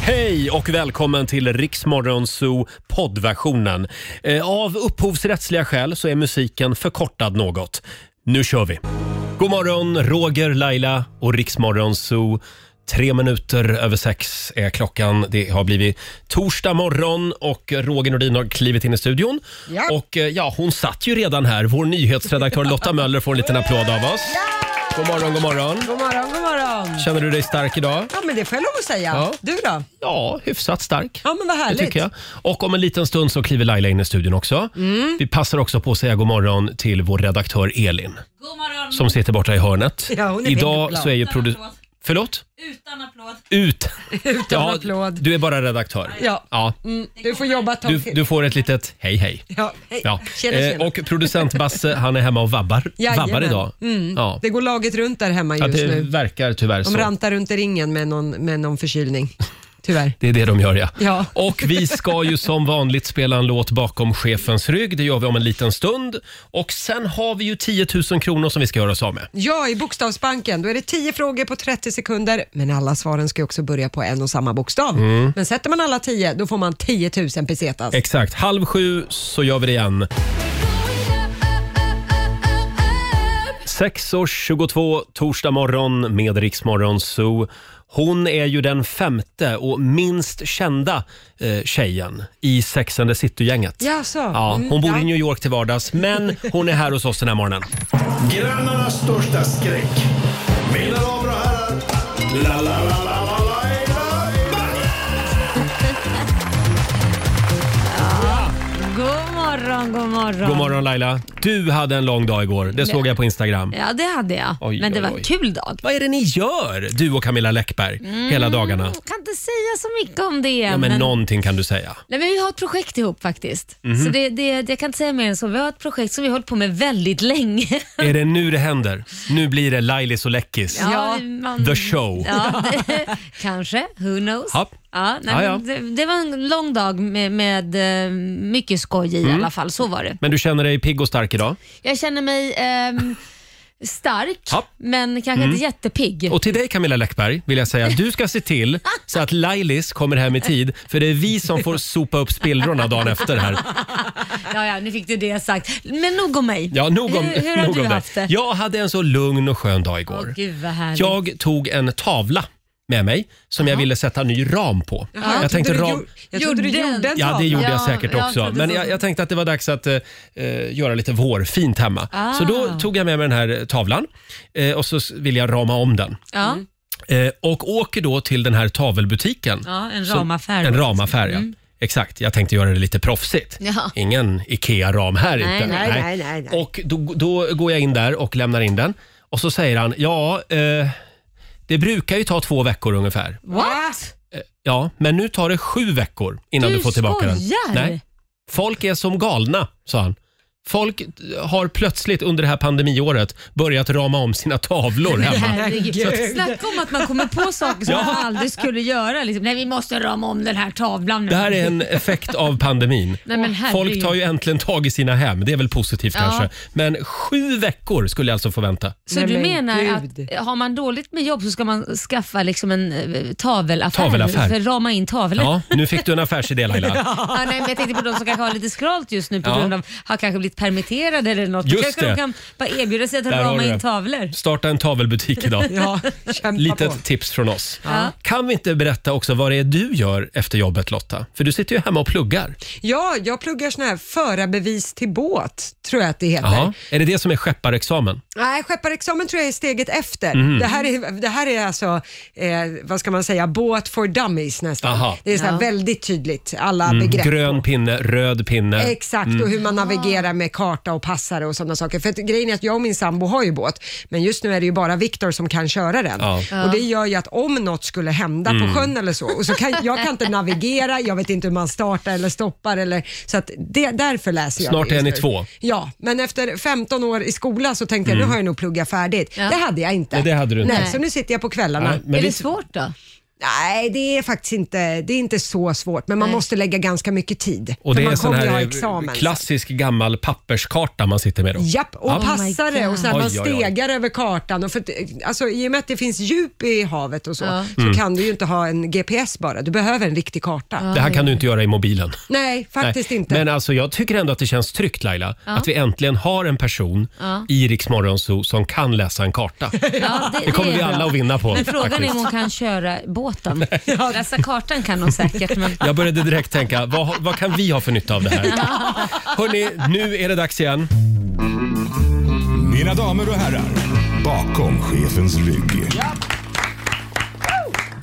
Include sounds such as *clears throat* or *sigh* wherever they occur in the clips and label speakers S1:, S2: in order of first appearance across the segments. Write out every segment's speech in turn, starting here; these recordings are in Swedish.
S1: Hej och välkommen till Riksmorgon Zoo poddversionen. Eh, Av upphovsrättsliga skäl så är musiken förkortad något. Nu kör vi! God morgon, Roger, Laila och Riksmorgon Zoo. Tre minuter över sex är klockan. Det har blivit torsdag morgon och Roger Nordin har klivit in i studion.
S2: Ja.
S1: Och eh, ja, hon satt ju redan här. Vår nyhetsredaktör Lotta Möller får en liten applåd av oss. God morgon, god morgon.
S2: God morgon, god morgon.
S1: Känner du dig stark idag?
S2: Ja, men det får jag lov att säga.
S1: Ja.
S2: Du då?
S1: Ja, hyfsat stark.
S2: Ja, men vad
S1: Det
S2: härligt.
S1: tycker jag. Och om en liten stund så kliver Laila in i studion också.
S2: Mm.
S1: Vi passar också på att säga god morgon till vår redaktör Elin
S3: God morgon.
S1: som sitter borta i hörnet.
S2: Ja, hon är
S1: Idag
S2: glad.
S1: så är ju produ-
S3: Utan applåd.
S1: Förlåt?
S3: Utan applåd.
S2: *laughs*
S1: Ut. Utan
S2: applåd.
S1: Du är bara redaktör.
S2: Ja.
S1: ja.
S2: Mm, du får jobba ett tag
S1: Du,
S2: till.
S1: du får ett litet hej hej.
S2: Ja, hej.
S1: Ja.
S2: Tjena, tjena.
S1: Eh, och producent Basse han är hemma och
S2: *laughs*
S1: vabbar,
S2: Jajamän. Mm.
S1: vabbar idag. Ja.
S2: Det går laget runt där hemma
S1: Ja,
S2: just
S1: det
S2: nu.
S1: verkar tyvärr
S2: De
S1: så.
S2: rantar runt i ringen med någon, med någon
S1: *laughs*
S2: förkylning. Tyvärr.
S1: Det är det de gör ja.
S2: Ja.
S1: Och vi ska ju som vanligt spela en låt bakom chefens rygg. Det gör vi om en liten stund. Och sen har vi ju 10 000 kronor som vi ska göra oss av med.
S2: *laughs* Ja, i Bokstavsbanken då är det 10 frågor på 30 sekunder, men alla svaren ska ju också börja på en och samma bokstav.
S1: Mm.
S2: Men sätter man alla 10, då får man 10 000 pesetas.
S1: Exakt. Halv sju så gör vi det igen. 6.22 torsdag morgon med Riksmorgon Zoo. Hon är ju den femte och minst kända eh, tjejen i Sex and the City-gänget.
S2: Jaså?
S1: Ja,
S2: Mm,
S1: hon bor i
S2: ja.
S1: New York till vardags, men hon är här hos oss den här morgonen.
S4: Grannarnas största skräck. Mina damer och herrar. La, la, la, la, la, la, la.
S3: God morgon, god morgon.
S1: God morgon Laila. Du hade en lång dag igår. Det såg jag på Instagram.
S3: Ja, det hade jag.
S1: Oj,
S3: Men det
S1: oj,
S3: var
S1: oj.
S3: en kul dag.
S1: Vad är det ni gör, du och Camilla Läckberg,
S3: Mm.
S1: hela dagarna?
S3: Jag kan inte säga så mycket om det
S1: Ja,
S3: än.
S1: men,
S3: men-
S1: någonting kan du säga.
S3: Nej, men vi har ett projekt ihop faktiskt.
S1: Mhm.
S3: Så det, det, jag kan inte säga mer än så. Vi har ett projekt som vi har hållit på med väldigt länge.
S1: Är det nu det händer? Nu blir det Lailis och Läckis.
S2: Ja,
S3: man-
S1: The show.
S3: *laughs* Ja, det, kanske. Who knows?
S1: Ja.
S3: Ja, nej,
S1: Ja, ja.
S3: men Det, det var en lång dag med, med eh, mycket skoj i
S1: Mm.
S3: alla fall. Så var det.
S1: Men du känner dig pigg och stark idag.
S3: Jag känner mig ehm, stark,
S1: Ja.
S3: men kanske inte jättepigg.
S1: Mm. Och till dig Camilla Läckberg vill jag säga att du ska se till så att Lailis kommer hem i tid för det är vi som får sopa upp spillrorna dagen efter här.
S3: Ja, ja, nu fick du det sagt. Men nog om mig.
S1: Ja, nog om,
S3: hur, hur har
S1: nog
S3: du
S1: om
S3: haft det?
S1: Jag hade en så lugn och skön dag igår.
S3: Åh, gud vad härligt.
S1: Jag tog en tavla med mig som jag ville sätta ny ram på.
S2: Jaha,
S1: jag tänkte
S2: trodde du
S1: ram...
S2: gjorde- Jag trodde du
S3: Gjorde
S2: gjorde en
S3: den.
S1: Ja, det
S2: tavla.
S1: gjorde jag
S3: Ja,
S1: säkert
S3: jag
S1: också.
S3: trodde
S1: men
S3: så.
S1: jag, jag tänkte att det var dags att eh, eh, göra lite vårfint hemma. Så då
S3: Ah.
S1: tog jag med mig den här tavlan eh, och så s- vill jag rama om den.
S3: Ja,
S1: Eh, och åker då till den här tavelbutiken.
S3: ja en
S1: Så-
S3: ramaffär. Mm.
S1: En ramaffär, ja. Exakt, jag tänkte göra det lite proffsigt.
S3: Ja.
S1: *laughs* Ingen IKEA-ram här
S3: Nej,
S1: inte.
S2: nej, nej, nej, nej.
S1: Och då, då går jag in där och lämnar in den. Och så säger han, ja, eh, det brukar ju ta två veckor ungefär.
S3: What?
S1: Eh, Ja, men nu tar det sju veckor innan du,
S3: Du
S1: får tillbaka
S3: skojar!
S1: den. Nej. Folk är som galna, sa han. Folk har plötsligt under det här pandemiåret börjat rama om sina tavlor hemma.
S3: Herregud. Snacka om att man kommer på saker som
S1: Ja.
S3: man aldrig skulle göra. Liksom. Nej, vi måste rama om den här tavlan nu.
S1: Det här är en effekt av pandemin.
S3: *laughs* Nej, men herregud.
S1: Folk tar ju äntligen tag i sina hem. Det är väl positivt
S3: Ja.
S1: kanske. Men sju veckor skulle jag alltså få vänta.
S3: Så
S2: Nej,
S3: du
S2: men
S3: menar
S2: gud.
S3: att har man dåligt med jobb så ska man skaffa liksom en eh, tavelaffär,
S1: Tavelaffär.
S3: för att rama in tavlor?
S1: Ja, nu fick du en affärsidé
S2: *laughs*
S1: Laila.
S3: *laughs* Ja, nej, men jag tänkte på de som kanske har lite skralt just nu på
S1: Ja.
S3: grund av har kanske blivit permitterade eller något.
S1: Just
S3: kanske
S1: det.
S3: de kan bara erbjuda sig att
S1: Där har
S3: rama
S1: du
S3: in
S1: det. *laughs*
S3: tavlor.
S1: Starta en tavelbutik idag.
S2: *laughs* Ja, kämpa på.
S1: Litet tips från oss.
S3: Ja.
S1: Kan vi inte berätta också vad det är du gör efter jobbet Lotta? För du sitter ju hemma och pluggar.
S2: Ja, jag pluggar sån här förarbevis till båt, tror jag att det heter.
S1: Jaha. Är det det som är skepparexamen?
S2: Nej, skepparexamen tror jag är steget efter.
S1: Mhm.
S2: Det, här är, det här är alltså, eh, vad ska man säga, båt for dummies nästan.
S1: Aha. Mm.
S2: Det är så här
S3: Ja.
S2: väldigt tydligt, alla begrepp.
S1: Grön pinne, röd pinne.
S2: Exakt, och
S1: Mm.
S2: hur man navigerar med karta och passare och sådana saker. För att, grejen är att jag och min sambo har ju båt, men just nu är det ju bara Viktor som kan köra den.
S1: Ja. Mm.
S2: Och det gör ju att om något skulle hända på sjön eller så, och så kan, jag kan inte navigera, jag vet inte hur man startar eller stoppar eller, så att det, därför läser jag
S1: Snart
S2: det
S1: är
S2: just
S1: ni
S2: nu.
S1: två. Mm.
S2: Ja, men efter 15 år i skola så tänkte jag nu har jag nog pluggat färdigt.
S3: Ja.
S2: Det hade jag inte.
S1: Nej, det hade du inte.
S2: Nej,
S3: Nej.
S2: så nu sitter jag på kvällarna.
S1: Nej, men
S3: är
S1: vi-
S3: det svårt då?
S2: Nej, det är faktiskt inte, det är inte så svårt, men man
S3: Nej.
S2: måste lägga ganska mycket tid.
S1: Och
S2: För
S1: det är
S2: man
S1: sån
S2: kommer ju ha
S1: här
S2: examen.
S1: klassisk gammal papperskarta man sitter med då.
S2: Japp, och
S1: Ja.
S3: Oh
S2: passare och så här,
S1: Oj,
S2: man
S1: oj, oj.
S2: stegar över kartan. Och för, att- alltså, I och med att det finns djup i havet och så,
S3: Ja.
S2: så
S1: Mm.
S2: kan du ju inte ha en GPS bara. Du behöver en riktig karta.
S1: Det här kan du inte göra i mobilen.
S2: Nej, faktiskt
S1: Nej,
S2: inte.
S1: Men alltså, jag tycker ändå att det känns tryggt Laila, att vi äntligen har en person i Rix Morgon Zoo som kan läsa en karta.
S3: *laughs* Ja,
S1: Det kommer
S3: är
S1: vi alla
S3: bra.
S1: att vinna på.
S3: Men frågan är
S1: faktiskt.
S3: om hon kan köra
S1: *laughs*
S3: båten. *laughs* Läsa kartan kan hon säkert, men *laughs*
S1: Jag började direkt tänka, vad, vad kan vi ha för nytta av det här? Hörni, nu är det dags igen.
S4: Mina damer och herrar, bakom chefens rygg.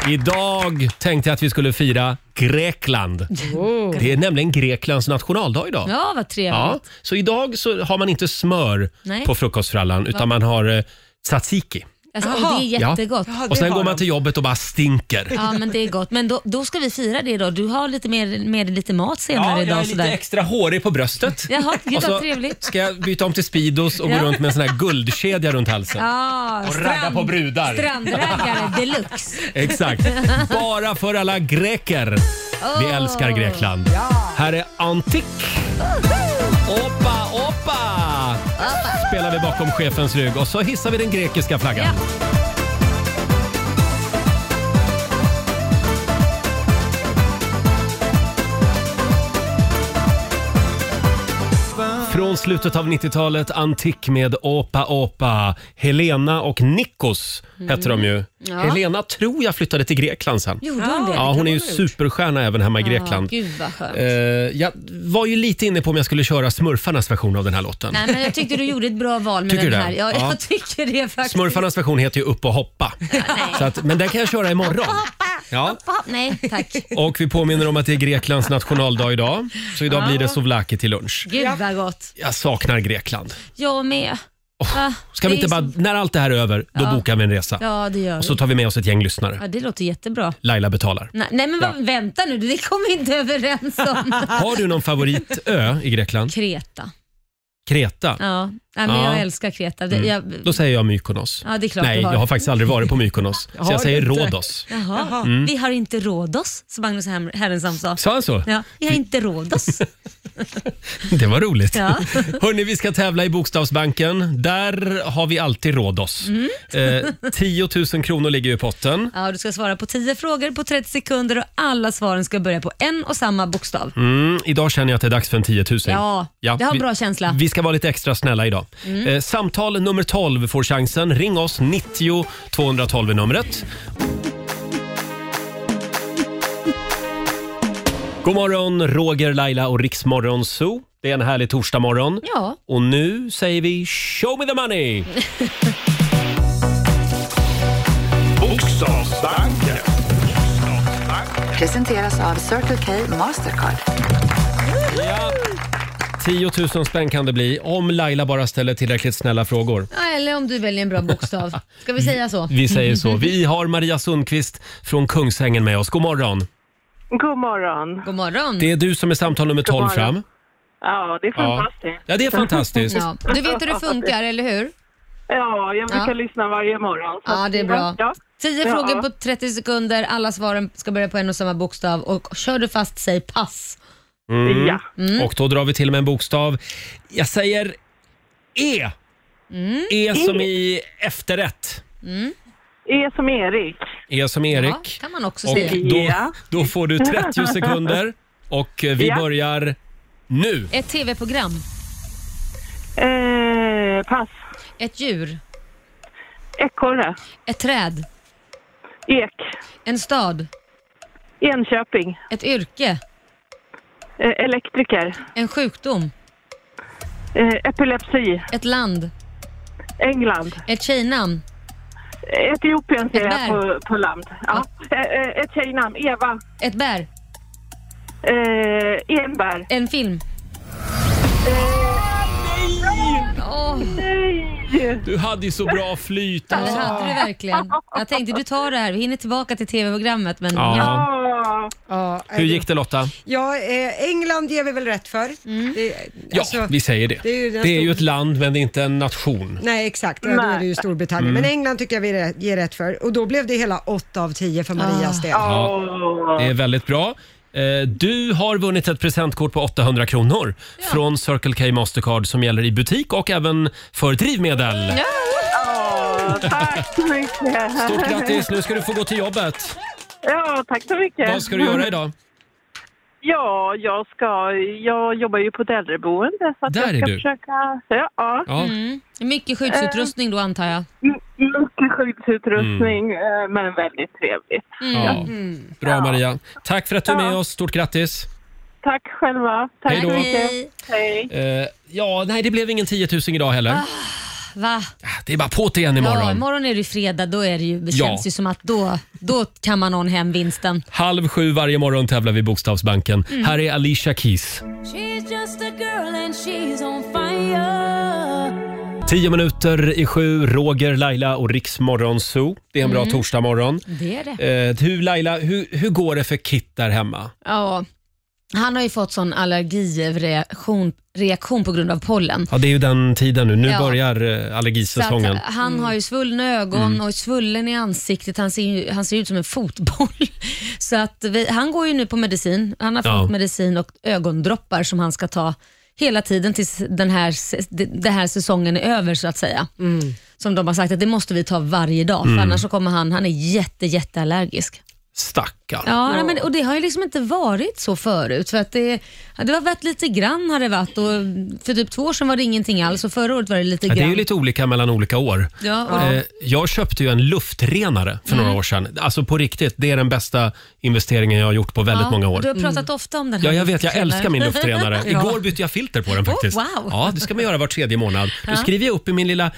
S1: Idag tänkte jag att vi skulle fira Grekland. Det är nämligen Greklands nationaldag idag.
S3: ja, vad trevligt.
S1: Ja, så idag så har man inte smör
S3: Nej.
S1: på frukostfrallan utan man har eh, tzatziki.
S3: Alltså,
S2: Jaha.
S3: och det är
S1: Ja.
S3: jättegott.
S2: Jaha, det
S1: Och sen
S2: har
S1: går man
S2: de.
S1: till jobbet och bara stinker.
S3: Ja, men det är gott. Men då, då ska vi fira det då. Du har lite med, med dig lite mat senare
S1: Ja,
S3: idag.
S1: jag är lite
S3: sådär.
S1: extra hårig på bröstet.
S3: Jaha, gud
S1: Och
S3: vad
S1: så
S3: trevligt.
S1: ska jag byta om till Speedos och gå
S3: Ja.
S1: runt med en sån här guldkedja runt halsen.
S3: Ja,
S1: Och ragga på brudar.
S3: Strandrägare deluxe. *laughs*
S1: Exakt. Bara för alla greker. Vi
S3: Åh.
S1: älskar Grekland. Här är Antik. Oppa, oppa! Spelar vi bakom chefens rygg och så hissar vi den grekiska flaggan.
S3: Ja.
S1: Från slutet av 90-talet, Antik med Opa Opa. Helena och Nikos hette de ju. Helena tror jag flyttade till Grekland sen.
S3: Mm. Gjorde hon det?
S1: Ja, hon är ju superstjärna även hemma i
S3: Ja,
S1: Grekland.
S3: gud vad skönt.
S1: Eh, jag var ju lite inne på om jag skulle köra smurfarnas version av den här låten.
S3: Nej, men jag tyckte du gjorde ett bra val med
S1: Tycker du
S3: den
S1: det?
S3: här. Ja,
S1: Ja.
S3: Jag tycker det faktiskt.
S1: Smurfarnas version heter ju Upp och hoppa. Så att, men den kan jag köra imorgon. Ja.
S3: Ja, Nej, tack.
S1: Och vi påminner om att det är Greklands nationaldag idag. Så idag blir det souvlaki till lunch.
S3: Gud vad gott.
S1: Jag saknar Grekland.
S3: Jag med. Ah,
S1: Ska vi
S3: det
S1: inte
S3: är
S1: bara,
S3: ju så-
S1: när allt det här är över, då bokar vi en resa.
S3: Ja, det gör vi.
S1: Och så tar vi med oss ett gäng lyssnare.
S3: Ja, det låter jättebra.
S1: Laila
S3: *laughs*
S1: betalar.
S3: Nej, nej men vad- vänta nu, det kom vi inte överens om.
S1: *laughs* Har du någon favoritö i Grekland?
S3: Kreta.
S1: Kreta?
S3: Ja, nej, men
S1: Ja. Mm.
S3: jag älskar Kreta. Det, jag,
S1: Då säger jag Mykonos.
S3: Ja, det är klart
S1: Nej,
S3: du har.
S1: jag har faktiskt aldrig varit på
S3: *laughs*
S1: Mykonos. så
S2: Har
S1: jag
S2: du
S1: säger
S2: inte?
S1: Rhodos. Mm.
S3: Jaha.
S2: Jaha.
S3: Vi har inte Rhodos, som Magnus Hem- Härenstam sa.
S1: Sa han så?
S3: Ja, vi har
S1: *laughs*
S3: inte Rhodos.
S1: Det var roligt.
S3: Ja.
S1: *laughs* Hörni, vi ska tävla i Bokstavsbanken. Där har vi alltid Rhodos.
S3: Mm.
S1: Eh, 10 000 kronor ligger i potten.
S3: Ja, du ska svara på 10 frågor på 30 sekunder och alla svaren ska börja på en och samma bokstav.
S1: Mm, idag känner jag att det är dags för en 10 000.
S3: Ja, jag har en
S1: vi,
S3: bra känsla. Mm.
S1: Vi ska vara lite extra snälla idag. Eh, samtal nummer 12 får chansen. Ring oss, 90 212 är numret. God morgon, Roger, Laila och Riksmorgon Zoo. Det är en härlig torsdagmorgon.
S3: Ja.
S1: Och nu säger vi show me the
S3: *laughs*
S1: money!
S4: Bokstavsbanken.
S5: Presenteras av Circle K Mastercard.
S1: 10 000 spänn kan det bli om Laila bara ställer tillräckligt snälla frågor.
S3: Ja, eller om du väljer en bra bokstav. Ska vi säga så?
S1: Vi säger så. Vi har Maria Sundqvist från Kungsängen med oss. God morgon.
S6: God morgon.
S3: God morgon.
S1: Det är du som är samtal nummer 12
S6: morgon.
S1: fram.
S6: Ja, det är
S1: Ja.
S6: fantastiskt.
S1: ja, det är fantastiskt.
S3: Ja. Du vet hur det funkar, eller hur?
S6: Ja, jag brukar
S3: Ja.
S6: lyssna varje morgon. så
S3: Ja,
S6: att-
S3: det är bra.
S6: Ja,
S3: 10
S6: Ja.
S3: frågor på 30 sekunder, alla svaren ska börja på en och samma bokstav och kör du fast, säg pass.
S6: Mm.
S3: Mm.
S6: ja.
S1: Mm. Och då drar vi till med en bokstav. Jag säger E.
S3: Mm.
S1: E som i efterrätt.
S6: E som Erik.
S1: E som
S3: Ja,
S1: Erik.
S3: kan man också
S1: Och
S3: säga.
S1: då,
S6: Ja.
S1: då får du 30 sekunder och eh, vi
S6: Ja.
S1: börjar nu.
S3: Ett tv-program,
S6: Eh, pass.
S3: ett djur,
S6: Ekorre.
S3: ett träd,
S6: Ek.
S3: en stad,
S6: Enköping.
S3: ett yrke,
S6: Eh, elektriker.
S3: en sjukdom,
S6: Eh, epilepsi.
S3: ett land,
S6: England.
S3: ett tjejnamn,
S6: Etiopien ser
S3: Ett
S6: jag på, på land. Ja. Eh, eh, ett tjejnamn. Eva.
S3: ett bär,
S6: Eh, Enberg.
S3: en film. Åh,
S6: Nej!
S1: Du hade ju så bra flyt.
S3: det hade du verkligen. Jag tänkte du tar det här, vi hinner tillbaka till tv-programmet men
S1: Ja.
S3: ja.
S6: Ja, Ja.
S2: Ja,
S1: Hur gick det Lotta?
S2: Ja, eh, England ger vi väl rätt för.
S3: Mm.
S2: Det,
S1: Ja,
S2: alltså-
S1: vi säger det.
S2: det är ju den
S1: Det är ju
S2: stora-
S1: ett land men det är inte en nation.
S2: Nej, exakt. Ja, då är det ju Storbritannien.
S1: Mm.
S2: Men England tycker jag vi rä- ger rätt för. Och då blev det hela 8 av 10 för
S3: Ah.
S2: Marias del.
S1: Det är väldigt bra. Eh, Du har vunnit ett presentkort på 800 kronor från Circle K Mastercard som gäller i butik och även för drivmedel.
S6: Ja, tack så mycket.
S1: Stort grattis! Nu ska du få gå till jobbet.
S6: Ja, tack så mycket.
S1: Vad ska du göra idag?
S6: Ja, jag ska... Jag jobbar ju på ett äldreboende så att
S1: Där
S6: jag
S1: är
S6: ska
S1: du.
S6: försöka... Ja, ja.
S1: Ja.
S3: Mm. Mycket skyddsutrustning då antar jag.
S6: M- Mycket skyddsutrustning, eh, men väldigt trevligt.
S1: Mm. Ja. Bra Maria. Tack för att du är med
S6: Ja.
S1: oss. Stort grattis!
S6: Tack själva. Tack
S1: Hej då.
S6: så mycket. Hej.
S1: Eh, Ja, nej det blev ingen 10 000 idag heller.
S6: Ah.
S1: Ah,
S3: Va?
S1: Det är bara på det igen
S3: Ja,
S1: imorgon.
S3: imorgon är det ju fredag, då är det ju, det
S1: Ja.
S3: känns ju som att då, då kan man någon hem vinsten.
S1: Halv sju varje morgon tävlar vi i Bokstavsbanken.
S6: Mm.
S1: Här är Alicia Keys. Tio minuter i sju, Roger, Laila och Riksmorgon Zoo. Det är en bra torsdagmorgon.
S3: Mm. Det är det.
S1: Eh, du Laila, hur, hur går det för Kit där hemma?
S3: Ja. Han har ju fått sån allergireaktion reaktion på grund av pollen.
S1: Ja, det är ju den tiden nu. Nu
S3: Ja.
S1: börjar eh,
S3: Så att
S1: allergisäsongen.
S3: han har ju svullna ögon
S1: Mm.
S3: och svullen i ansiktet. Han ser, ju, han ser ut som en fotboll. *laughs* Så att vi, han går ju nu på medicin. Han har fått
S1: Ja.
S3: medicin och ögondroppar som han ska ta hela tiden tills den här, se- de- den här säsongen är över så att säga. Som de har sagt att det måste vi ta varje dag
S1: Mm.
S3: för annars så kommer han, han är jätte, jätteallergisk.
S1: Stackarn.
S3: Ja, nej, men, och det har ju liksom inte varit så förut. För att det, det har varit lite grann har det varit och för typ två år sedan var det ingenting alls och förra året var det lite
S1: Ja,
S3: grann.
S1: det är ju lite olika mellan olika år.
S3: Ja, Mm. och
S1: Eh, Jag köpte ju en luftrenare för några år sedan. Alltså på riktigt, det är den bästa investeringen jag har gjort på väldigt
S3: Ja,
S1: många år.
S3: Du har pratat
S1: Mm.
S3: ofta om den här.
S1: Ja, jag vet. Jag
S3: luftrenaren.
S1: älskar min luftrenare.
S3: *laughs* Ja.
S1: Igår bytte jag filter på den faktiskt.
S3: Oh, wow.
S1: Ja, det ska man göra var tredje månad. Då skriver jag upp i min lilla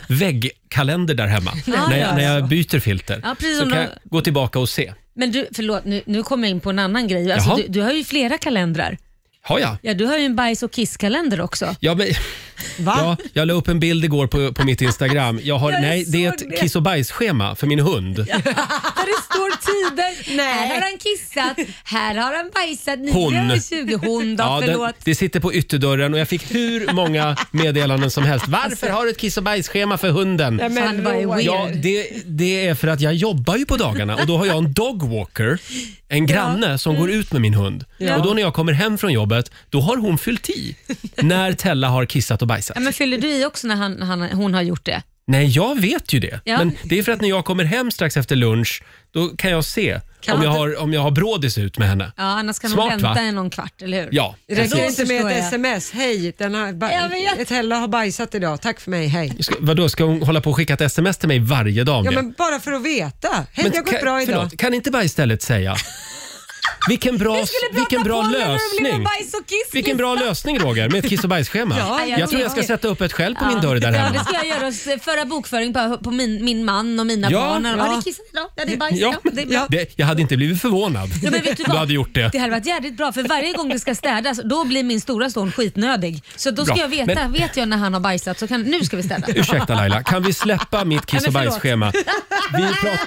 S1: väggkalender där hemma när, jag,
S3: ja.
S1: när jag byter filter.
S3: Ja, precis
S1: så
S3: som
S1: kan
S3: de-
S1: jag gå tillbaka och se.
S3: Men du, förlåt, nu, nu kommer jag in på en annan grej. Alltså,
S1: Jaha.
S3: du, du har ju flera kalendrar.
S1: Har jag?
S3: Ja, du har ju en bajs och kisskalender också.
S1: Ja, men,
S2: Va?
S1: *laughs* ja, jag la upp en bild igår på, på mitt Instagram. Jag har,
S3: Jag
S1: nej, det är
S3: såg
S1: ett
S3: det.
S1: kiss och bajsschema för min hund.
S3: Där det står tider. Här har han kissat, här har han bajsat,
S1: Hon.
S3: 9.20.
S1: *laughs*
S3: Hon då,
S1: den-
S3: förlåt.
S1: det sitter på ytterdörren och jag fick hur
S3: *laughs*
S1: många meddelanden som helst.
S3: Alltså-
S1: Varför har du ett kiss och bajsschema för hunden?
S2: Nej, men
S3: Fan, vad är
S2: Roger.
S1: Ja, det, det är för att jag jobbar ju på dagarna och då har jag en dogwalker,
S3: *laughs*
S1: en granne som går ut med min hund.
S2: Ja.
S1: Och då när jag kommer hem från jobbet, då har hon fyllt
S3: *laughs*
S1: i när Tella har kissat och bajsat.
S3: Ja, men fyller du i också när han, han, hon har gjort det?
S1: Nej, jag vet ju det.
S3: Ja.
S1: Men det är för att när jag kommer hem strax efter lunch, då kan jag se
S3: Kan
S1: om, jag
S3: man
S1: har, om jag har brådis ut med henne.
S3: Ja, annars kan
S1: Smart,
S3: hon vänta
S1: va?
S3: i någon kvart, eller hur?
S1: Ja,
S2: Räcker
S3: Då
S2: det inte med
S3: förstår
S2: ett
S3: jag.
S2: sms? Hej, den har ba-
S3: Jag vet.
S2: ett Hella har bajsat idag. Tack för mig, hej.
S1: Ska, vadå, ska hon hålla på och skicka ett sms till mig varje dag om
S2: Ja,
S1: det?
S2: men bara för att veta. Hej, det har gått
S1: kan,
S2: bra idag.
S1: förlåt, kan inte bara istället säga vilken
S3: *laughs*
S1: bra, vilken bra lösning. Vilken bra lösning Roger, med ett kiss och bajsschema.
S3: *laughs* Ja,
S1: jag,
S3: jag
S1: tror jag ska
S3: tycker-
S1: sätta upp ett själv på min dörr där
S3: Ja, det
S1: hemma.
S3: ska jag göra. och s- Föra bokföring på, på min, min man och mina
S1: Ja.
S3: barn. Ja.
S2: Ja.
S3: Har ni kissat idag? Ja, det är bajs.
S1: Ja.
S3: Ja. det är bra.
S1: Det, jag hade inte blivit förvånad
S3: Ja,
S1: om
S3: men vet du vad?
S1: du hade gjort det.
S3: Det hade varit jävligt bra för varje gång det ska städas då blir min stora son skitnödig. Så då ska
S1: Bra,
S3: jag veta,
S1: men-
S3: vet jag när han har bajsat så kan, nu ska vi städa. *laughs*
S1: Ursäkta Laila, kan vi släppa mitt kiss och
S3: Nej, men förlåt. *laughs*
S1: bajsschema? Vi, prat,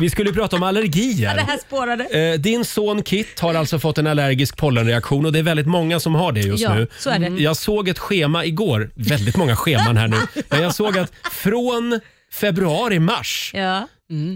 S1: vi skulle ju prata om
S3: Ja, det
S1: allergier.
S3: här spårade.
S1: Eh, Din son Kit har alltså fått en allergisk pollenreaktion och det är väldigt många som har det just
S3: Ja,
S1: nu.
S3: så är det.
S1: Mm. Jag såg ett schema igår, väldigt många scheman
S3: *laughs*
S1: här nu, men jag såg att från februari, mars
S3: Ja.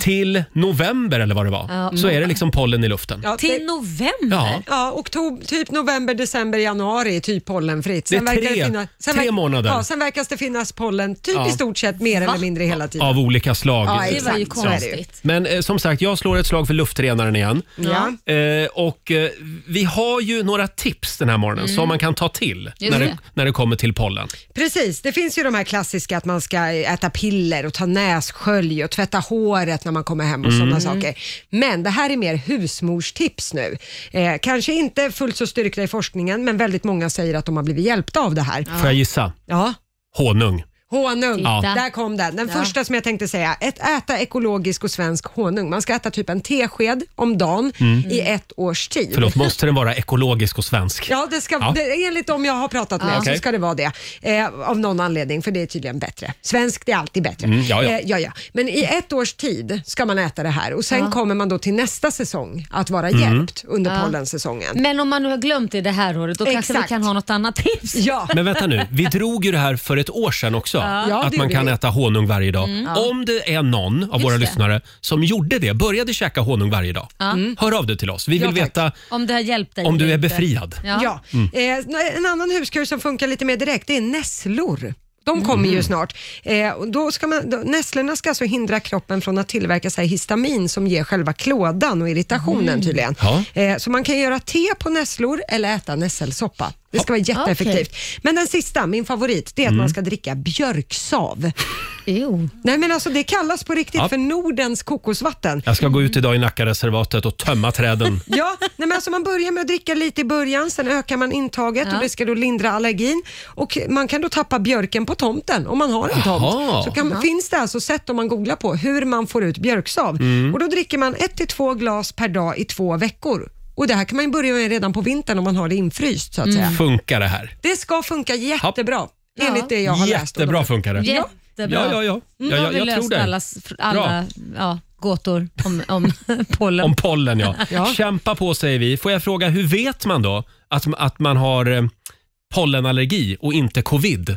S1: till november eller vad det var,
S3: Mm. Ja.
S1: så är det liksom pollen i luften.
S2: Ja, det-
S3: Till november?
S1: Ja.
S2: Ja, oktober, typ november, december, januari är typ pollenfritt.
S1: Det är tre- tre
S2: verkar-
S1: månader.
S2: Ja, sen verkar det finnas pollen typ
S1: Ja.
S2: i stort sett mer eller mindre hela tiden.
S1: Av olika slag.
S2: Ja,
S3: Det var ju
S2: Exakt, så är det ju.
S3: konstigt.
S1: Men eh, som sagt, jag slår ett slag för luftrenaren igen.
S2: Ja.
S1: Eh, och eh, vi har ju några tips den här morgonen som man kan ta till
S3: Mm. Just
S1: när det,
S3: det.
S1: när det kommer till pollen.
S2: Precis, det finns ju de här klassiska att man ska äta piller och ta nässkölj och tvätta håret när man kommer hem och
S1: Mm.
S2: sådana saker. Men det här är mer husmorstips nu. Eh, kanske inte fullt så styrkta i forskningen, men väldigt många säger att de har blivit hjälpta av det här.
S1: Får jag gissa?
S2: Ja,
S1: Honung.
S2: Honung,
S3: Ja.
S2: där kom den. Den
S3: Ja.
S2: första som jag tänkte säga, ett äta ekologisk och svensk honung. Man ska äta typ en tesked om dagen i ett års tid.
S1: Mm. Förlåt, måste den vara ekologisk och svensk?
S2: *laughs* Ja, det ska,
S1: Ja.
S2: Det, enligt dem jag har pratat med
S1: Okej.
S2: så ska det vara det. Eh, av någon anledning, för det är tydligen bättre. Svenskt är alltid bättre.
S1: Mm, ja, ja.
S2: Eh, ja, ja. Men i ett års tid ska man äta det här och sen kommer man då till nästa säsong att vara
S1: Mm.
S2: hjälpt under pollensäsongen.
S3: Men om man nu har glömt det det här året, då kanske vi
S2: Exakt.
S3: kan ha något annat
S2: *laughs*
S3: tips.
S2: Ja,
S1: Men vänta nu, vi drog ju det här för ett år sedan också.
S2: Ja,
S1: att
S2: det
S1: man
S2: gjorde
S1: kan
S2: vi. Mm.
S1: äta honung varje dag. Om det är någon av våra
S3: det.
S1: lyssnare som gjorde det, började käka honung varje dag. Hör av dig till oss. Vi vill
S2: Ja, tack.
S1: veta
S3: Om det har hjälpt dig.
S1: om du
S3: eller
S1: är
S3: inte.
S1: befriad. Mm.
S3: Ja.
S2: Ja. Eh, en annan huskur som funkar lite mer direkt, det är nässlor. De kommer
S1: Mm.
S2: ju snart. Eh, och då ska man, då, nässlorna ska alltså hindra kroppen från att tillverka sig histamin som ger själva klådan och irritationen
S3: Mm.
S2: tydligen.
S7: *laughs*
S1: Ja.
S2: Eh, så man kan göra te på nässlor eller äta nässelsoppa. Det ska vara jätteeffektivt. Men den sista, min favorit, det är att
S1: Mm.
S2: man ska dricka björksav.
S3: Jo.
S2: Nej men alltså det kallas på riktigt
S1: Ja.
S2: för Nordens kokosvatten.
S1: Jag ska gå ut idag i Nackareservatet och tömma
S2: *laughs*
S1: träden.
S2: Ja, nej men alltså man börjar med att dricka lite i början, sen ökar man intaget och det ska då lindra allergin. Och man kan då tappa björken på tomten om man har en tomt.
S1: Jaha.
S2: Så kan, finns det alltså sätt om man googlar på hur man får ut björksav.
S1: Mm.
S2: Och då dricker man ett till två glas per dag i två veckor. Och det här kan man ju börja med redan på vintern om man har det infryst så att
S1: Mm.
S2: säga.
S1: Funkar det här?
S2: Det ska funka jättebra enligt det Mm. jag har läst.
S1: Jättebra funkar det.
S3: Jättebra.
S1: Ja, ja, ja. ja,
S3: Nu har
S1: ja
S3: vi
S1: jag tror
S3: löst
S1: det.
S3: alla, alla ja, gåtor om, om *laughs* pollen.
S1: Om pollen, ja.
S2: *laughs* Ja.
S1: Kämpa på säger vi. Får jag fråga, hur vet man då att, att man har eh, pollenallergi och inte covid?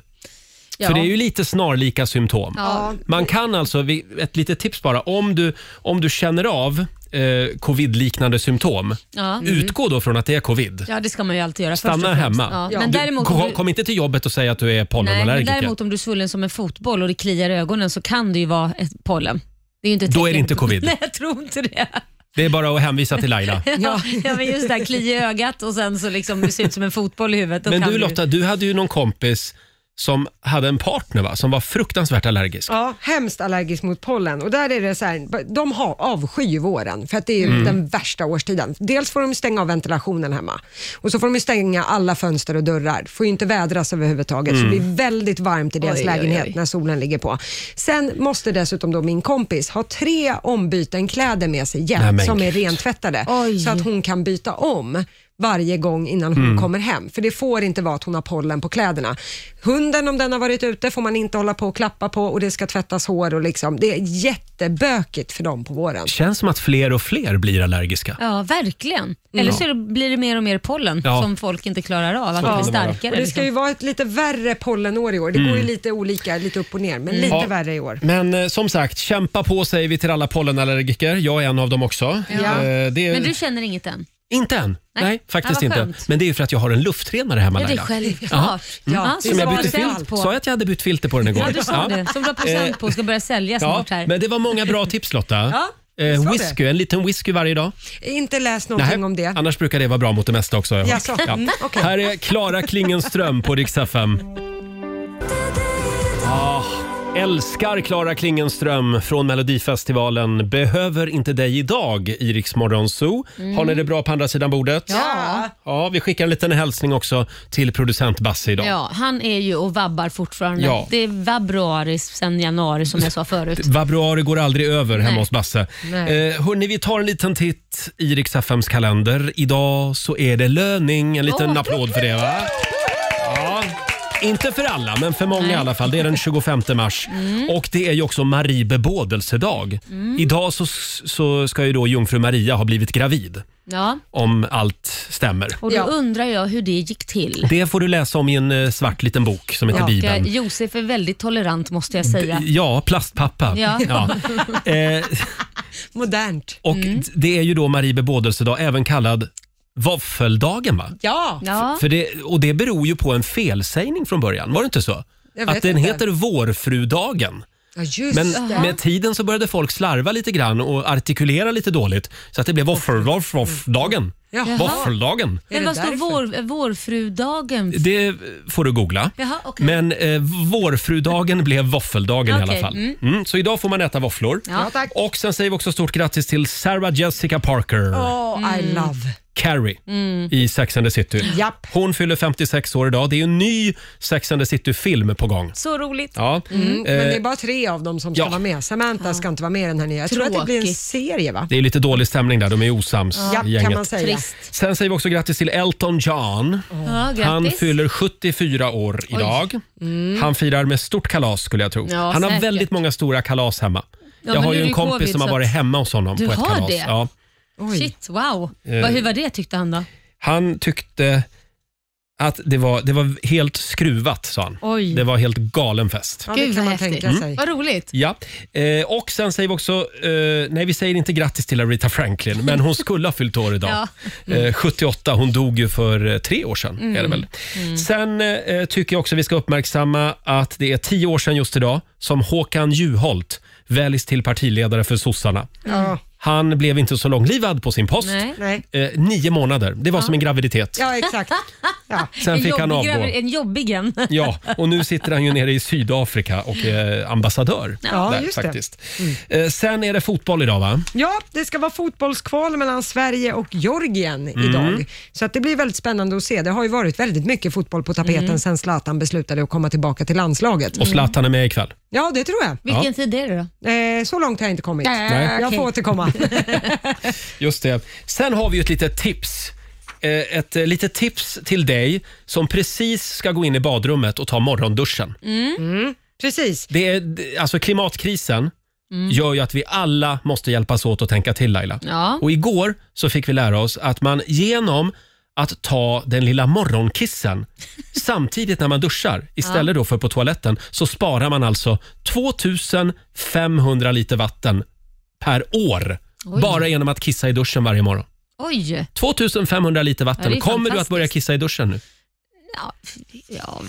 S3: ja.
S1: För det är ju lite snarlika symptom.
S3: ja.
S1: Man kan alltså, vi- ett litet tips bara, om du, om du känner av eh, covid-liknande symptom,
S3: Ja. Mm.
S1: utgå då från att det är covid.
S3: ja, det ska man ju alltid göra. först och
S1: Stanna
S3: främst.
S1: hemma.
S3: Ja.
S2: Ja.
S3: Men
S1: Du,
S3: däremot, om
S1: kom,
S3: du,
S1: kom inte till jobbet och säg att du är
S3: nej, men
S1: pollenallergiker.
S3: däremot om du är svullen som en fotboll och det kliar i ögonen så kan det ju vara ett pollen. Det är ju inte ett
S1: Då är det
S3: tecken
S1: inte
S3: på-
S1: covid.
S3: *laughs* Nej, jag tror inte det.
S1: Det är bara att hänvisa till Laila.
S3: *laughs* Ja, ja men just det här, kli i ögat och sen så liksom det ser ut som en fotboll i huvudet. Då
S1: Men
S3: kan
S1: du Lotta, du hade ju någon kompis som hade en partner va? som var fruktansvärt allergisk.
S2: Ja, hemskt allergisk mot pollen. Och där är det så här, de har avskyr våren för att det är ju
S1: Mm.
S2: den värsta årstiden. Dels får de stänga av ventilationen hemma och så får de stänga alla fönster och dörrar. får ju inte vädras överhuvudtaget så
S1: Mm.
S2: det blir väldigt varmt i deras
S3: Oj, oj,
S2: lägenhet
S3: oj.
S2: när solen ligger på. Sen måste dessutom då min kompis ha tre ombyten kläder med sig
S1: Nej, men
S2: jämt som är
S1: gud.
S2: rentvättade
S3: Oj.
S2: så att hon kan byta om varje gång innan
S1: Mm.
S2: hon kommer hem. För det får inte vara att hon har pollen på kläderna. Hunden om den har varit ute får man inte hålla på och klappa på och det ska tvättas hår och liksom. Det är jättebökigt för dem på våren.
S1: Känns som att fler och fler blir allergiska.
S3: Ja, verkligen. Eller så är det- blir det mer och mer pollen
S1: Mm. Ja.
S3: som folk inte klarar av, att det blir
S1: kan det vara.
S3: starkare.
S2: Och det
S3: liksom.
S2: ska ju vara ett lite värre pollenår i år. Det går ju lite olika, lite upp och ner, men lite
S1: Mm. Ja.
S2: värre i år.
S1: Men eh, som sagt, kämpa på säger vi till alla pollenallergiker. Jag är en av dem också.
S2: Ja.
S1: Eh, det är...
S3: Men du känner inget än?
S1: Inte än. Nej,
S3: Nej.
S1: faktiskt
S3: Ja, vad
S1: inte.
S3: skönt.
S1: Men det är ju för att jag har en lufttränare hemma
S3: Ja, det är
S1: Laila.
S3: självklart.
S2: Ja,
S3: Ja,
S2: det
S3: som
S1: Som
S3: du
S1: jag
S3: har
S1: bytte
S3: present
S1: filter.
S3: på.
S1: Sa jag att jag hade bytt filter på den igår? Eh,
S3: Ja, du sa det. Som du har present på och ska börja sälja
S1: Ja,
S3: snart här.
S1: men det var många bra tips Lotta. Eh,
S2: sa det.
S1: whisky, en liten whisky varje dag.
S2: Inte läst någonting om det.
S1: Annars brukar det vara bra mot det mesta också. har jag hört.
S2: Jaså, mm, okej.
S1: Här är Klara Klingenström på Rix FM. Ah, Älskar Klara Klingenström från Melodifestivalen. Behöver inte dig idag i Rix Morgon Zoo. Har ni det bra på andra sidan bordet?
S3: Mm. Ja.
S1: ja. Vi skickar en liten hälsning också till producent Basse idag.
S3: Ja, han är ju och vabbar fortfarande.
S1: Ja.
S3: Det är vabruari sen januari som jag sa förut.
S1: Vabruari går aldrig över hemma
S3: Nej.
S1: hos Basse.
S3: Nej.
S1: Eh, hörni, vi tar en liten titt i Rix FMs kalender. Idag så är det löning. En liten
S3: Åh.
S1: applåd för det va? Ja. Inte för alla, men för många i alla fall. Det är den 25 mars.
S3: Mm.
S1: Och det är ju också Marie bebådelsedag. Idag så, så ska ju då jungfru Maria ha blivit gravid,
S3: Ja.
S1: om allt stämmer.
S3: Och då
S2: Ja.
S3: undrar jag hur det gick till.
S1: Det får du läsa om i en eh, svart liten bok som heter
S3: Och, eh,
S1: Bibeln.
S3: Josef är väldigt tolerant måste jag säga.
S1: Ja, plastpappa.
S3: Ja.
S1: *laughs* Ja. Eh,
S2: Modernt.
S1: Och d- det är ju då Marie bebådelsedag, även kallad våffeldagen va?
S2: Ja,
S3: Ja.
S1: För det, och det beror ju på en felsägning från början, var det inte så?
S2: Jag vet
S1: Att den
S2: inte.
S1: heter vårfrudagen.
S2: ja just
S1: Men
S2: det.
S1: med tiden så började folk slarva lite grann och artikulera lite dåligt. Så att det blev våffeldagen.
S2: Jaha.
S1: Våffeldagen.
S2: Är
S3: *laughs* Men
S2: det
S3: vad står
S2: därför?
S3: vår, eh, vårfrudagen för?
S1: Det får du googla.
S3: Jaha, okej.
S1: Men eh, vårfrudagen blev våffeldagen i alla
S3: Okej,
S1: fall. Mm, så idag får man äta våfflor.
S3: Ja.
S2: Ja, tack.
S3: Mm.
S1: Och sen säger vi också stort grattis till Sarah Jessica Parker.
S2: Oh, I love.
S1: Carrie i Sex and the City.
S2: Japp.
S1: Hon fyller 56 år idag. Det är ju en ny Sex and the City-film på gång.
S3: Så roligt.
S1: Ja.
S2: Mm,
S1: Eh,
S2: Men det är bara tre av dem som ska
S1: Mm. ja.
S2: vara med. Samantha ska inte vara med i den här nya. Jag tror att det blir en
S3: Tråkigt.
S2: serie va?
S1: Det är lite dålig stämning där, de är osams
S2: Ja,
S1: i gänget.
S2: kan man säga.
S3: Trist.
S1: Sen säger vi också grattis till Elton John.
S3: Ja, grattis.
S1: Han fyller 74 år idag.
S2: Mm.
S1: Han firar med stort kalas skulle jag tro.
S3: Mm. Ja,
S1: han har
S3: säkert.
S1: väldigt många stora kalas hemma. jag
S3: men
S1: har
S3: nu
S1: ju
S3: är
S1: en
S3: det
S1: kompis
S3: covid,
S1: som har
S3: så att-
S1: varit hemma hos honom
S3: Du
S1: på ett
S3: har
S1: kalas.
S3: det?
S1: Ja.
S3: Shit, wow.
S1: Eh.
S3: Vad- Hur var det tyckte han då?
S1: Han tyckte att det var, det var helt skruvat, sa han.
S3: Oj.
S1: Det var helt galen fest.
S2: Ja, det
S3: Gud,
S2: kan
S3: vad
S2: man
S3: häftigt.
S2: tänka sig.
S3: Vad roligt.
S1: Ja, eh, och sen säger vi också, eh, nej vi säger inte grattis till Aretha Franklin, men hon skulle ha fyllt år idag. Eh, 78, hon dog ju för eh, tre år sedan. Är
S2: Mm.
S1: det väl. Sen eh, tycker jag också vi ska uppmärksamma att det är tio år sedan just idag som Håkan Juholt väljs till partiledare för sossarna.
S3: Mm.
S2: Ja,
S1: Han blev inte så långlivad på sin post.
S3: Nej.
S2: nej.
S1: Eh, nio månader, det var som en graviditet.
S2: ja
S3: *laughs*
S2: exakt. Ja.
S1: Sen
S3: En
S1: fick han
S3: jobbig
S1: avgå.
S3: gravid- En jobbig en. *laughs*
S1: Ja, och nu sitter han ju nere i Sydafrika och är ambassadör.
S2: Ja,
S1: där,
S2: just det. Mm.
S1: faktiskt. Eh, Sen är det fotboll idag va?
S2: Ja, det ska vara fotbollskval mellan Sverige och Georgien
S1: Mm.
S2: idag. Så att det blir väldigt spännande att se. Det har ju varit väldigt mycket fotboll på tapeten
S3: Mm.
S2: sen Zlatan beslutade att komma tillbaka till landslaget.
S1: Och Zlatan är med ikväll.
S2: Ja, det tror jag.
S3: Vilken
S1: Ja.
S3: tid är det då?
S2: Eh, så långt har jag inte kommit.
S1: Nej.
S2: Jag får återkomma.
S1: Just det. Sen har vi ju ett litet tips. Eh, Ett eh, litet tips till dig som precis ska gå in i badrummet och ta morgonduschen.
S3: Mm.
S2: Mm. Precis.
S1: Det är, d- alltså klimatkrisen
S3: Mm.
S1: gör ju att vi alla måste hjälpas åt att tänka till Laila.
S3: Ja.
S1: Och igår så fick vi lära oss att man genom att ta den lilla
S3: *laughs*
S1: morgonkissen samtidigt när man duschar istället då för på toaletten så sparar man alltså 2500 liter vatten per år
S3: Oj.
S1: bara genom att kissa i duschen varje morgon.
S3: Oj.
S1: 2500 liter
S3: Ja,
S1: vatten.
S3: det är
S1: Kommer du att
S3: fantastiskt.
S1: börja kissa i duschen nu?
S3: Ja, ja,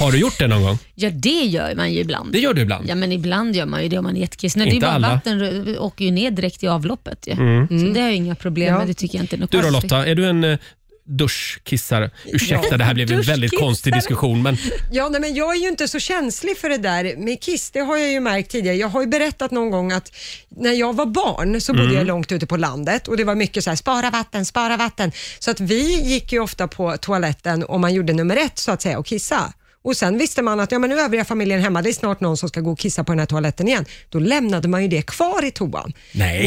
S1: Har du gjort det någon gång?
S3: ja, det gör man ju ibland.
S1: Det gör du ibland.
S3: Ja, men ibland gör man ju det om man är jättekissnödig. Det
S1: Inte
S3: är ju bara
S1: alla. Mm.
S3: vatten åker ju ner direkt i avloppet. Ju. Så det har jag inga problem
S2: Mm. Ja.
S3: med. Det tycker jag inte är något
S1: Du då
S3: konstigt.
S1: Lotta, är du en eh, duschkissare? Ursäkta, det här blev en väldigt
S3: Duschkissare.
S1: konstig diskussion. Men
S2: Ja, nej, men jag är ju inte så känslig för det där med kiss. Det har jag ju märkt tidigare. Jag har ju berättat någon gång att när jag var barn så bodde jag långt ute på landet och det var mycket så här, spara vatten, spara vatten. Så att vi gick ju ofta på toaletten om man gjorde nummer ett så att säga och kissa. Och sen visste man att ja, men nu är övriga familjen hemma, det är snart någon som ska gå och kissa på den här toaletten igen. Då lämnade man ju det kvar i toan.
S1: nej!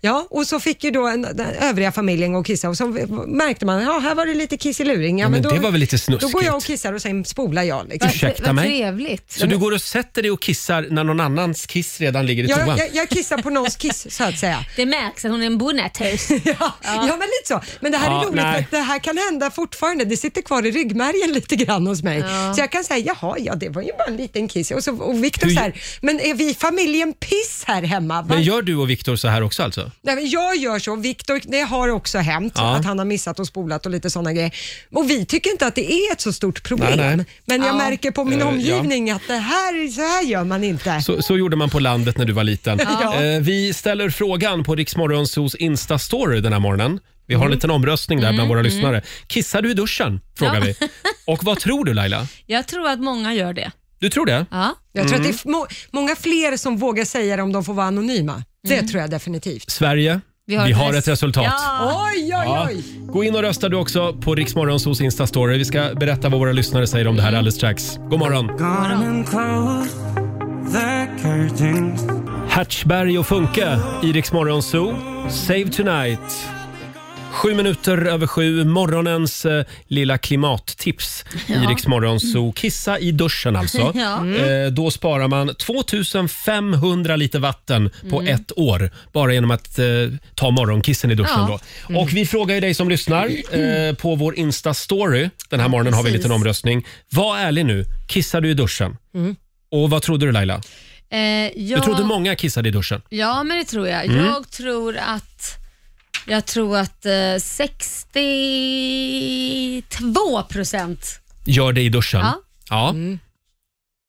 S2: Ja, och så fick ju då en, den övriga familjen gå och kissa och så märkte man, ja här var det lite kiss i luring. Ja,
S1: men
S2: då,
S1: det var väl lite
S2: Då går jag och
S1: snuskigt.
S2: kissar och sen spolar jag. Liksom.
S1: Ursäkta
S3: Vad
S1: mig.
S3: trevligt.
S1: Så du går och sätter dig och kissar när någon annans kiss redan ligger i
S2: Jag,
S1: toan?
S2: jag, jag kissar på någons kiss så att säga.
S3: Det märks att hon är en bonnetös.
S2: *laughs* Ja, ja. men lite så. Men det här
S1: Ja,
S2: är roligt
S1: nej.
S2: för att det här kan hända fortfarande. Det sitter kvar i ryggmärgen lite grann hos mig. Så jag kan säga, jaha, ja det var ju bara en liten kiss. Och, så, och Victor
S1: Hur-
S2: så här, men är vi familjen piss här hemma? Va?
S1: Men gör du och Viktor så här också alltså?
S2: Nej, men jag gör så. Viktor, det har också hänt
S1: Ja.
S2: att han har missat och spolat och lite sådana grejer. Och vi tycker inte att det är ett så stort problem.
S1: Nej, nej.
S2: Men jag märker på min
S1: Eh, ja.
S2: omgivning att det här, så här gör man inte.
S1: Så, så gjorde man på landet när du var liten.
S2: Ja.
S1: Eh, vi ställer frågan på Riksmorgonsos Insta-story den här morgonen. Vi har en liten omröstning där bland våra lyssnare. Kissar du i duschen? Frågar vi. Och vad tror du Laila?
S3: Jag tror att många gör det.
S1: Du tror det?
S3: Ja.
S2: Jag
S1: Mm.
S2: tror att det är må- många fler som vågar säga det om de får vara anonyma. Det
S3: Mm.
S2: tror jag definitivt.
S1: Sverige, vi har, ett
S3: res-
S1: resultat.
S3: Ja.
S2: Oj, oj,
S1: Ja.
S2: oj!
S1: Gå in och rösta du också på Riksmorgonsos Insta-story. Vi ska berätta vad våra lyssnare säger om det här alldeles strax. God morgon! Hatchberg och Funke i Riksmorgonso. Save tonight. Sju minuter över sju, morgonens eh, lilla klimattips i Riksmorgonso. Kissa i duschen alltså.
S3: *laughs* Ja. Mm.
S1: Eh, då sparar man 2500 liter vatten på
S3: Mm.
S1: ett år bara genom att eh, ta morgonkissen i duschen.
S3: Ja. Mm.
S1: Då. Och vi frågar ju dig som lyssnar eh, på vår Insta-story. Den här morgonen har vi en
S3: precis.
S1: liten omröstning. Var ärlig nu, kissar du i duschen? Och vad trodde du Laila?
S3: Mm. Eh, jag,
S1: Du trodde många Mm. kissade i duschen.
S3: Ja, men det tror jag. Jag tror att jag tror att eh, 62 procent.
S1: Gör det i duschen?
S3: Ja.
S1: Ja.
S2: Mm.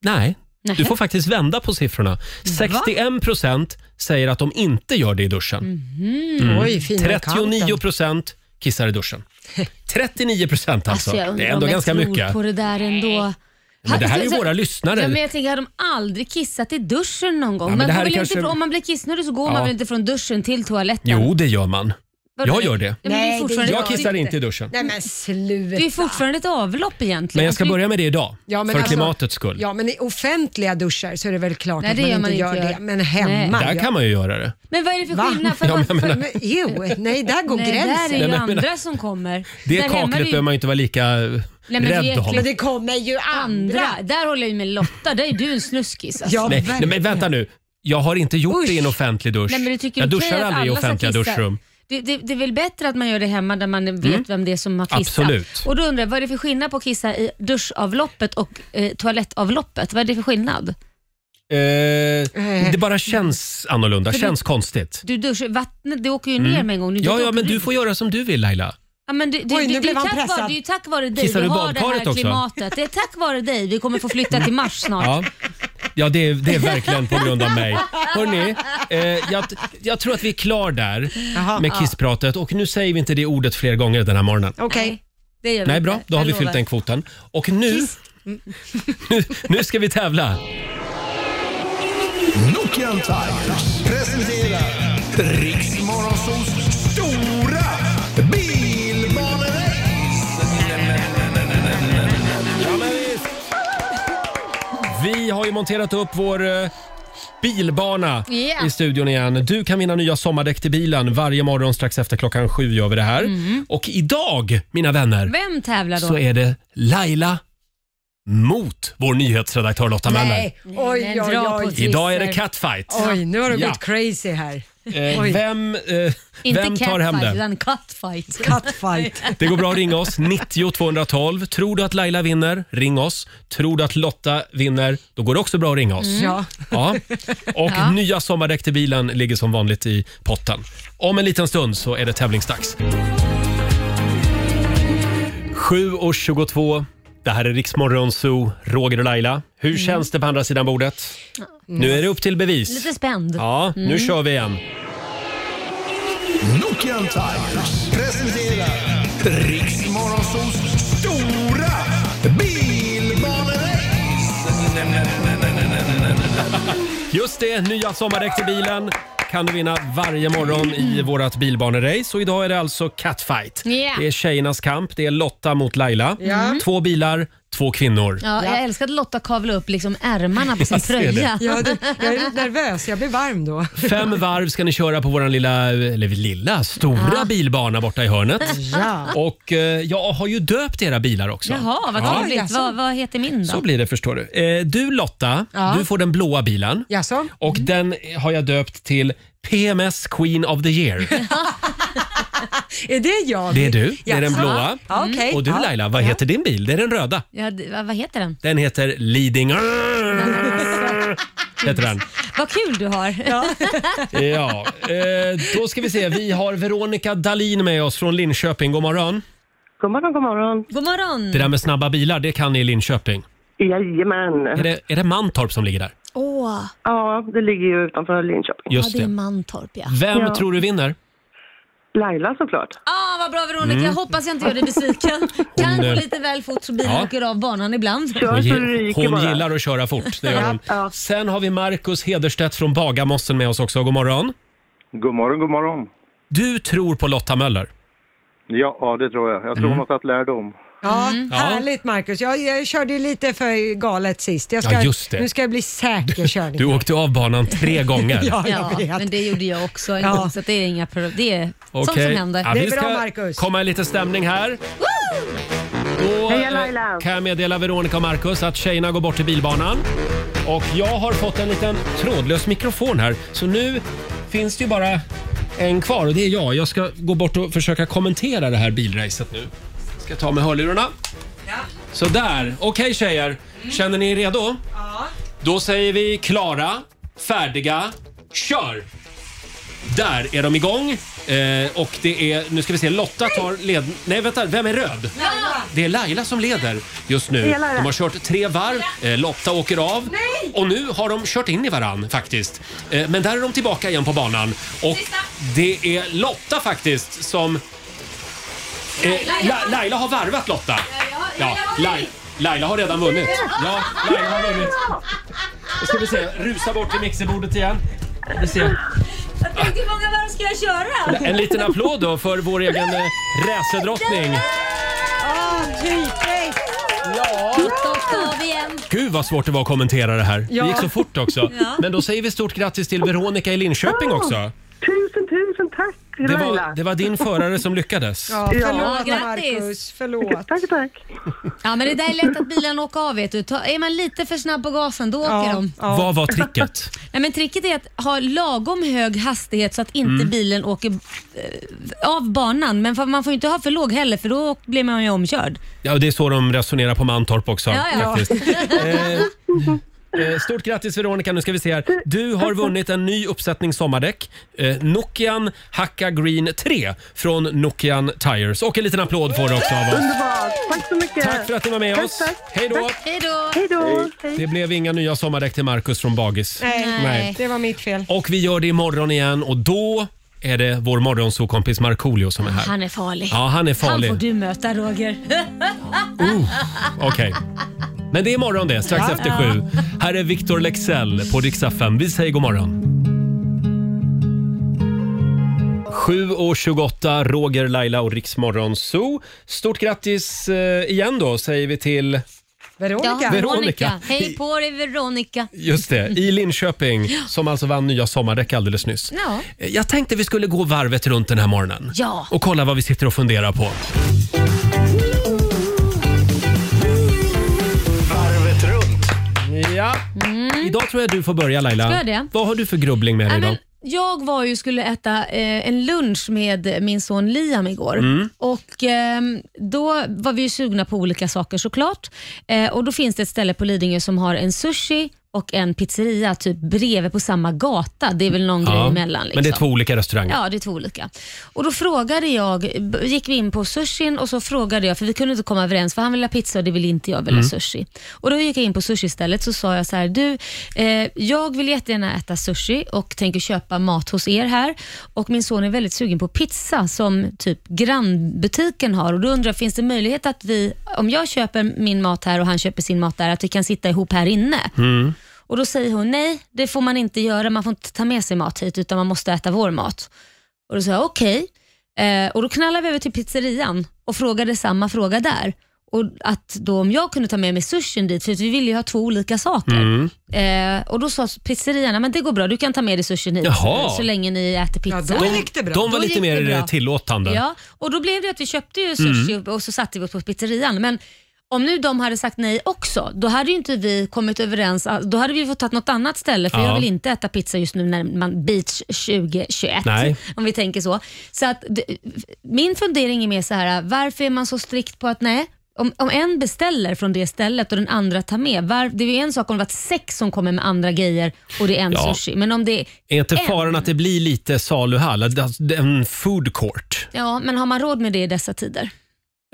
S1: Nej.
S3: Nej.
S1: Du får faktiskt vända på siffrorna. 61 procent säger att de inte gör det i duschen.
S3: Mm.
S2: Mm. Oj, fina
S1: 39
S2: kanten.
S1: procent kissar i
S2: *laughs*
S1: duschen. 39 procent alltså.
S3: jag undrar
S1: det är ändå
S3: om jag
S1: ganska
S3: tror
S1: mycket.
S3: på det där ändå. Alltså,
S1: Men det här är ju
S3: Så-
S1: våra lyssnare.
S3: Ja, men jag tänker, har de aldrig kissat i duschen någon gång?
S1: men
S3: man
S1: det här är
S3: får väl
S1: kanske-
S3: inte, om man blir kissnödig så går
S1: Ja.
S3: man väl inte från duschen till toaletten?
S1: Jo, det gör man.
S3: Vadå?
S1: Jag gör det.
S3: Ja, men det är
S2: Nej,
S3: fortfarande
S2: det
S3: ett
S1: Jag
S2: Ja.
S1: kissar
S3: avlopp.
S1: inte i duschen.
S2: Nej men sluta.
S3: Det är fortfarande ett avlopp egentligen.
S1: Men jag ska
S3: Man kan ju-
S1: börja med det idag.
S2: Ja, men
S1: för
S2: alltså-
S1: klimatets skull.
S2: Ja, men i offentliga duscher så är det väl klart
S3: Nej,
S2: att
S3: det
S2: man,
S3: gör
S2: inte
S3: man
S2: gör
S3: inte.
S2: det. Men hemma.
S1: Där
S2: ja.
S1: kan man ju göra det.
S3: Men vad är det för
S2: Va?
S3: skillnad? För
S1: Ja, men
S3: varför-
S1: jag menar-
S2: Men, *laughs* jo, nej där går
S3: Nej, där
S2: gränsen.
S3: är ju
S1: men-
S3: andra som kommer.
S1: Det
S3: Där hemma är
S1: kaklet
S3: det ju
S1: behöver man ju inte vara lika eh,
S3: men det är
S1: rädd
S3: äckligt.
S1: om.
S2: Men det kommer ju andra.
S3: andra. Där håller jag ju med Lotta, där är du en snuskis. Alltså.
S2: Ja,
S1: Nej, nej,
S2: verkligen.
S1: men vänta nu. Jag har inte gjort det i en
S2: Usch.
S1: offentlig dusch.
S3: Nej, men du tycker
S1: jag
S3: okej
S1: duschar
S3: att
S1: aldrig i
S3: alla ska
S1: offentliga
S3: kissa.
S1: duschrum. Mm.
S3: Det, det, det är väl bättre att man gör det hemma där man vet vem det är som har kissat.
S1: Absolut.
S3: Och då undrar jag, vad är det för skillnad på att kissa i duschavloppet och eh, toalettavloppet? Vad är det för skillnad?
S1: Eh,
S3: Eh.
S1: det bara känns annorlunda, känns konstigt.
S3: Du duschar, vattnet det åker ju ner med en gång. Nu,
S1: Mm. Ja,
S3: det
S1: ja,
S3: åker
S1: men
S3: ut.
S1: du får göra som du vill Laila.
S3: Ja, men det, det,
S2: Oj, nu
S3: det, det, är
S2: blev han
S3: tack vare,
S2: pressad.
S3: det är ju tack vare dig
S1: Kissar
S3: du
S1: du
S3: har det
S1: badkaret
S3: här
S1: också?
S3: klimatet. Det är tack vare dig vi kommer få flytta
S1: *laughs*
S3: till Mars snart.
S1: Ja. Ja, det är, det är verkligen på grund av
S3: *laughs*
S1: mig. Hörrni, eh, jag, jag tror att vi är klar där
S2: Jaha.
S1: med kisspratet och nu säger vi inte det ordet fler gånger den här morgonen.
S2: Okej.
S3: Nej, det gör vi
S1: Nej,
S3: inte.
S1: bra. Då har
S3: Jag
S1: vi
S3: lovar.
S1: fyllt
S3: *laughs*
S1: den kvoten. Och *laughs* nu... nu, nu ska vi tävla.
S4: Nokian Tigers presenterar Riksmorgonsols stora bilbanerace.
S1: Vi har ju monterat upp vår eh, bilbana
S3: Yeah.
S1: i studion igen. Du kan vinna nya sommardäck till bilen varje morgon strax efter klockan sju gör vi det här. Och idag, mina vänner,
S3: Mm. Vem tävlar då?
S1: så är det Laila mot vår nyhetsredaktör Lotta Möller.
S2: Nej. Oj,
S3: men
S2: oj,
S3: dra på
S2: oj.
S3: t-
S1: Idag är det
S3: Teaser.
S1: catfight.
S2: Oj, nu har det
S1: Ja.
S2: gått crazy här.
S1: Eh,
S2: Oj.
S1: vem eh,
S3: Inte
S1: vem tar hem det?
S3: catfight, utan cutfight.
S2: Cutfight.
S1: *laughs* Det går bra att ringa oss, 90 212. Tror du att Laila vinner? Ring oss. Tror du att Lotta vinner? Då går det också bra att ringa oss.
S2: Ja.
S1: Ja. Och nya sommardäck till bilen ligger som vanligt i potten. Om en liten stund så är det tävlingsdags. 7.22. Det här är Riksmorgon Zoo, Roger och Laila. Hur
S3: Mm.
S1: känns det på andra sidan bordet? Nu är det upp till bevis.
S3: Lite spänd. Mm.
S1: Ja, nu kör vi igen.
S4: Nokian Tigers presenterar Riksmorgonsols stora bilbanerace.
S1: *laughs* Just det, nya sommardäck till bilen kan du vinna varje morgon i vårt bilbanerace. Och idag är det alltså catfight.
S3: Yeah. Mm.
S1: Det är tjejernas kamp. Det är Lotta mot Laila. Två bilar, två kvinnor.
S3: Ja, Jag älskar att Lotta kavla upp liksom ärmarna på sin
S1: Jag ser det.
S3: tröja.
S2: Ja, det, jag är lite nervös, jag blir varm då.
S1: *laughs* Fem varv ska ni köra på våran lilla, eller lilla, stora bilbana borta i
S3: *laughs*
S1: hörnet.
S2: Ja.
S1: Och eh, jag har ju döpt era bilar också.
S3: Jaha, vad
S1: Ja.
S3: trevligt.
S2: jaså.
S3: vad, vad heter min
S1: Så
S3: då?
S1: blir det förstår du. Eh, du Lotta,
S2: Ja.
S1: du får den blåa bilen.
S2: Jaså?
S1: Och
S3: Mm.
S1: den har jag döpt till PMS Queen of the Year.
S2: *laughs* Är det jag?
S1: Det är du, det är den
S2: Jaså?
S1: blåa. Mm.
S2: Ja, okej.
S1: Och du
S2: ja.
S1: Laila, vad heter din bil? Det är den röda.
S3: Ja, det- vad, vad heter den?
S1: Den heter Leading... Heter
S2: *laughs*
S1: den.
S3: Vad kul du har.
S1: Ja, eh, då ska vi se. Vi har Veronica Dalin med oss från Linköping. God morgon.
S8: God morgon, god morgon.
S3: God morgon.
S1: Det där med snabba bilar, det kan ni i Linköping. Är
S8: Jajamän.
S1: det, är det Mantorp som ligger där?
S3: Åh,
S8: Ja, det ligger ju utanför Linköping.
S3: ja,
S1: Just
S3: det är
S1: det.
S3: Mantorp ja.
S1: Vem
S8: Ja.
S1: tror du vinner?
S8: Laila såklart.
S3: *laughs* Ah, vad bra Veronica,
S1: Mm.
S3: jag hoppas jag inte gör dig besviken. Kan gå lite väl fort så bilen
S1: eh, Ja.
S3: åker av banan ibland.
S8: Kör
S1: Hon,
S8: så
S1: gi-
S8: det ryker
S1: hon
S8: bara.
S1: gillar att köra fort, det gör hon. Sen har vi Markus Hederstedt från Bagarmossen med oss också. God morgon.
S9: God morgon, god morgon.
S1: Du tror på Lotta Möller.
S9: Ja, ja det tror jag. Jag tror hon har tagit lärdom.
S2: Ja,
S1: Ja.
S2: Härligt Marcus. Jag, jag körde ju lite för galet sist. Jag ska,
S1: Ja, just det.
S2: Nu ska jag bli säker körning.
S1: Du åkte av banan tre gånger.
S2: *laughs* ja, jag
S3: Ja,
S2: vet.
S3: men det gjorde jag också en
S2: Ja.
S3: gång så det är inga problem. Det är sånt
S1: Okej.
S3: som händer.
S1: Ja,
S2: Det
S1: vi
S2: är bra,
S1: ska
S2: Marcus.
S1: komma i lite stämning här. Då
S8: Heja,
S1: eh,
S8: Laila.
S1: kan jag meddela Veronica och Marcus att tjejerna går bort till bilbanan. Och jag har fått en liten trådlös mikrofon här. Så nu finns det ju bara en kvar och det är jag. Jag ska gå bort och försöka kommentera det här bilracet nu. Ska ta med hörlurarna. Så där. Okej tjejer,
S8: Mm.
S1: känner ni er redo? Ja. Då säger vi klara, färdiga, kör! Där är de igång. Eh, och det är, nu ska vi se, Lotta tar led... Nej vänta, vem är röd? Det är Laila som leder just nu.
S8: är Laila.
S1: De har kört tre varv, eh, Lotta åker av. Och nu har de kört in i varann faktiskt. Eh, men där är de tillbaka igen på banan. Och det är Lotta faktiskt som... Eh, La Laila har varvat Lotta. Ja, Lai- Laila har redan vunnit. Ja, Laila har vunnit. Då ska vi se, rusa bort till mixerbordet igen. Vi ser.
S3: Hur många varv ska jag köra?
S1: En liten applåd då för vår egen eh, racerdrottning.
S3: Ah, Åtta, åtta av igen.
S1: Gud vad svårt det var att kommentera det här. Det gick så fort också.
S3: Ja.
S1: Men då säger vi stort grattis till Veronica i Linköping
S6: Ah,
S1: också.
S8: Tusen, tusen tack
S1: Det
S8: Laila.
S1: var, det var din förare som lyckades.
S2: Ja, förlåt
S3: Ja, grattis.
S2: Marcus, förlåt.
S8: Tack, tack.
S3: Ja, men det där är lätt att bilen åker av. Vet du. Ta, är man lite för snabb på gasen, då åker de.
S2: ja.
S1: Vad var tricket?
S3: Nej, men tricket är att ha lagom hög hastighet så att inte
S1: Mm.
S3: bilen åker eh, av banan. Men fa- man får ju inte ha för låg heller för då blir man ju omkörd.
S1: Ja, det är så de resonerar på Mantorp också.
S3: Ja, ja. *laughs*
S1: Faktiskt. Eh, eh, stort grattis Veronica, nu ska vi se här. Du har vunnit en ny uppsättning sommardäck. Eh, Nokian Hakka Green 3 från Nokian Tires. Och en liten applåd får du också av oss.
S8: Underbart. Tack så mycket.
S1: Tack för att ni var med
S8: Tack,
S1: oss.
S8: tack.
S1: Hej då!
S3: Hej då!
S8: Hej då.
S1: Det blev inga nya sommardäck till Marcus från Bagis.
S2: Nej,
S1: Nej.
S2: det var mitt fel.
S1: Och vi gör det imorgon igen och då är det vår morgonsokompis Markoolio som är här.
S3: Han är farlig.
S1: Ja, han är
S3: Han
S1: farlig.
S3: får du möta Roger.
S1: Okej. Men det är imorgon det, strax efter sju. Här är Victor Lexell på Rix FM. Vi säger god morgon. 7 och 28, Roger, Laila och Riksmorgon Zoo. Stort grattis eh, igen då säger vi till,
S2: Veronica.
S3: Ja,
S1: Veronica.
S3: *laughs* Veronica. Hej på dig Veronica.
S1: just det, i Linköping som alltså vann nya sommardäck alldeles nyss.
S3: Ja.
S1: Eh, Jag tänkte vi skulle gå varvet runt den här morgonen
S3: Ja.
S1: och kolla vad vi sitter och funderar på.
S4: Varvet runt.
S1: Ja. Idag tror jag du får börja Laila.
S3: Mm. Ska jag det?
S1: Vad har du för grubbling med dig
S3: Nej,
S1: idag?
S3: men jag var ju skulle äta eh, en lunch med min son Liam igår.
S1: Mm.
S3: Och ehm, Då var vi ju sugna på olika saker såklart. Eh, och Då finns det ett ställe på Lidingö som har en sushi och en pizzeria typ bredvid på samma gata. Det är väl någon grej emellan. Liksom.
S1: Men det är två olika restauranger.
S3: Ja, det är två olika. Och då frågade jag, b- gick vi in på sushin och så frågade jag, för vi kunde inte komma överens, för han ville ha pizza och det ville inte jag ville ha sushi. Och då gick jag in på sushi-stället så sa jag så här, du, eh, jag vill jättegärna äta sushi och tänker köpa mat hos er här och min son är väldigt sugen på pizza som typ grannbutiken har och då undrar jag, finns det möjlighet att vi, om jag köper min mat här och han köper sin mat där, att vi kan sitta ihop här inne? Och Då säger hon nej, det får man inte göra. Man får inte ta med sig mat hit utan man måste äta vår mat. Och Då sa jag okej. Eh, och Då knallade vi över till pizzerian och frågade samma fråga där. Och att då Om jag kunde ta med mig sushin dit, för vi ville ju ha två olika saker. Eh, och Då sa pizzerian, men det går bra, du kan ta med dig sushin hit
S1: Jaha.
S3: så länge ni äter pizza.
S2: Ja, då gick det bra.
S1: De var
S3: Då
S1: lite
S3: gick det
S1: mer
S3: bra.
S1: eh, tillåtande.
S3: Ja, och då blev det att vi köpte ju sushi
S1: Mm.
S3: och så satte vi oss på pizzerian. Men om nu de hade sagt nej också, då hade ju inte vi kommit överens. Då hade vi fått ta något annat ställe, för
S1: Ja.
S3: jag vill inte äta pizza just nu när man beach 2021.
S1: Nej.
S3: Om vi tänker så. så att, d- min fundering är mer så här, varför är man så strikt på att nej, om, om en beställer från det stället och den andra tar med. Var, det är ju en sak om det varit sex som kommer med andra grejer och det är en
S1: Ja.
S3: sushi. Men om det är
S1: Är inte
S3: en-
S1: faran att det blir lite saluhall? Att det- alltså, det är En food court?
S3: Ja, men har man råd med det i dessa tider?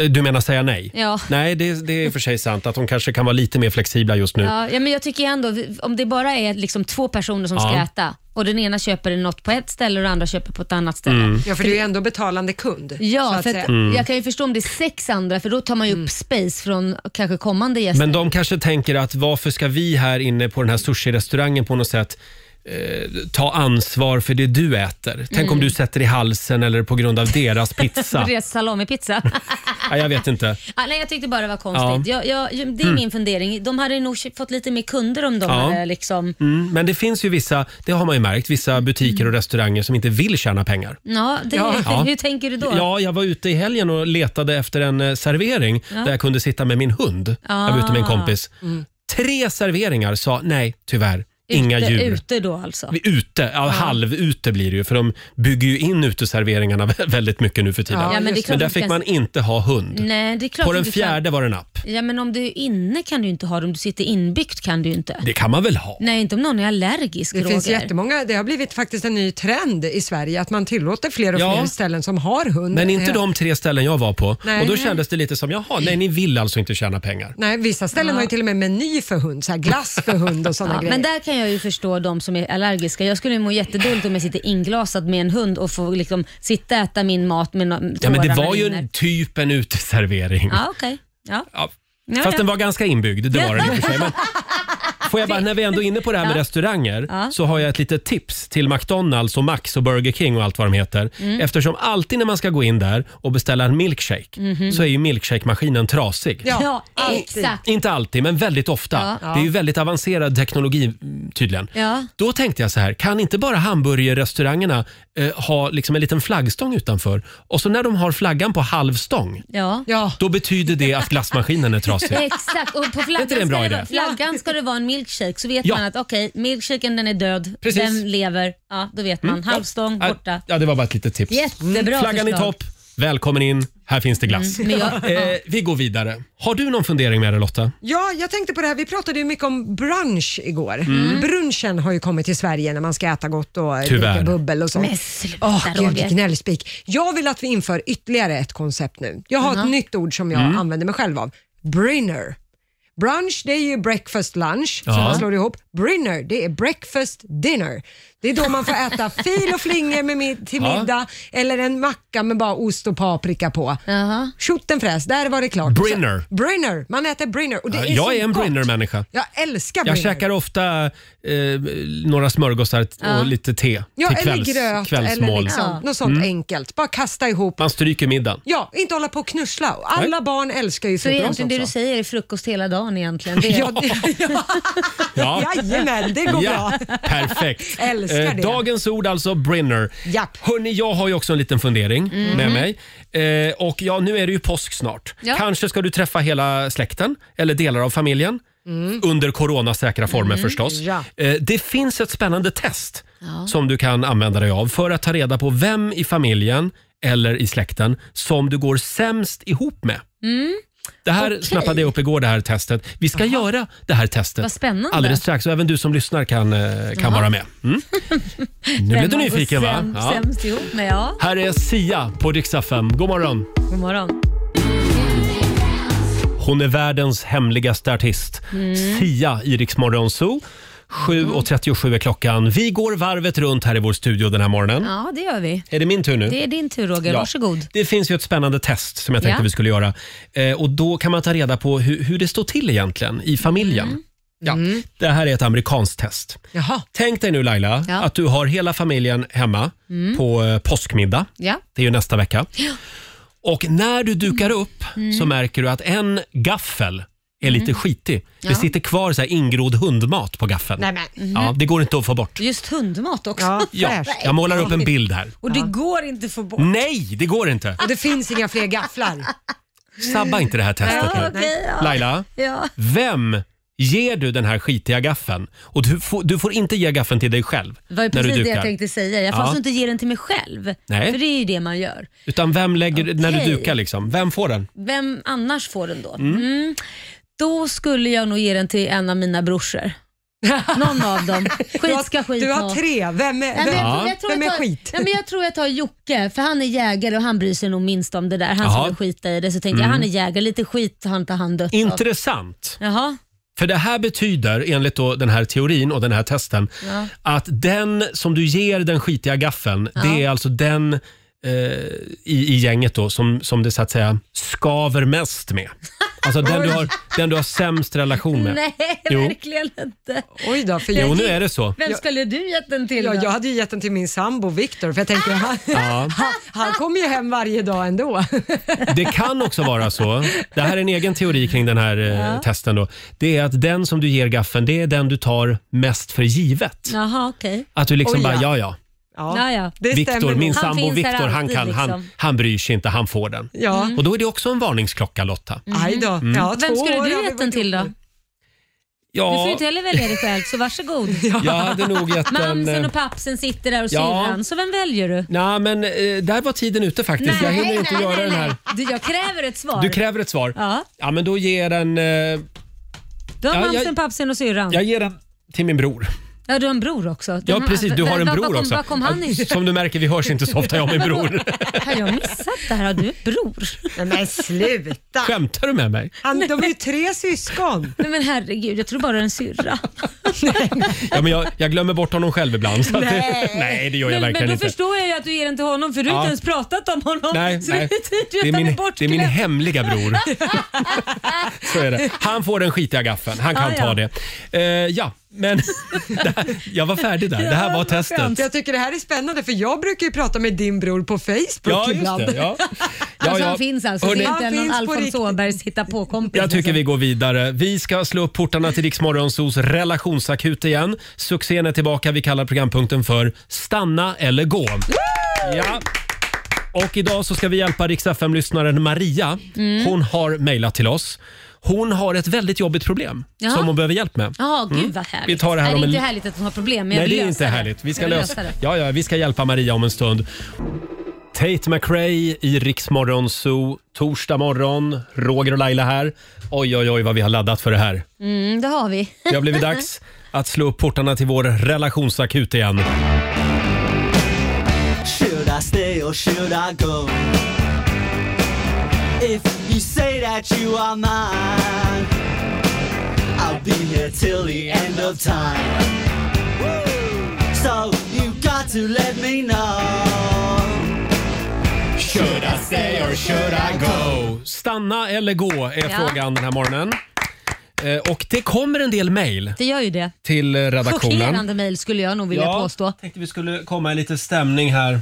S1: Eh, Du menar säga nej?
S3: Ja.
S1: Nej, det, det är i och för sig sant att de kanske kan vara lite mer flexibla just nu.
S3: Ja, ja, men jag tycker ändå, vi- om det bara är liksom två personer som ska
S1: Ja.
S3: äta och den ena köper något på ett ställe och den andra köper på ett annat ställe.
S1: Mm.
S2: Ja, för du är ju ändå betalande kund. så
S3: Ja,
S2: att
S3: för
S2: säga. Mm.
S3: att, jag kan ju förstå om det är sex andra för då tar man ju upp space från kanske kommande gäster.
S1: Men de kanske tänker att varför ska vi här inne på den här sushi-restaurangen på något sätt eh, ta ansvar för det du äter? Tänk om du sätter i halsen eller på grund av deras pizza.
S3: *laughs* Deras salamipizza.
S1: ja, jag vet inte.
S3: ah, nej, jag tyckte bara det var konstigt. Jag, jag, det är min fundering. De hade nog fått lite mer kunder om de
S1: Mm. Ja.
S3: hade liksom...
S1: Mm, men det finns ju vissa, det har man ju märkt, vissa butiker och restauranger som inte vill tjäna pengar.
S3: Ja, det, *laughs*
S1: Ja.
S3: Hur tänker du Mm, då?
S1: Ja, jag var ute i helgen och letade efter en eh, servering där jag kunde sitta med min hund. Jag var ute med
S3: Ah.
S1: en kompis.
S2: Mm.
S1: Tre serveringar sa nej, tyvärr. Inga
S3: ute,
S1: djur.
S3: Ute då alltså.
S1: Vi- Ute, ja, halvute blir det ju för de bygger ju in uteserveringarna vä- väldigt mycket nu för tiden.
S3: Ja, men det är
S1: men,
S3: klart att
S1: där
S3: du
S1: fick
S3: kan-
S1: man inte ha hund.
S3: Nej, det är klart
S1: På den
S3: att du kan-
S1: fjärde var det en app.
S3: Ja, men om du är inne kan du ju inte ha det. Om du sitter inbyggt kan du ju inte.
S1: Det kan man väl ha?
S3: Nej, inte om någon är allergisk,
S2: Det
S3: Roger.
S2: finns jättemånga, det har blivit faktiskt en ny trend i Sverige att man tillåter fler och
S1: Ja.
S2: fler ställen som har hund.
S1: Men inte
S2: Eh,
S1: de tre ställen jag var på.
S2: Nej.
S1: och då kändes det lite som, jaha, nej ni vill alltså inte tjäna pengar.
S2: Nej, vissa ställen har ju till och med meny för hund, så här glass för hund och sådana
S3: Ja,
S2: grejer.
S3: men där kan jag ju förstå de som är allergiska. Jag skulle ju må jättedåligt om jag sitter inglasad med en hund och får liksom sitta och äta min mat med no-
S1: Ja, men det
S3: tårarna
S1: var ju
S3: rinner.
S1: en, typ en uteservering.
S3: Ja, okej. Ja.
S1: Ja.
S3: Ja,
S1: Fast
S3: ja. *laughs*
S1: den var ganska inbyggd, det var den i och för sig. Men Får jag bara, när vi ändå är inne på det här med
S3: Ja.
S1: restauranger
S3: Ja.
S1: så har jag ett litet tips till McDonalds och Max och Burger King och allt vad de heter.
S3: Mm.
S1: Eftersom alltid när man ska gå in där och beställa en milkshake
S3: *laughs* Mhm.
S1: så är ju milkshake-maskinen trasig.
S2: Ja,
S3: Mm-hmm. Ja,
S2: alltid.
S3: exakt.
S1: Inte alltid, men väldigt ofta.
S3: Ja.
S1: Det är ju väldigt avancerad teknologi mm, tydligen.
S3: Ja.
S1: Då tänkte jag så här, kan inte bara hamburgerrestaurangerna eh, ha liksom en liten flaggstång utanför? Och så när de har flaggan på halvstång,
S3: Ja.
S2: Ja.
S1: då betyder det att glassmaskinen är trasig.
S3: *laughs* Exakt, och på flaggan,
S1: det en bra
S3: ska,
S1: idé?
S3: det, vara- flaggan ska det vara en milkshake så vet
S1: Ja.
S3: man att okej, milkshaken den är död,
S1: Precis. Mm,
S3: den lever, ja då vet man. Halvstång,
S1: Ja, Äh,
S3: borta.
S1: Ja, det var bara ett litet tips.
S3: Jättebra
S1: Flaggan i
S3: förslag. Mm,
S1: topp, välkommen in, här finns det glass.
S3: Men jag,
S1: Eh, vi går vidare. Har du någon fundering med dig Lotta?
S2: Ja, jag tänkte på det här. Vi pratade ju mycket om brunch igår.
S1: Mm.
S2: Brunchen har ju kommit till Sverige när man ska äta gott och
S1: Tyvärr.
S2: dricka bubbel och sånt.
S3: Men sluta,
S2: Åh, gud,
S3: Roger.
S2: gnällspik. Jag vill att vi inför ytterligare ett koncept nu. Jag har ett nytt ord som
S1: Mm.
S2: jag använder mig själv av. Brinner. Brunch det är ju breakfast lunch
S1: Ja.
S2: som man slår ihop. Brinner det är breakfast dinner. Det är då man får
S1: *laughs*
S2: äta fil och flingor med mid- till
S1: Ja.
S2: middag eller en macka med bara ost och paprika på.
S3: Jaha.
S2: Tjottenfräs, där var det klart.
S1: Brinner.
S2: Brinner, man äter brinner. Och det är så
S1: jag är en
S2: gott.
S1: Brinner-människa.
S2: Jag älskar
S1: Jag
S2: brinner.
S1: käkar ofta eh, några smörgåsar t- och lite te
S2: ja,
S1: till
S2: eller
S1: kvälls,
S2: gröt
S1: kvällsmål. Mm.
S2: eller liksom,
S3: Ja.
S2: något sånt enkelt. Bara kasta ihop.
S1: Man stryker middagen.
S2: Ja, inte hålla på och knussla. Och Alla barn älskar ju
S3: så
S2: frukost också.
S3: egentligen det du säger är frukost hela
S2: *laughs*
S3: dagen egentligen. Det är,
S2: Ja, det, ja.
S1: Ja.
S2: *laughs* Jajamän, det går
S1: Ja,
S2: bra.
S1: perfekt.
S2: *laughs*
S1: Eh,
S2: Älskar det.
S1: Dagens ord alltså, brinner.
S2: Japp. Mhm.
S1: Hörni, jag har ju också en liten fundering med mig. Eh, och ja, nu är det ju påsk snart.
S3: Ja.
S1: Kanske ska du träffa hela släkten eller delar av familjen. Under coronasäkra former
S3: Mm.
S1: förstås.
S2: Mm. Ja.
S1: Eh, det finns ett spännande test som du kan använda dig av för att ta reda på vem i familjen eller i släkten som du går sämst ihop med.
S3: Mm.
S1: Det här
S3: Okej.
S1: snappade jag upp igår, det här testet. Vi ska göra det här testet
S3: Vad spännande.
S1: alldeles strax och även du som lyssnar kan, eh, kan vara med. Mm. Nu blev du nyfiken va?
S3: Sämst,
S1: Ja.
S3: sämst ihop med, ja.
S1: Här är Sia på Riksdag 5. God morgon!
S3: God morgon.
S1: Hon är världens hemligaste artist.
S3: Mm.
S1: Sia i Rix Morgon Zoo. 7.37 är klockan. Vi går varvet runt här i vår studio den här morgonen.
S3: Ja, det gör vi.
S1: Är det min tur nu?
S3: Det är din tur Roger,
S1: Ja.
S3: varsågod.
S1: Det finns ju ett spännande test som jag tänkte
S3: Ja.
S1: vi skulle göra. Eh, och Då kan man ta reda på hur, hur det står till egentligen i familjen.
S3: Mm.
S1: Ja. Det här är ett amerikanskt test.
S2: Jaha.
S1: Tänk dig nu Laila,
S3: Ja. Mm.
S1: att du har hela familjen hemma på eh, påskmiddag.
S3: Ja.
S1: Det är ju nästa vecka. Och när du dukar
S3: Mm.
S1: upp så märker du att en gaffel är
S3: Mm.
S1: lite skitig. Det sitter kvar så här ingrodd hundmat på gaffeln.
S2: Nej, men.
S3: Mm.
S1: Ja, det går inte att få bort.
S3: Mhm. Just hundmat också.
S2: Ja,
S1: Ja,
S2: fräscht.
S1: jag målar upp en bild här.
S3: Och det går inte att få bort.
S1: Nej, det går inte.
S2: Och det finns inga fler gafflar.
S1: Sabba inte det här testet
S3: Ja,
S1: nu.
S3: *laughs* okej, ja.
S1: Laila,
S3: Ja.
S1: vem ger du den här skitiga gaffeln? Och du får, du får inte ge gaffeln till dig själv
S3: Det var ju
S1: när du
S3: precis det jag
S1: dukar.
S3: tänkte säga. Jag får
S1: Ja.
S3: alltså inte ge den till mig själv.
S1: Nej.
S3: För det är ju det man gör.
S1: Utan vem lägger, när du
S3: Okej.
S1: dukar liksom, vem får den?
S3: Vem annars får den då? Mm. Då skulle jag nog ge den till en av mina brorsor. Någon av dem.
S2: *laughs* Du
S3: Skit ska
S2: har,
S3: skit
S2: du
S3: nå.
S2: har tre. Vem är,
S3: Nej, men
S2: vem,
S3: jag, tror-
S1: Ja.
S3: jag, tror
S2: vem
S3: jag,
S2: är
S3: tar,
S2: skit?
S3: nej, men jag tror jag tar Jocke, för han är jägare och han bryr sig nog minst om det där. Han
S1: Jaha. Mm.
S3: skulle skita i det. Så tänkte jag, han är jägare, lite skit har inte han dött av.
S1: Intressant.
S3: Jaha.
S1: För det här betyder, enligt då den här teorin och den här testen,
S3: Ja.
S1: att den som du ger den skitiga gaffeln, det är alltså den eh, i, i gänget då som, som det så att säga skaver mest med. Alltså
S3: *laughs*
S1: den du har, den du har sämst relation med.
S3: Nej,
S1: Jo.
S3: verkligen inte.
S2: Oj då, för
S1: Jo,
S2: jag,
S1: nu är det så.
S3: Vem skulle du gett den till
S2: jag,
S3: då?
S2: jag hade ju gett den till min sambo Viktor, för jag tänkte han,
S1: Ah. Ja.
S2: han, *laughs* han kommer ju hem varje dag ändå.
S1: Det kan också vara så, det här är en egen teori kring den här eh, testen då, det är att den som du ger gaffeln, det är den du tar mest för givet.
S3: Jaha, okej.
S1: Att du liksom
S2: Oj,
S1: bara,
S2: ja.
S1: ja ja,
S2: Ja,
S3: Ja, ja.
S2: det
S1: Viktor,
S2: stämmer
S1: min
S2: nog.
S3: Han
S1: sambo
S3: finns där
S1: Viktor, han,
S3: alltid,
S1: kan, han,
S3: liksom.
S1: han bryr sig inte, han får den. Mm.
S2: Ja,
S1: Och då är det också en varningsklocka Lotta.
S3: Mm.
S1: Mm.
S2: aj då. Ja,
S3: Vem
S2: två
S3: skulle
S2: år har
S3: du
S2: vi
S3: gett den
S2: varit
S3: till då?
S2: ihop nu.
S3: Du får ju
S1: Ja,
S3: inte heller välja dig själv,
S1: *laughs*
S3: så varsågod.
S1: jag hade nog gett den...
S3: Mamsen
S1: eh,
S3: och pappsen sitter där och
S1: Ja.
S3: syrran, så vem väljer du?
S1: Nej, men eh, där var tiden ute faktiskt. jag hinner inte göra den här.
S3: Du, jag kräver ett svar.
S1: Du kräver ett svar.
S3: ja,
S1: Ja, men då ger den... Eh,
S3: du har
S1: Ja, jag-
S3: mamsen, pappsen och syrran.
S1: jag ger den till min bror.
S3: Ja, du har en bror också. Den
S1: Ja,
S3: har-
S1: precis. Du har en
S3: var- var
S1: bror
S3: kom-
S1: också.
S3: Var kom han
S1: Ja,
S3: ifrån?
S1: Som du märker, vi hörs inte så ofta jag och min bror.
S3: *laughs* Har jag missat det här? Har du en bror?
S2: Nej, men sluta!
S1: Skämtar du med mig?
S2: Han, de är ju tre syskon.
S3: Nej men herregud, jag tror bara det är en syrra.
S1: Ja, men jag, jag glömmer bort honom själv ibland. Så att det,
S2: Nej.
S1: *laughs* nej, det gör jag
S3: Men, men
S1: verkligen
S3: då
S1: inte.
S3: förstår jag ju att du ger den till honom för du har
S1: Ja.
S3: inte ens pratat om honom.
S1: Nej,
S3: så
S1: nej.
S3: det är tydligt
S1: Det är
S3: att han
S1: min,
S3: är
S1: det är min
S3: bortglömd.
S1: hemliga
S3: *laughs*
S1: bror. Så är det. Han får den skitiga gaffeln. Han kan
S3: Ah,
S1: ta
S3: ja.
S1: det. Eh, ja, men *laughs* det här, jag var färdig där. Det här
S3: Ja,
S1: var
S3: vad
S1: testet.
S3: skönt.
S2: Jag tycker det här är spännande för jag brukar ju prata med din bror på Facebook
S1: Ja, just
S2: ibland.
S1: det.
S2: *laughs*
S1: Ja. Ja,
S3: Alltså
S1: ja.
S3: han finns alltså,
S1: Hörrni,
S3: det är
S2: Han
S3: inte någon
S2: finns på
S3: Alfons
S2: riktigt.
S3: Åbergs hitta på kompis
S1: Jag tycker vi går vidare. Vi ska slå upp portarna till Riksmorgonsos relationsakut igen. Succén är tillbaka. Vi kallar programpunkten för Stanna eller gå. Ja. Och idag så ska vi hjälpa Rix lyssnaren Maria.
S3: Mm.
S1: Hon har mejlat till oss. Hon har ett väldigt jobbigt problem
S3: Jaha.
S1: som hon behöver hjälp med. Mm.
S3: Ja, gud vad härligt.
S1: Vi tar det här
S3: Nej,
S1: om
S3: det är
S1: en-
S3: inte härligt att hon har problem, men jag
S1: Nej,
S3: vill
S1: det är
S3: lösa
S1: inte härligt. Vi ska
S3: Jag vill
S1: lösa
S3: det.
S1: Ja, ja, vi ska hjälpa Maria om en stund. Tate McRae i Riksmorgon Zoo. Torsdag morgon. Roger och Laila här. Oj, oj, oj vad vi har laddat för det här.
S3: Mm, det har vi.
S1: Det har blivit dags att slå upp portarna till vår relationsakut igen.
S7: Should I stay or should I go? If you say that you are mine, I'll be here till the end of time. So you got to let me know.
S1: Should I stay or should I go? Stanna eller gå är
S3: Ja.
S1: frågan den här morgonen. Eh, Och det kommer en del mejl
S3: *laughs* Det gör ju det.
S1: till eh, redaktionen.
S3: Chockerande mejl skulle jag nog vilja påstå.
S1: tänkte vi skulle komma i lite stämning här.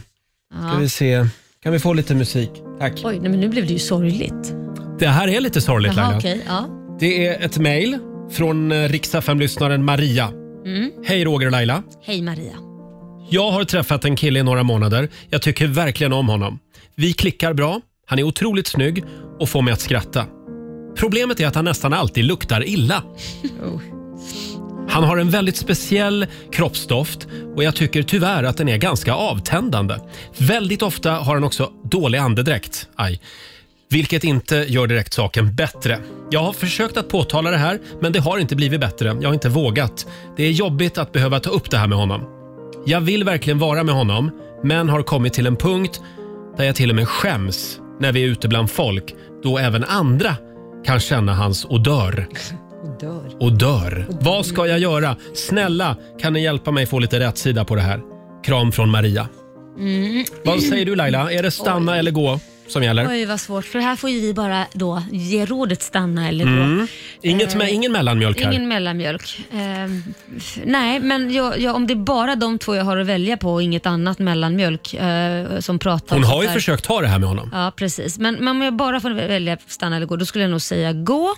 S1: Ska vi se. Kan vi få lite musik? Tack.
S3: Oj, nej, men nu blev det ju sorgligt.
S1: Det här är lite sorgligt
S3: Jaha,
S1: Laila.
S3: okej. Ja.
S1: Det är ett mejl från riksfm lyssnaren Maria. Hej Roger och Laila.
S3: Mm. Hej Maria.
S1: Jag har träffat en kille i några månader. Jag tycker verkligen om honom. Vi klickar bra, han är otroligt snygg och får mig att skratta. Problemet är att han nästan alltid luktar
S3: *laughs*
S1: illa.
S3: Oh.
S1: Han har en väldigt speciell kroppsdoft och jag tycker tyvärr att den är ganska avtändande. Väldigt ofta har han också dålig andedräkt. Aj. Vilket inte gör direkt saken bättre. Jag har försökt att påtala det här, men det har inte blivit bättre. Jag har inte vågat. Det är jobbigt att behöva ta upp det här med honom. Jag vill verkligen vara med honom, men har kommit till en punkt där jag till och med skäms när vi är ute bland folk, då även andra kan känna hans odör.
S2: Dör.
S1: Och dör. Vad ska jag göra? Snälla, kan ni hjälpa mig få lite rätt sida på det här? Kram från Maria.
S3: Mm.
S1: Vad säger du Laila? Är det stanna eller gå som gäller?
S3: Oj, vad svårt. För här får ju vi bara då ge rådet stanna eller gå.
S1: Mm.
S3: Eh,
S1: Inget med, ingen mellanmjölk här?
S3: Ingen mellanmjölk. Ehm, f- nej, men jag, jag, om det är bara de två jag har att välja på och inget annat mellanmjölk eh, som pratar
S1: Hon
S3: om
S1: har ju
S3: sånt där.
S1: försökt ha det här med honom.
S3: Ja, precis. Men, men om jag bara får välja stanna eller gå, då skulle jag nog säga gå.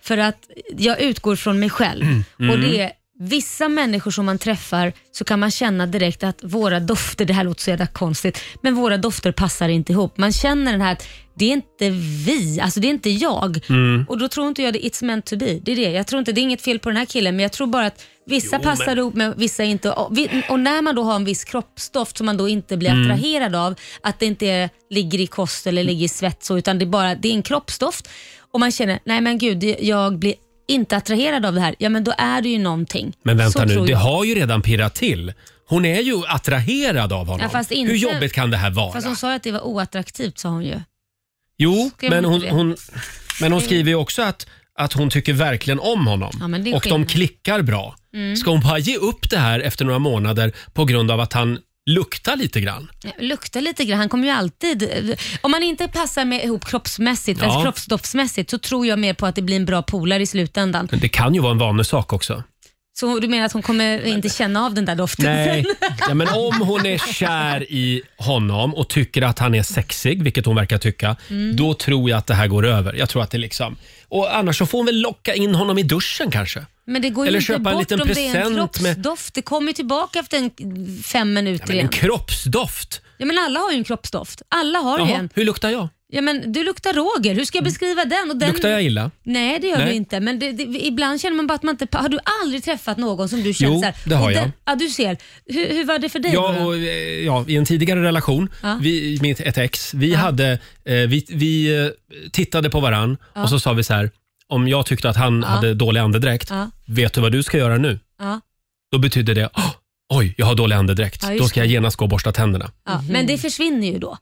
S3: För att jag utgår från mig själv. Och det är Vissa människor som man träffar så kan man känna direkt att våra dofter, det här låter så jävla konstigt, men våra dofter passar inte ihop. Man känner den här att det är inte vi, alltså det är inte jag. Och då tror inte jag det it's meant to be. Det är det. Jag tror inte, det är inget fel på den här killen, men jag tror bara att vissa passar ihop med vissa inte. Och vi- och när man då har en viss kroppsdoft som man då inte blir
S1: Mm.
S3: attraherad av, att det inte är, ligger i kost eller ligger i svett så, utan det är bara det är en kroppsdoft och man känner, nej men gud, det- jag blir inte attraherad av det här, ja men då är det ju någonting.
S1: Men vänta
S3: Så
S1: nu,
S3: tror
S1: det
S3: jag.
S1: har ju redan pirrat till. Hon är ju attraherad av honom.
S3: Ja, fast inte-
S1: Hur jobbigt kan det här vara?
S3: Fast hon sa ju att det var oattraktivt sa hon ju.
S1: Jo,
S3: Skrev
S1: men
S3: hon
S1: hon,
S3: inte det?
S1: hon, men hon skriver ju också att, att hon tycker verkligen om honom
S3: Ja, men det är
S1: och de
S3: skillnad. Mm.
S1: klickar bra. Ska hon bara ge upp det här efter några månader på grund av att han luktar lite grann?
S3: Ja, Lukta lite grann, han kommer ju alltid... Om man inte passar med ihop kroppsmässigt,
S1: Ja.
S3: ens kroppsdoftsmässigt, så tror jag mer på att det blir en bra polare i slutändan.
S1: Men det kan ju vara en vanesak
S3: *laughs*
S1: också.
S3: Så du menar att hon kommer inte känna av den där doften
S1: Nej,
S3: sen? *laughs*
S1: ja, men om hon är kär i honom och tycker att han är sexig, vilket hon verkar tycka,
S3: Mm.
S1: då tror jag att det här går över. Jag tror att det liksom... Och annars så får hon väl locka in honom i duschen kanske.
S3: Men det går ju
S1: Eller
S3: inte
S1: köpa en
S3: bort
S1: liten
S3: om det är en
S1: present med-
S3: kroppsdoft. Det kommer ju tillbaka efter en, fem minuter
S1: Men en
S3: igen.
S1: kroppsdoft!
S3: Ja, men alla har ju en kroppsdoft. Alla har ju
S1: Jaha,
S3: en.
S1: hur luktar jag?
S3: Ja, men du luktar Roger, hur ska jag beskriva den? Och den...
S1: Luktar jag illa?
S3: Nej, det gör
S1: Nej.
S3: du inte. Men det, det, ibland känner man bara att man inte... Har du aldrig träffat någon som du känner
S1: Jo,
S3: så här,
S1: det har
S3: och
S1: jag.
S3: Den, ja, du ser. Hur, hur var det för dig?
S1: Ja,
S3: då?
S1: och, eh, ja, i en tidigare relation,
S3: Ja.
S1: vi, med ett ex, vi, hade, eh, vi, vi eh, tittade på varann och så sa vi så här, om jag tyckte att han hade dålig andedräkt,
S3: Ja.
S1: vet du vad du ska göra nu?
S3: Ja.
S1: då betyder det "Åh, oj, jag har dålig andedräkt.
S3: Ja, just
S1: då ska jag
S3: det.
S1: genast gå och borsta tänderna.
S3: Ja, Men det försvinner ju då.
S1: Mhm.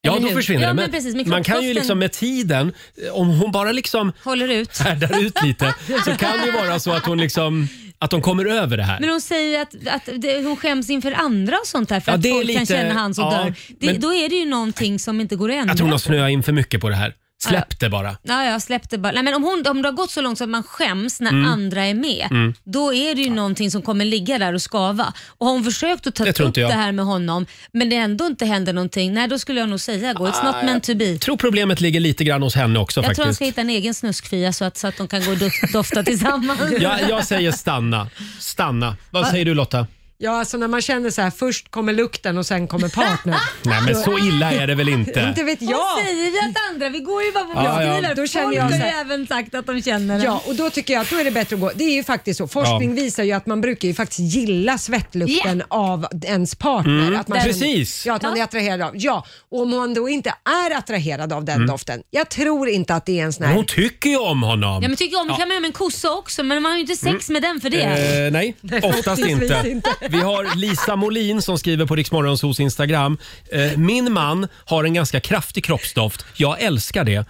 S1: Ja,
S3: Eller
S1: då
S3: hur?
S1: försvinner
S3: Ja,
S1: det.
S3: men precis, med
S1: man kan ju
S3: kroppsdoften.
S1: liksom med tiden, eh, om hon bara
S3: *laughs*
S1: liksom
S3: Håller ut.
S1: härdar ut lite, så kan det ju vara så att hon liksom, att de kommer över det här.
S3: Men hon säger att, att det, hon skäms inför andra och sånt där för
S1: Ja,
S3: att
S1: det är
S3: folk kan
S1: lite-
S3: känna han som
S1: ja,
S3: dör. Det,
S1: men-
S3: då är det ju någonting som inte går att ändra.
S1: Jag tror hon har snöat in för mycket på det här. Släpp det bara.
S3: Ja, jag släppte bara. Nej, men om, hon, om det har gått så långt så att man skäms när
S1: Mm.
S3: andra är med, då är det ju någonting som kommer ligga där och skava. Och har hon försökt att ta
S1: Det tror
S3: upp
S1: inte jag.
S3: det här med honom, men det ändå inte händer någonting, nej då skulle jag nog säga gå. It's not meant to be.
S1: Jag tror problemet ligger lite grann hos henne också
S3: Jag tror han
S1: Ah, faktiskt.
S3: ska hitta en egen snuskfia så att, så att de kan gå
S1: *laughs*
S3: och dof- dofta tillsammans.
S1: Ja, jag säger stanna. Stanna. Vad säger du Lotta?
S2: Ja, alltså när man känner så här, först kommer lukten och sen kommer partnern.
S1: Nej men så illa är det väl
S2: Inte
S1: inte?
S2: vet
S3: Hon
S2: jag.
S3: säger ju att andra, vi går ju bara på
S1: Ja, ja.
S3: beskrivare.
S2: Då känner
S3: Folk
S2: jag
S3: har
S2: så
S3: ju
S2: här-
S3: även sagt att de känner det.
S2: Ja, och då tycker jag att då är det bättre att gå. Det är ju faktiskt så. Forskning visar ju att man brukar ju faktiskt gilla svettlukten av ens partner. Att man,
S1: Mm. Precis.
S2: Ja, att man är attraherad av. Ja, och om man då inte är attraherad av
S1: Mm.
S2: den doften. Jag tror inte att det är en sån
S1: Men
S2: här...
S1: Hon tycker ju om honom.
S3: Ja, men tycker jag om, det kan man göra med en kossa också, men man har ju inte sex med den för det.
S1: Eh,
S3: *laughs*
S1: nej, oftast inte.
S2: inte.
S1: Vi har Lisa Molin som skriver på Riksmorgonsos Instagram. Eh, min man har en ganska kraftig kroppsdoft. Jag älskar det.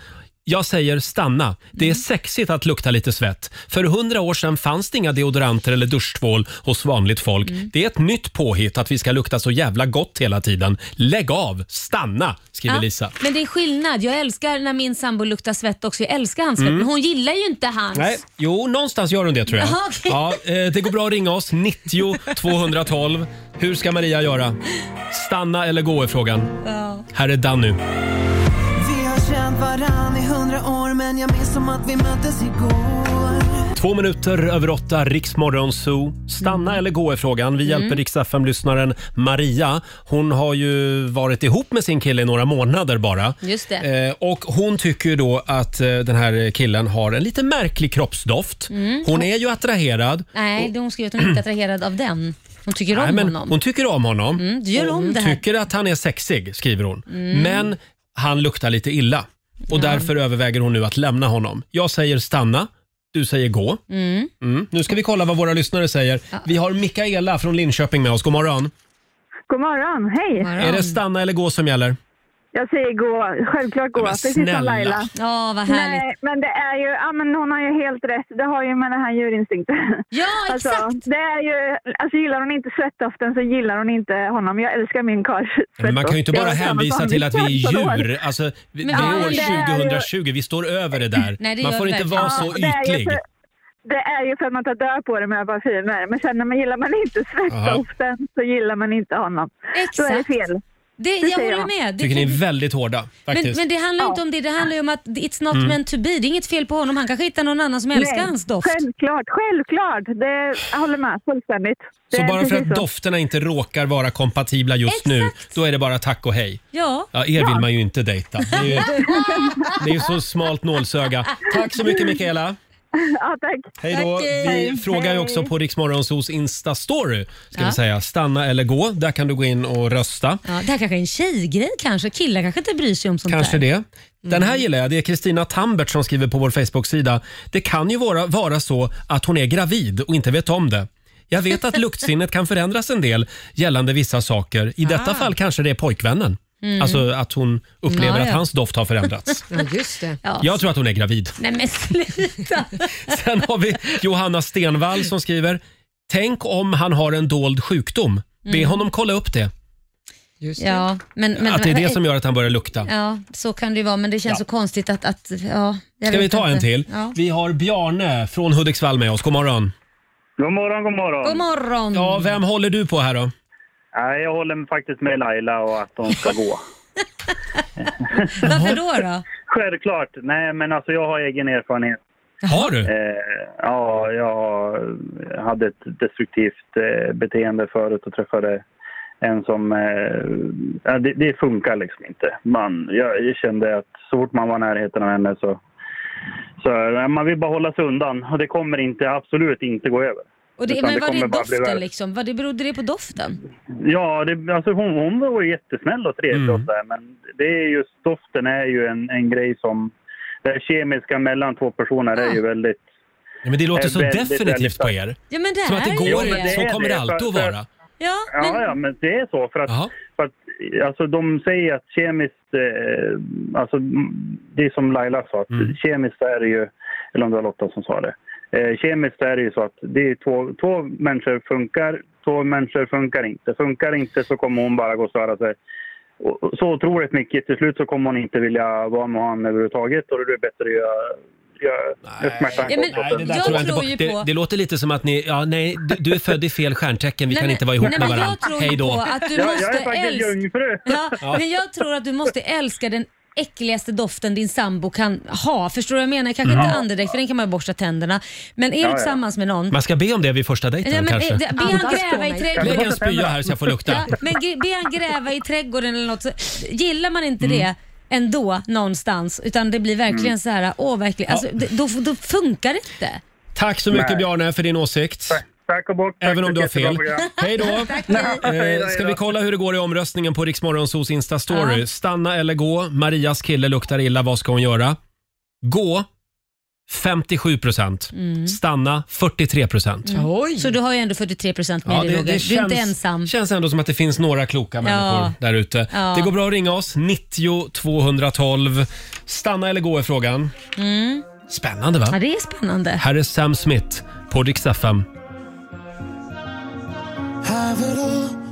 S1: Jag säger stanna. Det är
S3: Mm.
S1: sexigt att lukta lite svett. För hundra år sedan fanns det inga deodoranter eller duschtvål hos vanligt folk.
S3: Mm.
S1: Det är ett nytt påhitt att vi ska lukta så jävla gott hela tiden. Lägg av, stanna, skriver
S3: Ja,
S1: Lisa.
S3: Men det är skillnad. Jag älskar när min sambo luktar svett också. Jag älskar hans svett, men hon gillar ju inte hans.
S1: Mm. Nej, jo, någonstans gör hon det tror jag.
S3: Jaha, okej.
S1: ja, eh, det går bra att ringa oss, 90 212. Hur ska Maria göra? Stanna eller gå är frågan. Här är Danny.
S7: Vi har känt varann i hundra år men jag minns som att vi möttes igår
S1: Två minuter över åtta, Riksmorgon Zoo. Stanna eller gå är frågan. Vi hjälper Rix lyssnaren Maria. Hon har ju varit ihop med sin kille i några månader bara.
S3: Just det.
S1: Eh, och hon tycker ju då att eh, den här killen har en lite märklig kroppsdoft. Hon är ju attraherad.
S3: Nej, det hon skriver att hon
S1: *clears throat*
S3: inte är attraherad av den. Hon tycker om
S1: Nej, men
S3: honom.
S1: Hon tycker om honom.
S3: Mm, du gör om det här. Mm.
S1: tycker att han är sexig, skriver hon. Men han luktar lite illa. Och därför överväger hon nu att lämna honom. Jag säger stanna, du säger gå. Mm. Nu ska vi kolla vad våra lyssnare säger. Vi har Mikaela från Linköping med oss. God morgon.
S8: God morgon, hej.
S1: Är det stanna eller gå som gäller?
S8: Jag säger gå, självklart gå,
S1: Men
S8: precis som Laila.
S3: Ja, vad härligt.
S8: Nej, men det är ju, ja men hon har ju helt rätt. Det har ju med den här djurinstinkten.
S3: Ja,
S8: *laughs* Alltså,
S3: exakt.
S8: det är ju, alltså gillar hon inte svettdoften så gillar hon inte honom. Jag älskar min karls
S1: Men man kan ju inte
S8: svettdoft. Jag
S1: bara
S8: har samma
S1: hänvisa
S8: som
S1: till att vi är
S8: *laughs* min karls
S1: djur. Alltså, vi- det är
S3: Ja,
S1: år
S8: det är ju-
S1: 2020, vi står över det där.
S3: Nej, det
S1: man
S3: gör
S1: får
S3: vi
S1: inte
S3: verkligen.
S1: vara så
S8: och det är ju
S1: ytlig.
S8: för- Det är ju för att man tar död på det med parfymer. Men sen när man gillar man inte svettdoften så gillar man inte honom. Då är det
S3: Exakt.
S8: fel.
S3: Det,
S8: det
S3: jag
S8: säger
S3: håller
S8: jag.
S3: med. Det
S1: tycker ni
S3: kan-
S1: är väldigt hårda
S3: men,
S1: faktiskt. Mm.
S3: men det handlar ju inte om det. Det handlar ju om att it's not meant to be. Det är inget fel på honom. Han kanske hittar någon annan som älskar hans doft.
S8: Självklart, självklart. Det, jag håller med fullständigt. Det
S1: Så
S8: är
S1: bara för
S8: precis
S1: att
S8: så.
S1: dofterna inte råkar vara kompatibla just nu,
S3: Exakt.
S1: då är det bara tack och hej.
S3: Ja.
S1: Ja, er vill man ju inte dejta. Det är ju,
S3: *laughs*
S1: det är ju så smalt nålsöga. Tack så mycket Mikaela.
S8: *laughs* Ja, tack.
S1: Hej då.
S3: Tack, hej.
S1: Vi frågar ju också på Riksmorgonsos Insta-story. Ska
S3: Ja.
S1: vi säga. Stanna eller gå. Där kan du gå in och rösta.
S3: Ja, det här kanske är en tjejgrej kanske. Killar kanske inte bryr sig om sånt
S1: Kanske
S3: där. Mm.
S1: det. Den här gillar jag. Det är Kristina Tambert som skriver på vår Facebook-sida. Det kan ju vara, vara så att hon är gravid och inte vet om det. Jag vet
S3: *laughs*
S1: att luktsinnet kan förändras en del gällande vissa saker. I
S3: Ah.
S1: detta fall kanske det är pojkvännen. Alltså att hon upplever
S3: Mm. Ja,
S1: att
S3: ja.
S1: hans doft har förändrats.
S2: Ja, just det.
S3: *laughs* Ja.
S1: Jag tror att hon är
S3: *laughs*
S1: gravid.
S3: Nej men sluta.
S1: Sen har vi Johanna Stenvall som skriver Tänk om han har en dold sjukdom. Be honom kolla upp det.
S2: Just det.
S3: ja, men, Mm. men,
S1: att det är det som gör att han börjar lukta.
S3: Ja, så kan det ju vara, men det känns så konstigt att... att ja, jag
S1: Ska vi
S3: vet
S1: ta en
S3: inte.
S1: till?
S3: Ja.
S1: Vi har Bjarne från Hudiksvall med oss. God morgon.
S10: God morgon, god morgon.
S3: God morgon!
S1: Ja, vem håller du på här då?
S10: Nej, jag håller faktiskt med Laila och att hon ska gå.
S3: *laughs* Varför då? då?
S10: Självklart. Nej, men alltså jag har egen erfarenhet.
S1: Har du?
S10: Eh, ja, jag hade ett destruktivt eh, beteende förut och träffade en som... Eh, ja, det, det funkar liksom inte. Man, jag, jag kände att så fort man var i närheten av henne så... så ja, man vill bara hålla sig undan och det kommer inte, absolut inte gå över.
S3: Och det,
S10: Utan
S3: men
S10: det
S3: var det
S10: kommer bara bli
S3: doften
S10: värre.
S3: liksom? Var det, berodde det på doften?
S10: Ja, det, alltså hon, hon var ju jättesnäll och trevlig och
S1: Mm.
S10: sådär, men det är just doften är ju en, en grej som... Det här kemiska mellan två personer är ju väldigt...
S1: Ja, men det låter
S10: är
S1: så
S10: väldigt,
S1: definitivt
S10: väldigt
S1: på er.
S3: Ja, men det
S1: Som att det
S3: är
S1: går
S3: ju
S1: inte,
S10: det
S1: så
S10: är
S1: kommer
S10: det,
S1: det alltid att
S10: för- för-
S1: vara.
S3: Ja, men,
S10: Ja, ja, men det är så. För att,
S1: Jaha.
S10: för att alltså, de säger att kemiskt, eh, alltså, m- det är som Laila sa, att
S3: Mm.
S10: kemiskt är det ju, eller om det var Lotta som sa det, eh, kemiskt är det ju så att det är två, två människor funkar, två människor funkar inte. Funkar inte så kommer hon bara gå och störa sig. Och- och Så otroligt mycket, till slut så kommer hon inte vilja vara med honom överhuvudtaget och då är det bättre att göra, göra smärtan
S3: Ja, men-
S10: kort åt
S3: Nej,
S10: henne.
S3: det
S1: Där
S3: Jag
S1: jag inte
S3: tror
S1: på.
S3: ju
S1: Det,
S3: på-
S1: det låter lite som att ni, ja nej, du, du är född i fel stjärntecken, vi
S3: Nej,
S1: kan
S3: men-
S1: inte vara ihop
S3: nej,
S1: med
S3: men
S1: varandra.
S3: Jag tror
S1: Hej
S3: ju på
S1: då.
S3: att du
S10: Jag,
S3: måste
S10: jag är faktiskt
S3: älska...
S10: jungfru!
S3: *laughs* Ja, Men jag tror att du måste älska den äckligaste doften din sambo kan ha. Förstår du vad jag menar? Kanske
S1: Mm.
S3: inte andedräkt, för den kan man ju borsta tänderna. Men är du
S10: Ja, ja.
S3: tillsammans med någon...
S1: Man ska be om det vid första
S3: Nej,
S1: dejten
S3: men, eh,
S1: kanske.
S3: det- be han
S2: Andas på
S3: gräva i
S2: mig.
S1: Lägg
S3: trädgården.
S1: en spya här så jag får lukta.
S3: Ja, men ge- be han gräva i trädgården eller något. Så, gillar man inte
S1: Mm.
S3: det ändå någonstans, utan det blir verkligen så här, åh verkligen, alltså, det, då, då funkar det inte.
S1: Tack så mycket
S10: Nej.
S1: Bjarne för din åsikt.
S10: Tack och bock! tack
S1: Även om
S10: för
S1: du har
S10: ett jättebra
S1: fel.
S10: program. *laughs*
S1: Hej då!
S10: hej
S1: Eh,
S10: då.
S1: ska vi kolla hur det går i omröstningen på Riksmorgonsos Insta-story? Stanna eller gå? Marias kille luktar illa, vad ska hon göra? Gå 57 procent.
S3: Mm.
S1: Stanna 43 procent.
S2: Oj!
S3: Så du har ju ändå 43% med dig Roger. Du är inte ensam.
S1: känns ändå som att det finns några kloka människor där ute.
S3: Ja.
S1: Det går bra att ringa oss, 90 212. Stanna eller gå är frågan. Spännande va?
S3: Mm. Ja, det är spännande.
S1: Här är Sam Smith på Rix FM.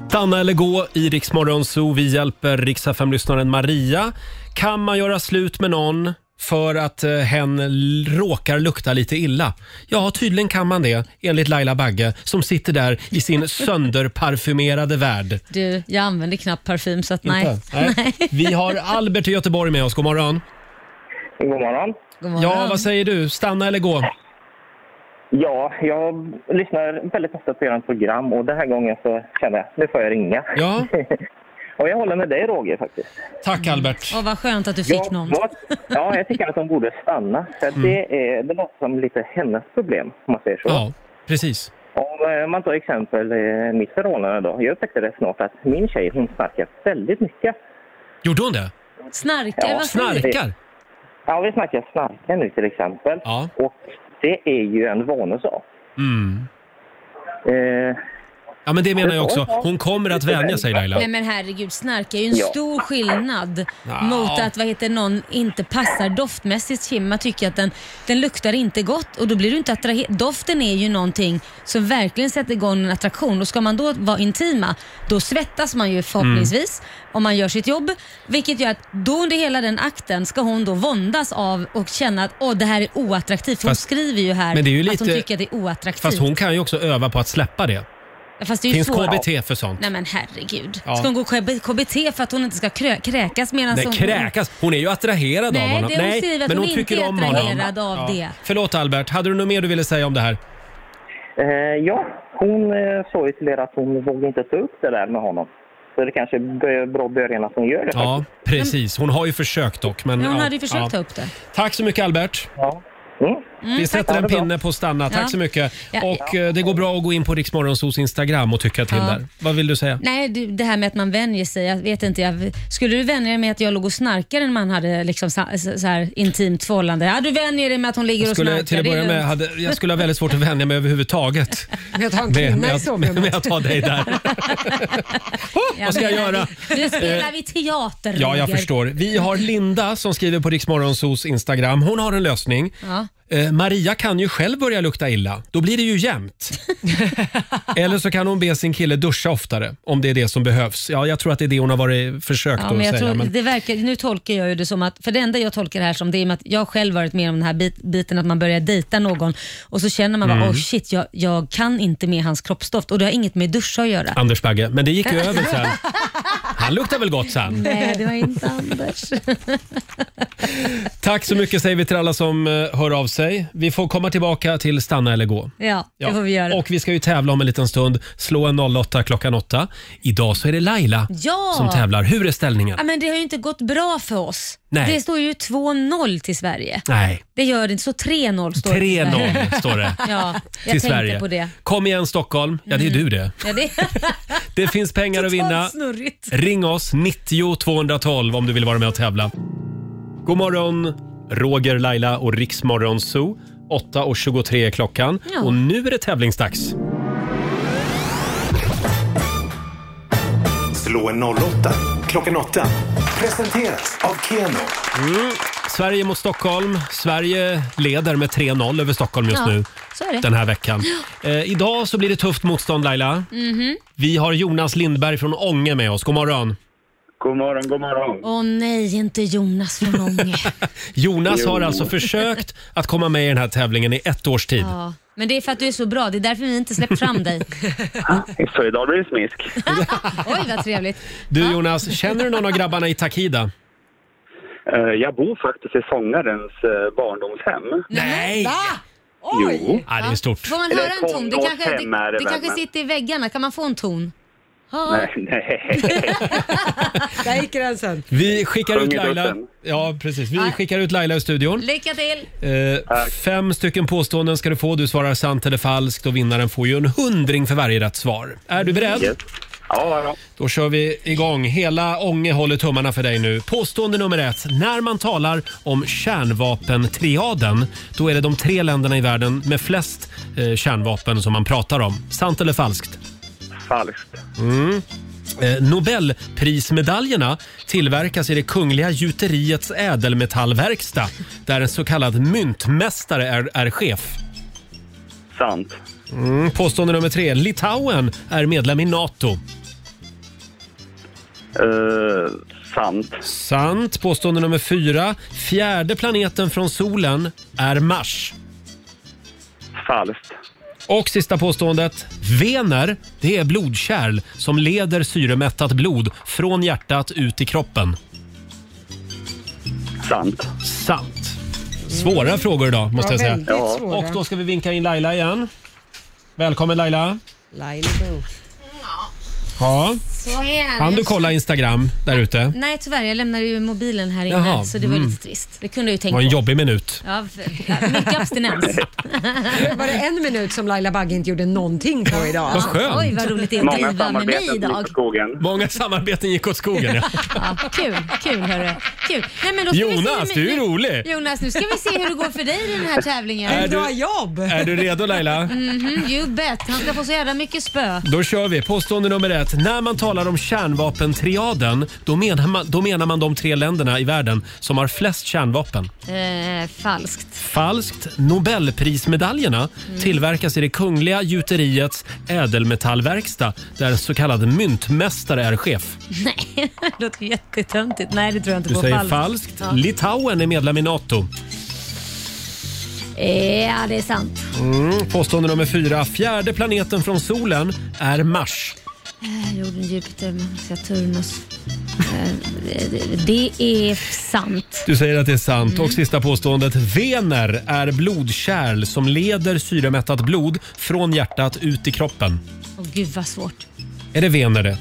S1: Stanna eller gå i Rix Morgon Zoo. Vi hjälper Rix FM-lyssnaren Maria. Kan man göra slut med någon för att eh, hen l- råkar lukta lite illa? Ja, tydligen kan man det enligt Laila Bagge som sitter där i
S3: *laughs*
S1: sin sönderparfymerade värld.
S3: Du, jag använder knappt parfym så att *laughs* nej.
S1: Inte? Nej. Vi har Albert i Göteborg med oss. God morgon.
S11: God morgon.
S3: God morgon.
S1: Ja, vad säger du? Stanna eller gå?
S11: Ja, jag lyssnar väldigt ofta på ert program och den här gången så kände jag nu får jag ringa.
S1: Ja,
S11: *laughs* Och jag håller med dig Roger faktiskt.
S1: tack Albert.
S3: Åh, vad skönt att du fick
S11: jag,
S3: någon.
S11: var- ja, jag tycker att de borde stanna. För att
S1: Mm.
S11: det, är, det låter som lite hennes problem om man säger så.
S1: Ja, precis.
S11: Om eh, man tar exempel eh, mitt förhållande då. Jag upptäckte det snart att min tjej hon snarkar väldigt mycket.
S1: Gjorde hon det?
S3: Snarkar,
S11: Ja,
S3: vad säger du?
S1: Snarkar?
S11: Ja, vi snackar snarka nu till exempel.
S1: Ja.
S11: Och det är ju en vanesak.
S1: Mm.
S11: Eh,
S1: Ja, men det menar jag också. Hon kommer att vänja sig Laila.
S3: Nej men herregud, snarka är ju en
S11: Ja.
S3: stor skillnad
S1: Ja.
S3: mot att vad heter, någon inte passar doftmässigt. Kim. Man tycker att den, den luktar inte gott och då blir du inte attraherad. Doften är ju någonting som verkligen sätter igång en attraktion och ska man då vara intima, då svettas man ju förhoppningsvis
S1: Mm.
S3: om man gör sitt jobb. Vilket gör att då under hela den akten ska hon då våndas av och känna att åh, det här är oattraktivt. För Hon
S1: Fast-
S3: skriver ju här
S1: men det är ju
S3: att hon
S1: lite-
S3: tycker att det är oattraktivt.
S1: Fast hon kan ju också öva på att släppa det.
S3: Fast det är ju
S1: Finns
S3: svårare.
S1: KBT för sånt?
S3: Nej men herregud.
S1: Ja.
S3: Ska hon gå KB- KBT för att hon inte ska krö- kräkas medan
S1: Nej,
S3: alltså hon...
S1: kräkas. Hon är ju attraherad av
S3: Nej,
S1: honom.
S3: det hon skriver att hon inte är attraherad av det.
S1: Förlåt Albert, hade du något mer du ville säga om det här?
S11: Eh, ja, hon eh, sa ju till er att hon vågade inte ta upp det där med honom. Så det kanske är bra i början att hon gör det.
S1: Ja, precis. Hon har ju försökt dock. Men,
S3: Men hon
S1: ja,
S3: hade ju försökt
S1: ja.
S3: ta upp det.
S1: Tack så mycket Albert.
S11: Ja. Mm.
S1: Vi sätter
S11: tack.
S1: en pinne på stanna. Tack
S3: Ja.
S1: så mycket.
S3: Ja.
S1: Och eh, det går bra att gå in på Riksmorgonsos Instagram och tycka till
S3: Ja.
S1: där. Vad vill du säga?
S3: Nej, du, det här med att man vänjer sig. Jag vet inte, jag, skulle du vänja dig med att jag låg och snarkade när man hade liksom så, så, så här intimt förhållande? Ja, du vänjer dig med att hon ligger
S1: Jag
S3: och
S1: skulle,
S3: snarkar.
S1: till att
S3: det är
S1: börja med,
S3: lugnt.
S1: hade, jag skulle ha väldigt svårt att vänja mig överhuvudtaget.
S2: *laughs* Jag tar
S1: *laughs*
S2: en
S1: Med,
S2: kvinna i
S1: med, med,
S2: sovrummet.
S1: med att ha dig där.
S3: *laughs* Ja,
S1: vad ska jag
S3: men-
S1: göra? Eh,
S3: Nu spelar vi teater,
S1: Ja, jag
S3: Roger.
S1: förstår. Vi har Linda som skriver på Riksmorgonsos Instagram. Hon har en lösning.
S3: Ja.
S1: Eh, Maria kan ju själv börja lukta illa. Då blir det ju
S3: *laughs*
S1: jämnt. Eller så kan hon be sin kille duscha oftare om det är det som behövs. Ja, jag tror att det är det hon har varit försökt
S3: Ja,
S1: att
S3: men jag
S1: säga.
S3: tror,
S1: men...
S3: det verkar, nu tolkar jag ju det som att, för det enda jag tolkar det här som det är med att jag själv varit med om den här bit, biten att man börjar dejta någon och så känner man
S1: Mm.
S3: bara, oh shit, jag, jag kan inte med hans kroppsdoft och det har inget med duscha att göra.
S1: Anders Bagge, men det gick
S3: *laughs*
S1: ju över sen. Han luktar väl gott sen?
S3: Nej, det var inte Anders.
S1: Tack så mycket säger vi till alla som eh, hör av sig. Vi får komma tillbaka till stanna eller gå.
S3: Ja,
S1: Ja.
S3: det får vi göra.
S1: Och vi ska ju tävla om en liten stund. Slå en 08 klockan 8. Idag så är det Laila
S3: Ja!
S1: som tävlar. Hur är ställningen?
S3: ja, men det har ju inte gått bra för oss.
S1: Nej.
S3: Det står ju 2-0 till Sverige.
S1: Nej,
S3: Det gör det inte, så 3-0 står det till Sverige.
S1: 3-0 *laughs* står det.
S3: Ja, jag
S1: Till
S3: tänkte
S1: Sverige.
S3: på det.
S1: Kom igen Stockholm. Ja, det är du det.
S3: Ja, det *laughs*
S1: Det finns pengar att vinna.
S3: Totalt snurrigt.
S1: Ring oss, 90 212 om du vill vara med och tävla. God morgon, Roger, Laila och Riksmorgon Zoo. 8.23 är klockan
S3: Ja.
S1: och nu är det tävlingsdags.
S12: Slå en 08 klockan 8. Presenteras av Keno.
S1: Mm. Sverige mot Stockholm. Sverige leder med 3-0 över Stockholm just
S3: Ja,
S1: nu
S3: så är det.
S1: den här veckan. Eh, idag så blir det tufft motstånd Laila.
S3: Mhm.
S1: Vi har Jonas Lindberg från Ånge med oss. God morgon.
S13: God morgon, god morgon.
S3: Åh nej, inte
S1: *laughs*
S3: Jonas från Ånge.
S1: Jonas
S3: Jo.
S1: har alltså försökt att komma med i den här tävlingen i ett års tid.
S3: ja. Men det är för att du är så bra. Det är därför vi inte släppt
S1: *laughs*
S3: fram dig.
S13: Så idag blir det smisk.
S3: Oj, vad trevligt.
S1: Du Jonas, känner du någon av grabbarna i Takida?
S13: Eh, Jag bor faktiskt i sångarens eh, barndomshem.
S1: Nej!
S13: Jo.
S1: Ja, det är stort.
S3: Får man höra en ton? Det kanske,
S13: tonårshem är
S3: det, det
S13: väl,
S3: kanske
S13: men-
S3: sitter i väggarna. Kan man få en ton? Ja.
S13: Nej, nej.
S2: Där gick gränsen.
S1: Vi skickar
S13: Sjung
S1: ut
S13: i
S1: Laila.
S13: duschen.
S1: Ja, precis. Vi
S3: Nej.
S1: skickar ut Laila i studion.
S3: Lycka till!
S1: Eh, fem stycken påståenden ska du få. Du svarar sant eller falskt och vinnaren får ju en hundring för varje rätt svar. Är du beredd?
S13: Yes. Ja, ja.
S1: Då kör vi igång. Hela Ånge håller tummarna för dig nu. Påstående nummer ett. När man talar om kärnvapentriaden, då är det de tre länderna i världen med flest eh, kärnvapen som man pratar om. Sant eller falskt?
S13: Falskt.
S1: Mm. Eh, Nobelprismedaljerna tillverkas i det kungliga gjuteriets ädelmetallverkstad där en så kallad myntmästare är, är chef.
S13: Sant.
S1: Mm. Påstående nummer tre. Litauen är medlem i NATO.
S13: Eh, sant.
S1: Sant. Påstående nummer fyra. Fjärde planeten från solen är Mars.
S13: Falskt.
S1: Och sista påståendet. Vener, det är blodkärl som leder syremättat blod från hjärtat ut i kroppen.
S13: Sant.
S1: Sant. Svåra frågor idag måste
S13: Mm. Ja,
S1: jag säga.
S13: väldigt Ja. svåra.
S1: Och då ska vi vinka in Laila igen. Välkommen Laila.
S2: Laila
S1: Ja.
S3: Så här.
S1: Kan du kolla Instagram där ute?
S3: Nej, tyvärr. Jag lämnade ju mobilen här inne,
S1: Jaha,
S3: så det var
S1: mm.
S3: lite trist. Det kunde jag ju
S1: Det
S3: tänkt
S1: var en
S3: på.
S1: jobbig minut.
S3: Ja, för- ja,
S1: *laughs*
S3: mycket abstinens.
S2: Var det en minut som Laila Bagge inte gjorde någonting på idag?
S1: Vad skönt.
S3: Oj, vad roligt det är att
S1: Många
S3: driva med mig
S1: samarbeten
S3: idag.
S13: skogen.
S1: Många samarbeten gick åt skogen. Ja.
S3: Ja, kul, kul hörru. Kul. Nej, men då ska vi se
S1: Jonas,
S3: hur-
S1: du är rolig.
S3: Jonas, nu ska vi se hur det går för dig i den här tävlingen.
S1: Är du- Bra jobb. är du redo, Laila?
S3: Mhm, you bet. Han ska få så jävla mycket spö.
S1: Då kör vi. Påstående nummer ett. När man talar om kärnvapentriaden, då menar man, då menar man de tre länderna i världen som har flest kärnvapen.
S3: Eh, falskt. *laughs*
S1: Falskt. Nobelprismedaljerna
S3: Mm.
S1: tillverkas i det kungliga gjuteriets ädelmetallverkstad där en så kallad myntmästare är chef.
S3: Nej, det låter jättetöntigt. Nej, det tror jag inte
S1: Du
S3: på.
S1: säger falskt.
S3: Ja.
S1: Litauen är medlem i NATO.
S3: ja, det är sant.
S1: Mm. Påstående nummer fyra. Fjärde planeten från solen är Mars.
S3: Eh, jorden, Jupiter, Saturnus. Eh, det- det är sant.
S1: Du säger att det är sant.
S3: Mm.
S1: Och sista påståendet. Vener är blodkärl som leder syremättat blod från hjärtat ut i kroppen.
S3: Åh gud vad svårt.
S1: Är det vener det?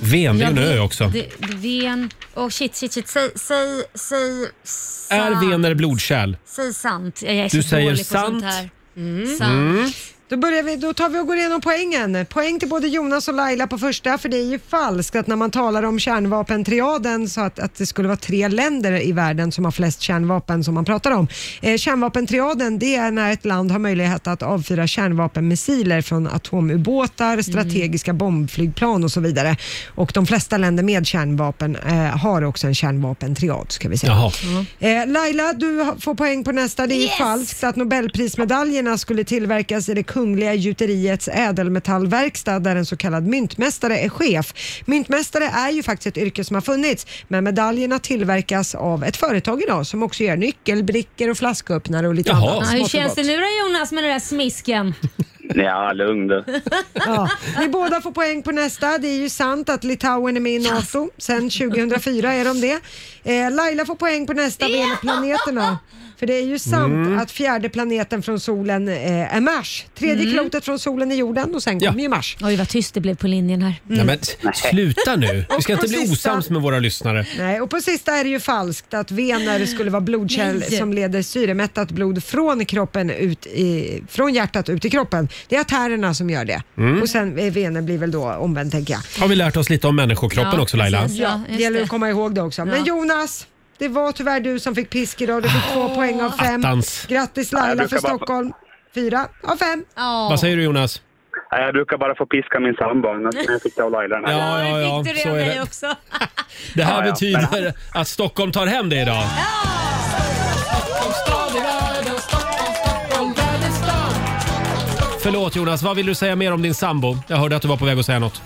S1: Ven, det är ju en
S3: Jag
S1: ö
S3: vet-
S1: också.
S3: Det, det- ven... Åh shit, shit, shit. Säg, säg, säg... sant.
S1: Är vener blodkärl?
S3: Säg sant. Jag är
S1: Du
S3: så
S1: säger
S3: dålig på sånt
S1: sant.
S3: här. Mm. Sant.
S1: Mm.
S2: Då, börjar vi, då tar vi och går igenom poängen. Poäng till både Jonas och Laila på första, för det är ju falskt att när man talar om kärnvapentriaden så att, att det skulle vara tre länder i världen som har flest kärnvapen som man pratar om. Eh, kärnvapentriaden, det är när ett land har möjlighet att avfyra kärnvapenmissiler från atomubåtar, strategiska bombflygplan och så vidare. Och de flesta länder med kärnvapen eh, har också en kärnvapentriad, ska vi säga.
S14: Jaha.
S1: Mm.
S2: Eh, Laila, du ha- får poäng på nästa. Det är ju falskt att Nobelprismedaljerna skulle tillverkas i det kungliga gjuteriets ädelmetallverkstad där en så kallad myntmästare är chef. Myntmästare är ju faktiskt ett yrke som har funnits, men medaljerna tillverkas av ett företag idag som också gör nyckelbrickor och flasköppnare och lite
S3: Ja,
S2: annat.
S3: hur
S2: smått och
S3: känns
S2: gott.
S3: det nu då Jonas med den där smisken?
S13: Ja, lugn du.
S3: *laughs*
S2: Ja. Ni båda får poäng på nästa. Det är ju sant att Litauen är med i NATO. Sen 2004 är de det. Eh, Laila får poäng på nästa vad gäller planeterna. För det är ju sant
S1: Mm.
S2: att fjärde planeten från solen eh, är Mars. Tredje klotet från solen är jorden och sen kommer ju Mars.
S3: Mm.
S2: Mm.
S3: Oj, vad tyst det blev på linjen här.
S1: Nej, men s- sluta
S3: *laughs*
S1: nu. Vi ska
S2: Och
S1: inte
S2: på
S1: bli
S2: sista-
S1: osams med våra lyssnare.
S2: Nej, och på sista är det ju falskt att vener skulle vara blodkärl
S1: Nej.
S2: som leder syremättat blod från kroppen ut i, från hjärtat ut i kroppen. Det är artärerna som gör det.
S1: Mm.
S2: Och sen eh, vener blir väl då omvänt tänker jag.
S1: Har vi lärt oss lite om människokroppen också Laila?
S2: Ja, det gäller att komma ihåg det också. Men Jonas, det var tyvärr du som fick pisk idag. Du fick två poäng av fem.
S1: Attans.
S2: Grattis
S13: Nej,
S2: Laila
S13: jag
S2: för
S13: brukar bara-
S2: Stockholm. Fyra av fem.
S1: Vad säger du Jonas?
S13: Nej, jag brukar bara få piska min sambo, annars kan jag fixa av Laila den här
S1: Ja, ja, ja,
S3: Fick du det
S1: så
S3: av
S1: är
S3: mig
S1: det.
S3: också?
S1: Det här
S13: Ja, ja.
S1: betyder att Stockholm tar hem det idag. Förlåt Jonas, vad vill du säga mer om din sambo? Jag hörde att du var på väg att säga något.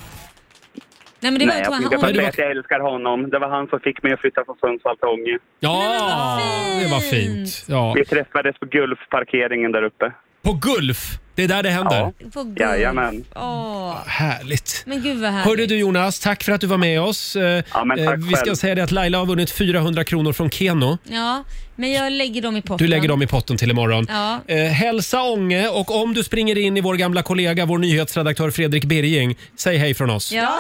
S3: Nej, men det var
S13: Nej,
S3: ju
S13: jag
S3: två-
S13: brukar bara
S3: hon-
S13: säga att jag älskar honom. Det var han som fick mig att flytta från Sundsvall till Ånge.
S1: Ja, det var fint. Ja.
S13: Vi träffades på Gulfparkeringen där uppe.
S1: På Gulf, det är där det händer.
S3: På golf.
S13: Jajamän.
S3: Åh,
S1: Härligt.
S3: men gud vad härligt.
S1: Hörde du Jonas, tack för att du var med oss. Eh,
S13: men tack
S1: eh, Vi ska
S13: själv.
S1: säga det att Laila har vunnit 400 kronor från Keno.
S3: Ja, men jag lägger dem i potten.
S1: Du lägger dem i potten till imorgon.
S3: Ja.
S1: Eh, hälsa Ånge och om du springer in i vår gamla kollega, vår nyhetsredaktör Fredrik Birging, säg hej från oss.
S3: Ja.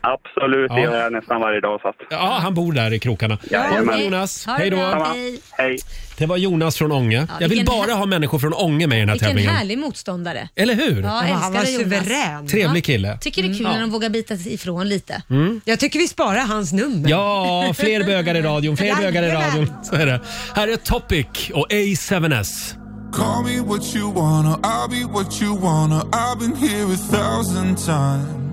S13: Absolut, det
S1: Ja.
S13: gör jag nästan varje dag. Så att...
S1: Ja, han bor där i krokarna.
S13: Jajamän.
S1: Ha det, Jonas.
S3: Ha det
S1: Hej då.
S3: bra.
S13: Samma.
S3: Hej.
S13: Hej.
S1: Det var Jonas från Ånge.
S3: Ja,
S1: Jag vill
S3: vilken
S1: bara
S3: här-
S1: ha människor från Ånge med i den här
S3: Vilken
S1: tävlingen.
S3: härlig motståndare.
S1: Eller hur?
S3: Ja,
S2: Ja,
S3: älskar
S2: han var
S3: dig, Jonas.
S2: suverän. Mm.
S1: Trevlig kille.
S3: Tycker det är kul när de vågar bita ifrån lite.
S1: Mm.
S2: Jag tycker vi sparar hans nummer.
S1: Ja, fler bögar i radion, fler bögar i
S2: Jajamän.
S1: radion. Så är det. Här är Topic och A7S.
S14: Call me what you wanna, I'll be what you wanna. I've been here a thousand times.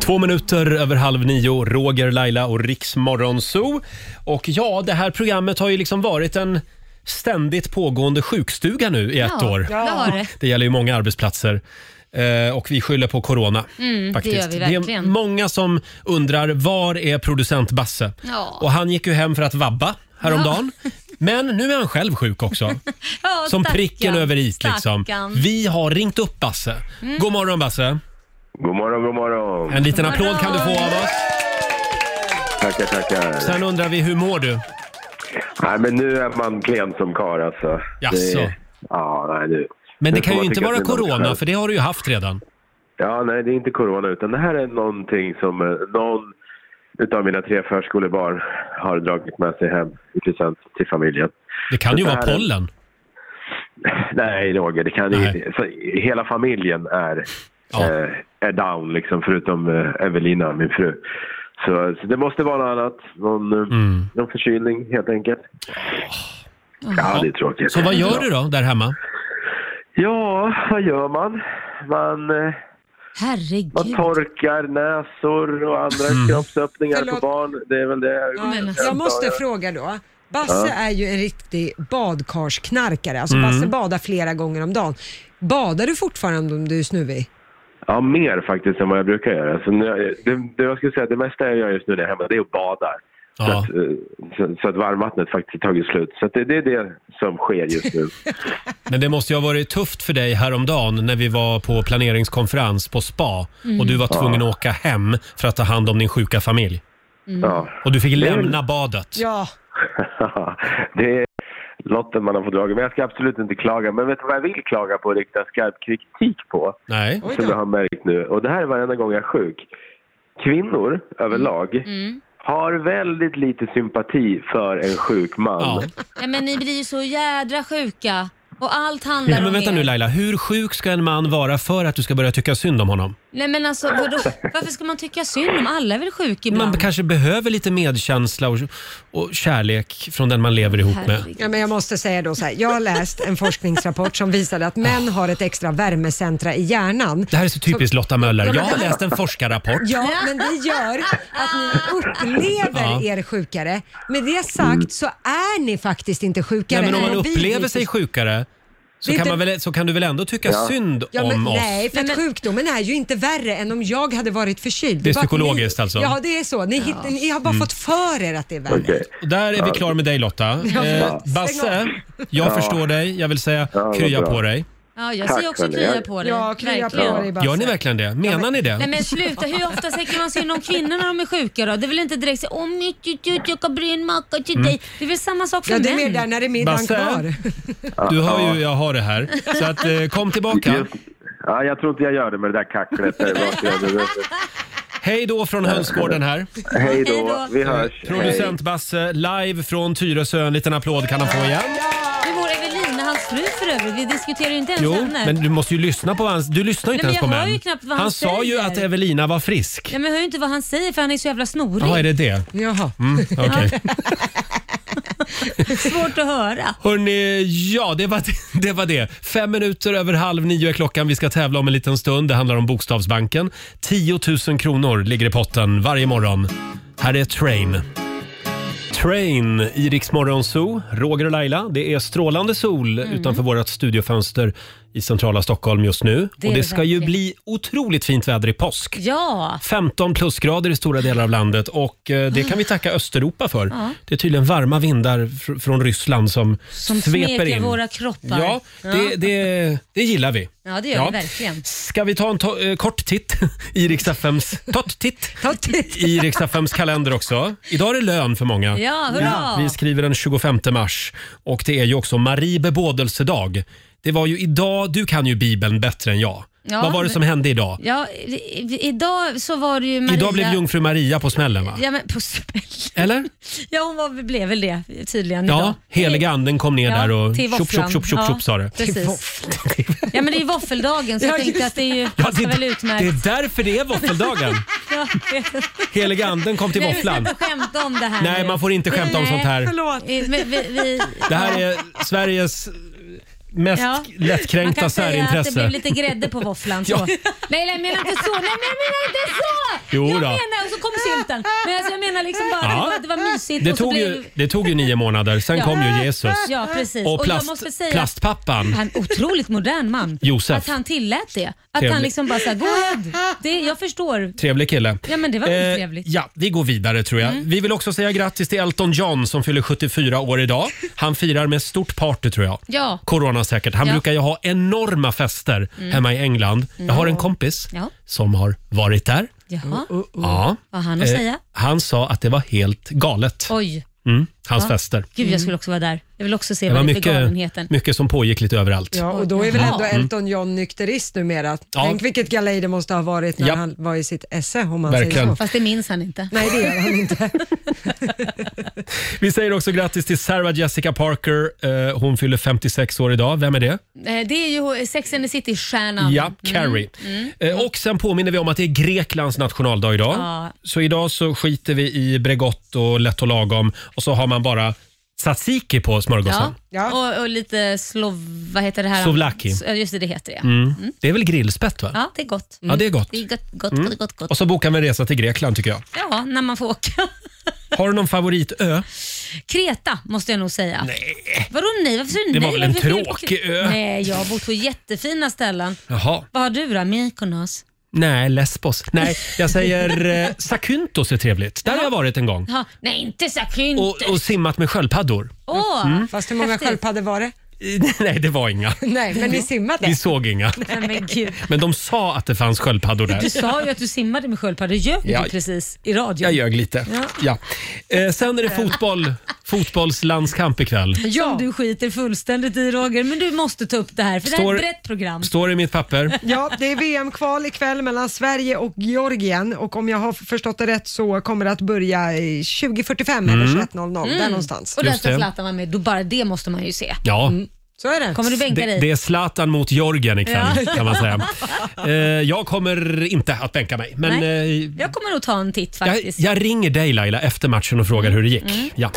S1: Två minuter över halv nio, Roger, Laila och Riks Morgonzoo. Och ja, det här programmet har ju liksom varit en ständigt pågående sjukstuga nu i ett
S3: Ja,
S1: år.
S3: det har det.
S1: Det gäller ju många arbetsplatser. Eh, och vi skyller på corona.
S3: Mm, det
S1: faktiskt.
S3: gör vi
S1: det är
S3: verkligen.
S1: många som undrar, var är producent Basse?
S3: Ja.
S1: Och han gick ju hem för att vabba häromdagen. *laughs* Men nu är han själv sjuk också.
S3: *laughs* Ja,
S1: Som
S3: stackarn.
S1: pricken över it liksom.
S3: Stackarn.
S1: Vi har ringt upp Basse.
S3: Mm.
S1: God morgon Basse.
S15: God morgon, god morgon.
S1: En liten applåd kan du få av oss.
S15: Tackar, tackar.
S1: Sen undrar vi, hur mår du?
S15: Nej, men nu är man klen som karl alltså.
S1: Jaså?
S15: Det- Ja, nej nu.
S1: Men
S15: nu
S1: det
S15: får
S1: kan ju
S15: man
S1: inte
S15: tycka
S1: vara
S15: synd om sig
S1: corona,
S15: själv.
S1: för det har du ju haft redan.
S15: Ja, nej det är inte corona utan det här är någonting som eh, någon utav mina tre förskolebarn har dragit med sig hem i present till familjen.
S1: Det kan ju
S15: Det
S1: vara
S15: här är-
S1: pollen.
S15: *laughs* Nej, Roger, det kan inte. Så hela familjen är, eh, är down, liksom, förutom eh, Evelina, min fru. Så, så det måste vara något annat. Någon, eh,
S1: Mm.
S15: någon förkylning, helt enkelt. Ja, det är tråkigt.
S1: Så vad gör du då där hemma?
S15: Ja, vad gör man? Man, eh,
S3: Herregud.
S15: man torkar näsor och andra
S1: Mm.
S15: kroppsöppningar
S2: Förlåt.
S15: på barn. Det är väl det. jag-
S2: Ja, alltså,
S15: jag
S2: jag måste
S15: antar.
S2: fråga då. Basse
S15: Ja.
S2: är ju en riktig badkarsknarkare. Alltså
S15: Mm.
S2: Basse badar flera gånger om dagen. Badar du fortfarande om du är snuvig?
S15: Ja, mer faktiskt än vad jag brukar göra. Så nu, det, det, jag skulle säga, det mesta jag gör just nu när jag är hemma, det är att bada. Så, att, eh, så, så att varmvattnet faktiskt har tagit slut. Så att det, det är det som sker just nu.
S1: Men det måste ju ha varit tufft för dig häromdagen när vi var på planeringskonferens på spa
S15: Mm.
S1: och du var tvungen
S15: Ja.
S1: att åka hem för att ta hand om din sjuka familj. Mm.
S15: Ja.
S1: Och du fick
S15: Det är-
S1: lämna *laughs* badet.
S2: Ja.
S15: det är lotten man har fått dra. Men jag ska absolut inte klaga. Men vet du vad jag vill klaga på och rikta skarp kritik på?
S1: Nej.
S15: Som jag har märkt nu. Och det här är varenda gång jag är sjuk. Kvinnor överlag
S3: Mm.
S15: har väldigt lite sympati för en sjuk man.
S3: Ja, men ni blir ju så jädra sjuka. Och allt handlar
S1: Nej, men
S3: om
S1: vänta
S3: er.
S1: nu Laila, hur sjuk ska en man vara för att du ska börja tycka synd om honom?
S3: Nej men alltså vadå? varför ska man tycka synd om alla? är väl sjuka ibland?
S1: Man kanske behöver lite medkänsla och, och kärlek från den man lever ihop med.
S2: Ja, men jag måste säga då så här. Jag har läst en forskningsrapport som visade att män har ett extra värmecentra i hjärnan.
S1: Det här är så typiskt Lotta Möller.
S2: Ja,
S1: Jag
S2: men-
S1: har läst en forskarrapport.
S2: Ja,
S1: *laughs*
S2: men det gör att ni
S1: Ja. Mm.
S2: upplever er sjukare. Med det sagt så är ni faktiskt inte sjukare.
S1: Nej, men om
S2: än
S1: man
S2: vad vi
S1: upplever
S2: blir.
S1: sig sjukare så
S2: Det är
S1: kan,
S2: inte-
S1: man väl, så kan du väl ändå tycka
S2: Ja.
S1: synd
S2: Ja, men,
S1: om oss?
S2: Nej, för att sjukdomen är ju inte värre än om jag hade varit förkyld.
S1: Det är
S2: bara att
S1: psykologiskt
S2: ni,
S1: alltså?
S2: Ja, det är så. Ni, hitt- ni har bara
S1: Mm.
S2: fått för er att det är värre.
S1: Och Där är vi klara med dig Lotta.
S2: Ja,
S1: Eh,
S2: förlåt.
S1: Basse,
S2: Stäng
S1: jag
S15: Ja.
S1: förstår dig. Jag vill säga krya
S15: bra.
S1: på dig.
S3: Ja, jag
S15: Tack,
S3: ser också
S15: hörni.
S3: krya på dig.
S2: Ja, krya på
S3: Verkligen.
S2: dig,
S1: Gör ni verkligen det? Menar ni det?
S3: Nej men sluta, hur ofta säger man synd om kvinnor när de är sjuka då? Det är väl inte direkt så åh mitt tut tut, jag kan bry en macka till
S1: Mm.
S3: dig. Det är väl samma sak för
S2: Ja,
S3: män?
S2: det är mer där när det är middagen
S1: Basse? kvar. Du hör ju, jag har det här. Så att, eh, kom tillbaka.
S15: Ja, jag tror inte jag gör det med det där
S1: *laughs*
S15: kacklet. Det är bra.
S1: Hej då från hönsgården här.
S15: Hej då, vi hörs.
S1: Producent Basse live från Tyresö. En liten applåd kan han få igen.
S3: Hur mår Evelina, hans hans fru för övrigt. Vi diskuterar ju inte ens
S1: Jo,
S3: henne.
S1: men du måste ju lyssna på vad han... Du lyssnar ju inte
S3: Nej, men
S1: ens på
S3: jag hör
S1: män.
S3: ju knappt vad han
S1: sa ju
S3: säger.
S1: att Evelina var frisk.
S3: Ja, men jag hör ju inte vad han säger för han är så jävla snorig.
S1: Ja, är det det?
S2: Jaha.
S1: Mm, okej.
S3: *laughs* Svårt att höra.
S1: Hörni, ja det var det, *laughs* var det. Fem minuter över halv nio är klockan. Vi ska tävla om en liten stund. Det handlar om Bokstavsbanken. 10 000 kronor ligger i potten varje morgon. Här är Train. Train i Rix Morgon Zoo. Roger och Laila, det är strålande sol
S3: Mm.
S1: utanför vårt studiofönster i centrala Stockholm just nu.
S3: Det
S1: och
S3: är
S1: det
S3: det
S1: ska ju
S3: verkligen.
S1: bli otroligt fint väder i påsk.
S3: Ja.
S1: 15 plusgrader i stora delar av landet och eh, det kan vi tacka Östeuropa för.
S3: Ja.
S1: Det är tydligen varma vindar fr- från Ryssland som,
S3: Som
S1: sveper
S3: smeker
S1: in.
S3: våra kroppar.
S1: Ja, det, det, det gillar vi.
S3: Ja, det gör vi verkligen.
S1: Ska vi ta en to- eh, kort titt *laughs* i Riks-FMs tott
S3: *laughs*
S1: titt i Riks-FMs kalender också? Idag är det lön för många.
S3: Ja, hurra!
S1: Vi skriver den 25 mars och det är ju också Marie bebådelsedag. Det var ju idag, du kan ju Bibeln bättre än jag.
S3: Ja,
S1: Vad var det
S3: men-
S1: som hände idag?
S3: Ja, i, i- idag så var det ju Maria...
S1: Idag blev jungfru Maria på smällen va?
S3: Ja, men på smäll.
S1: Eller?
S3: Ja, hon var, blev väl det tydligen
S1: Ja,
S3: idag.
S1: heliga anden kom ner
S3: Ja,
S1: där och
S3: till
S1: tjopp,
S3: våfflan.
S1: tjopp, tjopp, tjopp,
S3: Ja,
S1: tjopp sa det.
S3: Precis. Ja, men det är våffeldagen så
S2: Ja,
S3: jag tänkte
S2: just
S3: att det är ju
S1: Ja,
S3: passar
S1: det,
S3: väl
S1: det
S3: utmärkt.
S1: är därför det är
S3: *laughs*
S1: våffeldagen.
S3: Ja, det-
S1: Heliga anden kom till
S3: Nej,
S1: våfflan.
S3: Vi ska inte skämta om det här
S1: Nej,
S3: nu.
S1: man får inte skämta om
S3: Nej,
S1: sånt här.
S3: Förlåt. Eh, Vi, vi, vi,
S1: Det här är Sveriges mest lättkränkta
S3: Man kan säga att
S1: särintresse.
S3: det blev lite grädde på våfflan. Så.
S1: Ja.
S3: Nej, jag menar inte så. Nej, men jag menar inte så!
S1: Jo
S3: jag
S1: då.
S3: menar, och så kom sylten. Men alltså, jag menar liksom bara
S1: Ja.
S3: att det var mysigt.
S1: Det
S3: och så
S1: tog,
S3: blev...
S1: ju, det tog ju nio månader, sen
S3: Ja.
S1: kom ju Jesus.
S3: Ja, precis.
S1: Och,
S3: Och jag
S1: plast,
S3: måste säga-
S1: plastpappan.
S3: Han är en otroligt modern man.
S1: Josef.
S3: Att han tillät det. Att
S1: Trevlig.
S3: han liksom bara såhär, go ahead. Det, jag förstår.
S1: Trevlig kille.
S3: Ja, men det var Mm. väl
S1: Eh,
S3: trevligt.
S1: Ja, vi går vidare tror jag. Vi vill också säga grattis till Elton John som fyller 74 år idag. Han firar med stort party tror jag.
S3: Ja.
S1: Corona säkert. Han
S3: Ja.
S1: brukar ju ha enorma fester
S3: Mm.
S1: hemma i England. Jag har en
S3: Ja.
S1: kompis
S3: Ja.
S1: som har varit där.
S3: Jaha.
S2: Oh,
S1: Ja.
S3: Vad har han att
S1: Eh,
S3: säga?
S1: Han sa att det var helt galet.
S3: Oj.
S1: Mm, hans
S3: Ja.
S1: fester.
S3: Gud, jag skulle också vara där. Jag vill också se
S1: Det var
S3: vad det är för galenheten.
S1: mycket, mycket som pågick lite överallt.
S2: Ja, och då är väl
S1: Jaha.
S2: ändå Elton John nykterist numera.
S1: Mm. Ja.
S2: Tänk vilket galej det måste ha varit när
S1: Ja.
S2: han var i sitt esse om man
S1: Verkligen.
S2: säger så.
S3: Fast det minns han inte.
S2: Nej, det gör han inte.
S1: Vi säger också grattis till Sarah Jessica Parker. Eh, Hon fyller 56 år idag. Vem är det?
S3: Eh, Det är ju Sex and the Mm. City-stjärnan.
S1: Ja, Carrie. Eh, Och sen påminner vi om att det är Greklands nationaldag idag.
S3: Mm. Ja.
S1: Så idag så skiter vi i Bregott och Lätt och lagom och så har man bara tzatziki på smörgåsen.
S3: Ja. Och, och lite slov... Vad heter det här?
S1: Souvlaki.
S3: S- ja, Just det, det heter det. ja.
S1: Mm. Det är väl grillspett va?
S3: Ja, det är gott.
S1: Ja, det är gott.
S3: Det är gott, gott,
S1: Mm.
S3: gott, gott, gott.
S1: Och så bokar vi en resa till Grekland tycker jag.
S3: Ja, när man får åka. *laughs*
S1: Har du någon favoritö?
S3: Kreta måste jag nog säga. Nej. Vadå nej? Varför säger du
S1: Det
S3: nej?
S1: var väl en
S3: Varför vill-
S1: tråkig ö?
S3: Nej, jag har bott på jättefina ställen.
S1: Jaha.
S3: Vad har du då? Mykonos?
S1: Nej, Lesbos. Nej, jag säger eh, Zakynthos är trevligt. Där har jag varit en gång.
S3: Ja, nej, inte Sakynte.
S1: Och, och simmat med sköldpaddor.
S3: Åh,
S1: Mm.
S2: Fast hur många
S3: häftigt.
S2: sköldpaddor var det?
S1: *laughs* Nej, det var inga.
S2: Nej, men ni simmade?
S1: Vi såg inga.
S3: Nej, men gud.
S1: Men de sa att det fanns sköldpaddor där.
S3: Du sa ju att du simmade med sköldpaddor. Ljög
S1: Ja.
S3: du precis i radio?
S1: Jag ljög lite. Ja.
S3: Ja.
S1: Eh, sen är det fotboll, fotbollslandskamp ikväll.
S3: Ja. Som du skiter fullständigt i Roger, men *laughs* du måste ta upp det här för det här är
S1: Står-
S3: ett brett program.
S1: Står det i mitt papper.
S2: Ja, det är VM-kval ikväll mellan Sverige och Georgien och om jag har förstått det rätt så kommer det att börja i 2045 eller
S1: Mm.
S2: 21.00, där
S3: Mm.
S2: någonstans.
S3: Och där
S1: Just
S3: ska
S1: det.
S3: Zlatan vara med. Då bara det måste man ju se.
S1: Ja.
S2: Så är det.
S3: Kommer Mm. du bänka
S1: Det,
S3: dig?
S1: det är Zlatan mot Jorgen ikväll
S3: Ja.
S1: kan man
S3: *laughs*
S1: säga. Eh, jag kommer inte att bänka mig. Men
S3: Nej.
S1: eh,
S3: Jag kommer nog ta en titt
S1: jag,
S3: faktiskt.
S1: jag ringer dig Laila efter matchen och frågar hur det gick.
S3: Mm.
S1: Ja.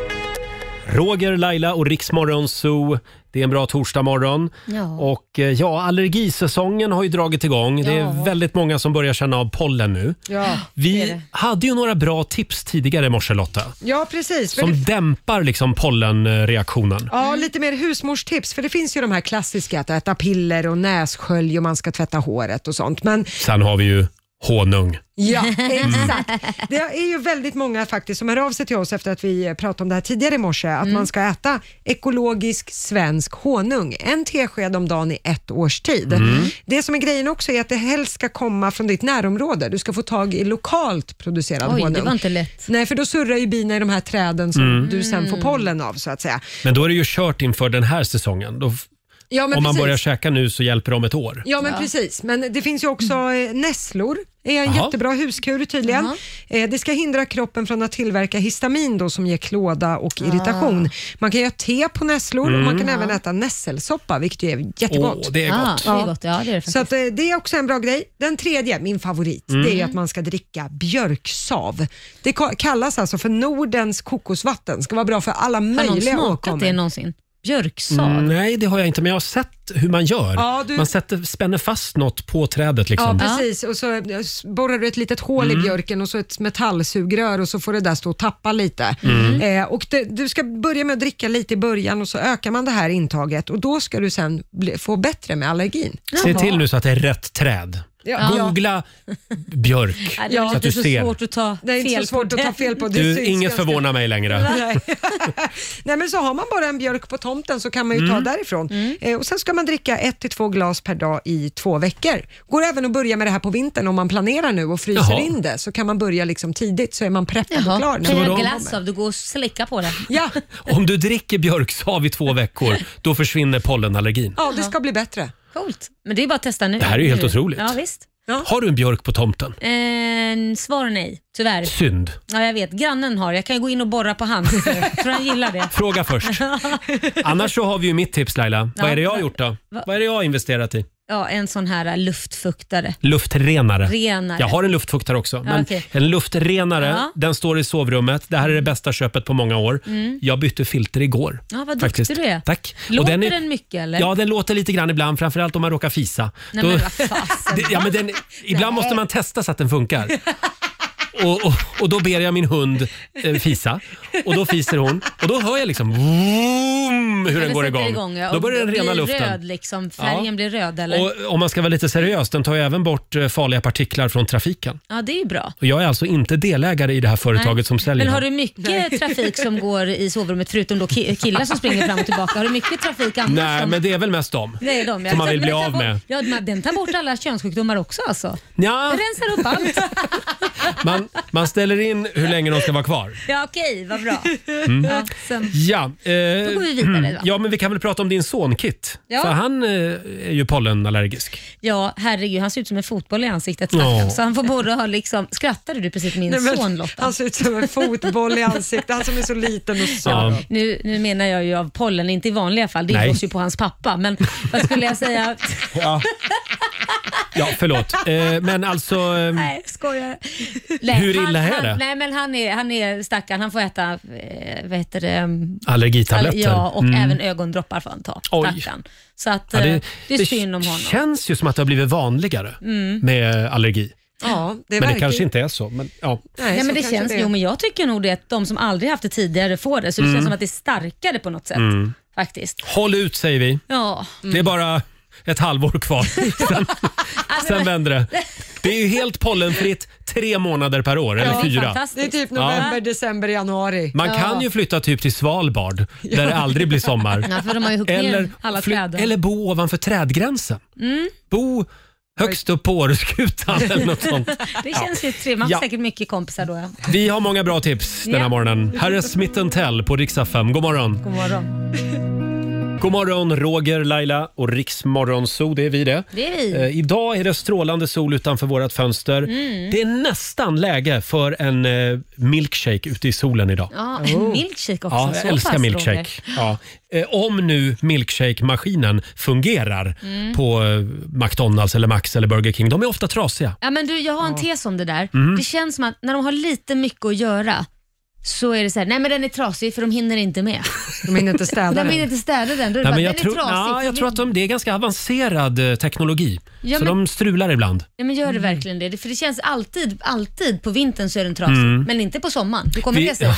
S1: Roger, Laila och Riksmorgon Zoo. Det är en bra torsdagmorgon.
S3: Ja.
S1: Och eh, ja, allergisäsongen har ju dragit igång. Det är
S3: Ja.
S1: väldigt många som börjar känna av pollen nu.
S2: Ja.
S1: Vi hade ju några bra tips tidigare i morse Lotta.
S2: Ja, precis. För
S1: Som
S2: det,
S1: dämpar liksom pollenreaktionen.
S2: ja, lite mer husmorstips, för det finns ju de här klassiska att äta piller och nässkölj och man ska tvätta håret och sånt. Men
S1: Sen har vi ju honung.
S2: Ja,
S3: Mm.
S2: exakt. Det är ju väldigt många faktiskt som hör av sig till oss efter att vi pratade om det här tidigare i morse, att
S3: Mm.
S2: man ska äta ekologisk svensk honung, en tesked om dagen i ett års tid.
S16: Mm.
S2: Det som är grejen också är att det helst ska komma från ditt närområde. Du ska få tag i lokalt producerad
S3: Oj,
S2: honung.
S3: det var inte lätt.
S2: Nej, för då surrar ju bina i de här träden som
S1: Mm.
S2: du sen får pollen av så att säga.
S1: Men då är det ju kört inför den här säsongen. Då, f-
S2: Ja, men
S1: om man
S2: precis.
S1: börjar käka nu så hjälper det om ett år.
S2: Ja men precis, men det finns ju också eh, nässlor är en
S16: Jaha.
S2: jättebra huskur tydligen. Eh, Det ska hindra kroppen från att tillverka histamin då, som ger klåda och
S3: Ah.
S2: irritation. Man kan göra te på nässlor och man
S1: Mm.
S2: kan
S1: Ja.
S2: även äta nässelsoppa, vilket ju är jättegott.
S1: Åh, det är gott.
S3: Ah, det är gott. Ja, det är det
S2: Så att, eh, det är också en bra grej. Den tredje, min favorit,
S1: Mm.
S2: det är ju att man ska dricka björksav. Det ka- kallas alltså för Nordens kokosvatten. Ska vara bra för alla
S3: Har någon
S2: möjliga
S3: smakat det
S2: åkommor.
S3: någonsin? Björksav?
S1: Mm, Nej, det har jag inte, men jag har sett hur man gör.
S2: Ja, du-
S1: Man sätter, spänner fast något på trädet. Liksom.
S2: Ja, precis. Och så eh, s- borrar du ett litet hål
S1: Mm.
S2: i björken och så ett metallsugrör och så får det där stå och tappa lite.
S1: Mm.
S2: Eh, och det, du ska börja med att dricka lite i början och så ökar man det här intaget och då ska du sen bli, få bättre med allergin.
S1: Se till nu så att det är rätt träd.
S2: Ja.
S1: Googla björk
S2: Ja, det är
S1: så att du
S2: lite så
S1: ser.
S2: svårt
S3: att ta
S2: Det är inte
S3: fel
S2: så svårt
S3: på
S2: att ta
S3: den.
S2: fel på. Det
S1: Du,
S2: syns
S1: inget
S2: ganska-
S1: förvånar mig längre.
S2: Nej. *laughs* Nej, men så har man bara en björk på tomten så kan man ju
S1: Mm.
S2: ta därifrån. Eh, och sen ska man dricka ett till två glas per dag i två veckor. Går även att börja med det här på vintern om man planerar nu och fryser
S3: Jaha.
S2: in det så kan man börja liksom tidigt så är man preppad och klar.
S3: Kan
S2: man
S3: jag
S2: kommer.
S3: glass av? Du går och slickar på det.
S2: Ja.
S1: Om du dricker björksav i två veckor, då försvinner pollenallergin.
S2: ja, det ska bli bättre.
S3: Coolt. Men det är bara att testa nu.
S1: Det här är ju helt
S3: Nu.
S1: otroligt.
S3: Ja, visst.
S1: Har du en björk på tomten?
S3: Eh, svar nej, tyvärr.
S1: Synd.
S3: Ja, jag vet. Grannen har. Jag kan ju gå in och borra på hans. tror han gillar
S1: *laughs*
S3: det.
S1: Fråga
S2: *laughs*
S1: först. Annars så har vi ju mitt tips Laila.
S3: Ja.
S1: Vad är det jag har gjort då?
S3: Va-
S1: Vad är det jag har investerat i?
S3: Ja, en sån här eh, luftfuktare.
S1: Luftrenare.
S3: Renare.
S1: Jag har en luftfuktare också. Men
S3: okej.
S1: En luftrenare,
S3: Ja.
S1: den står i sovrummet. Det här är det bästa köpet på många år.
S3: Mm.
S1: Jag bytte filter igår.
S3: Ja, vad duktig du är.
S1: Tack. Och
S3: Låter
S1: är-
S3: den, mycket eller?
S1: Ja, den låter lite grann ibland, framförallt om man råkar fisa.
S3: Nej,
S1: Då-
S3: men vad fasen.
S1: *laughs* Det- ja, men den, ibland måste man testa så att den
S3: *laughs*
S1: funkar. Och, och, och då ber jag min hund eh, fisa och då fiser hon och då hör jag liksom vroom, hur
S3: Ja,
S1: den går
S3: sätter
S1: igång.
S3: ja.
S1: Då
S3: Och
S1: börjar den rena
S3: blir
S1: luften.
S3: Röd, liksom. Färgen
S1: Ja.
S3: blir röd eller?
S1: Och om man ska vara lite seriös, den tar ju även bort eh, farliga partiklar från trafiken.
S3: Ja, det är ju bra.
S1: Och jag är alltså inte delägare i det här företaget
S3: Nej.
S1: som säljer
S3: Men har
S1: den.
S3: du mycket trafik som går i sovrummet förutom då ki- killar som springer fram och tillbaka? Har du mycket trafik annars?
S1: Nej,
S3: som...
S1: men det är väl mest dem.
S3: Det är de, ja.
S1: Som man
S3: Men
S1: vill
S3: den *laughs*
S1: bli
S3: tar
S1: av
S3: bort-
S1: med.
S3: Ja, men den tar bort alla könssjukdomar också alltså?
S1: Nja.
S3: Den rensar
S1: *laughs*
S3: upp allt.
S1: Man, man ställer in hur länge de ska vara kvar.
S3: Ja, okej, vad bra.
S1: Mm.
S3: Ja, sen.
S1: Ja, eh,
S3: Då går vi vidare,
S1: mm,
S3: va?
S1: ja, men vi kan väl prata om din son Kit.
S3: Ja.
S1: För han eh, är ju pollenallergisk.
S3: ja, herregud, han ser ut som en fotboll i ansiktet.
S1: Ja.
S3: Så han får både ha liksom... Skrattade du precis min
S2: *laughs* Nej, men
S3: son Lotta?
S2: Han ser ut som en fotboll i ansiktet. Han som är så liten och så.
S3: Ja. Nu, nu menar jag ju av pollen, inte i vanliga fall. Det
S1: Nej.
S3: blåser ju på hans pappa. Men vad skulle
S1: *laughs*
S3: jag säga?
S1: Ja. ja, förlåt. Eh, men alltså... eh,
S3: Nej, skojar.
S1: Hur illa
S3: han,
S1: är
S3: han,
S1: det?
S3: Nej, men han är, han är stackaren. Han får äta, eh, vad heter det?
S1: Allergitabletter.
S3: Ja, och
S1: Mm.
S3: även ögondroppar får han ta.
S1: Oj.
S3: Stackarn. Så att,
S1: Ja,
S3: eh, det, är synd om honom.
S1: känns ju som att det har blivit vanligare
S3: Mm.
S1: med allergi.
S2: Ja, det
S1: men det
S2: verkar
S1: kanske
S2: ju-
S1: inte är så. Men, ja.
S3: Nej,
S2: så
S3: men det
S2: kanske
S3: känns,
S2: det är.
S3: Jo, men jag tycker nog det att de som aldrig haft det tidigare får det. Så det
S1: Mm.
S3: känns som att det är starkare på något sätt.
S1: Mm.
S3: Faktiskt.
S1: Håll ut säger vi.
S3: Ja. Mm.
S1: Det är bara ett halvår
S3: *laughs*
S1: kvar. Sen,
S3: alltså,
S1: sen vänder det. Det är ju helt pollenfritt tre månader per år, eller fyra.
S2: Det är typ
S1: Ja.
S2: november, december, januari.
S1: Man kan ju flytta typ till Svalbard där det aldrig blir sommar.
S3: *laughs* Ja, för de har ju huggit ner alla
S1: fly-
S3: träden.
S1: eller bo ovanför trädgränsen.
S3: Mm.
S1: Bo högst upp på Åreskutan eller *laughs*
S3: *laughs*
S1: något sånt.
S3: det
S1: Ja.
S3: känns ju trevligt. Man har
S1: Ja.
S3: säkert mycket kompisar då. Ja.
S1: Vi har många bra tips den här
S3: Ja.
S1: morgonen. Här är Smith Tell på Rix FM. God morgon!
S3: God morgon.
S1: God morgon Roger, Laila och Rix Morgonzoo. Det är vi det.
S3: Det är vi.
S1: Eh, idag är det strålande sol utanför vårt fönster.
S3: Mm.
S1: Det är nästan läge för en eh, milkshake ute i solen idag.
S3: Ja, en milkshake också.
S1: Oh. Ja,
S3: Så
S1: jag
S3: pass,
S1: älskar milkshake.
S3: Roger.
S1: Ja. Eh, Om nu milkshake-maskinen fungerar
S3: Mm.
S1: på eh, McDonalds, eller Max eller Burger King. De är ofta trasiga.
S3: Ja, men du, jag har en tes om det där.
S1: Mm.
S3: Det känns som att när de har lite mycket att göra så är det så här, nej men den är trasig för de hinner inte med.
S2: De hinner inte städa
S3: *laughs* De
S2: den.
S3: hinner inte städa den. Då
S1: Nej,
S3: är det bara,
S1: men
S3: den
S1: jag
S3: är
S1: tror,
S3: trasig.
S1: nej,
S3: för
S1: jag
S3: vi-
S1: tror att de, det är ganska avancerad eh, teknologi,
S3: Ja,
S1: så
S3: men-
S1: de strular ibland.
S3: Ja, men gör det
S1: Mm.
S3: verkligen det? För det känns alltid, alltid på vintern så är den trasig.
S1: Mm.
S3: Men inte på sommaren. Hur kommer
S1: Vi-
S3: det sig?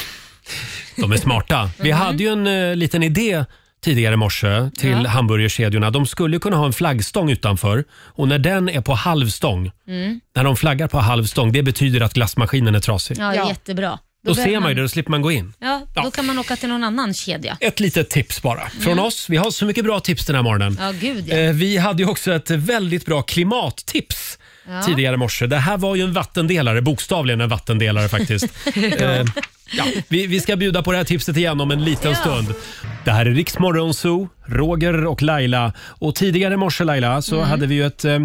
S1: De är
S3: *laughs*
S1: smarta. Vi
S3: Mm.
S1: hade ju en eh, liten idé tidigare i morse till
S3: Ja.
S1: hamburgerkedjorna. De skulle kunna ha en flaggstång utanför och när den är på halvstång,
S3: Mm.
S1: när de flaggar på halvstång, det betyder att glassmaskinen är trasig.
S3: Ja, jättebra.
S1: Då,
S3: behöver
S1: ser man ju det, då slipper man gå in.
S3: Ja, då kan man åka till någon annan kedja.
S1: Ett litet tips bara från
S3: Mm.
S1: oss. Vi har så mycket bra tips den här morgonen.
S3: Ja, gud ja.
S1: Eh, Vi hade ju också ett väldigt bra klimattips
S3: Ja.
S1: tidigare i morse. Det här var ju en vattendelare, bokstavligen en vattendelare
S3: *laughs*
S1: faktiskt. Eh, ja, vi, vi ska bjuda på det här tipset igen om en liten
S4: Ja.
S1: stund. Det här är Rix Morgon Zoo, Roger och Laila. Och tidigare i morse Laila så hade vi ju ett eh,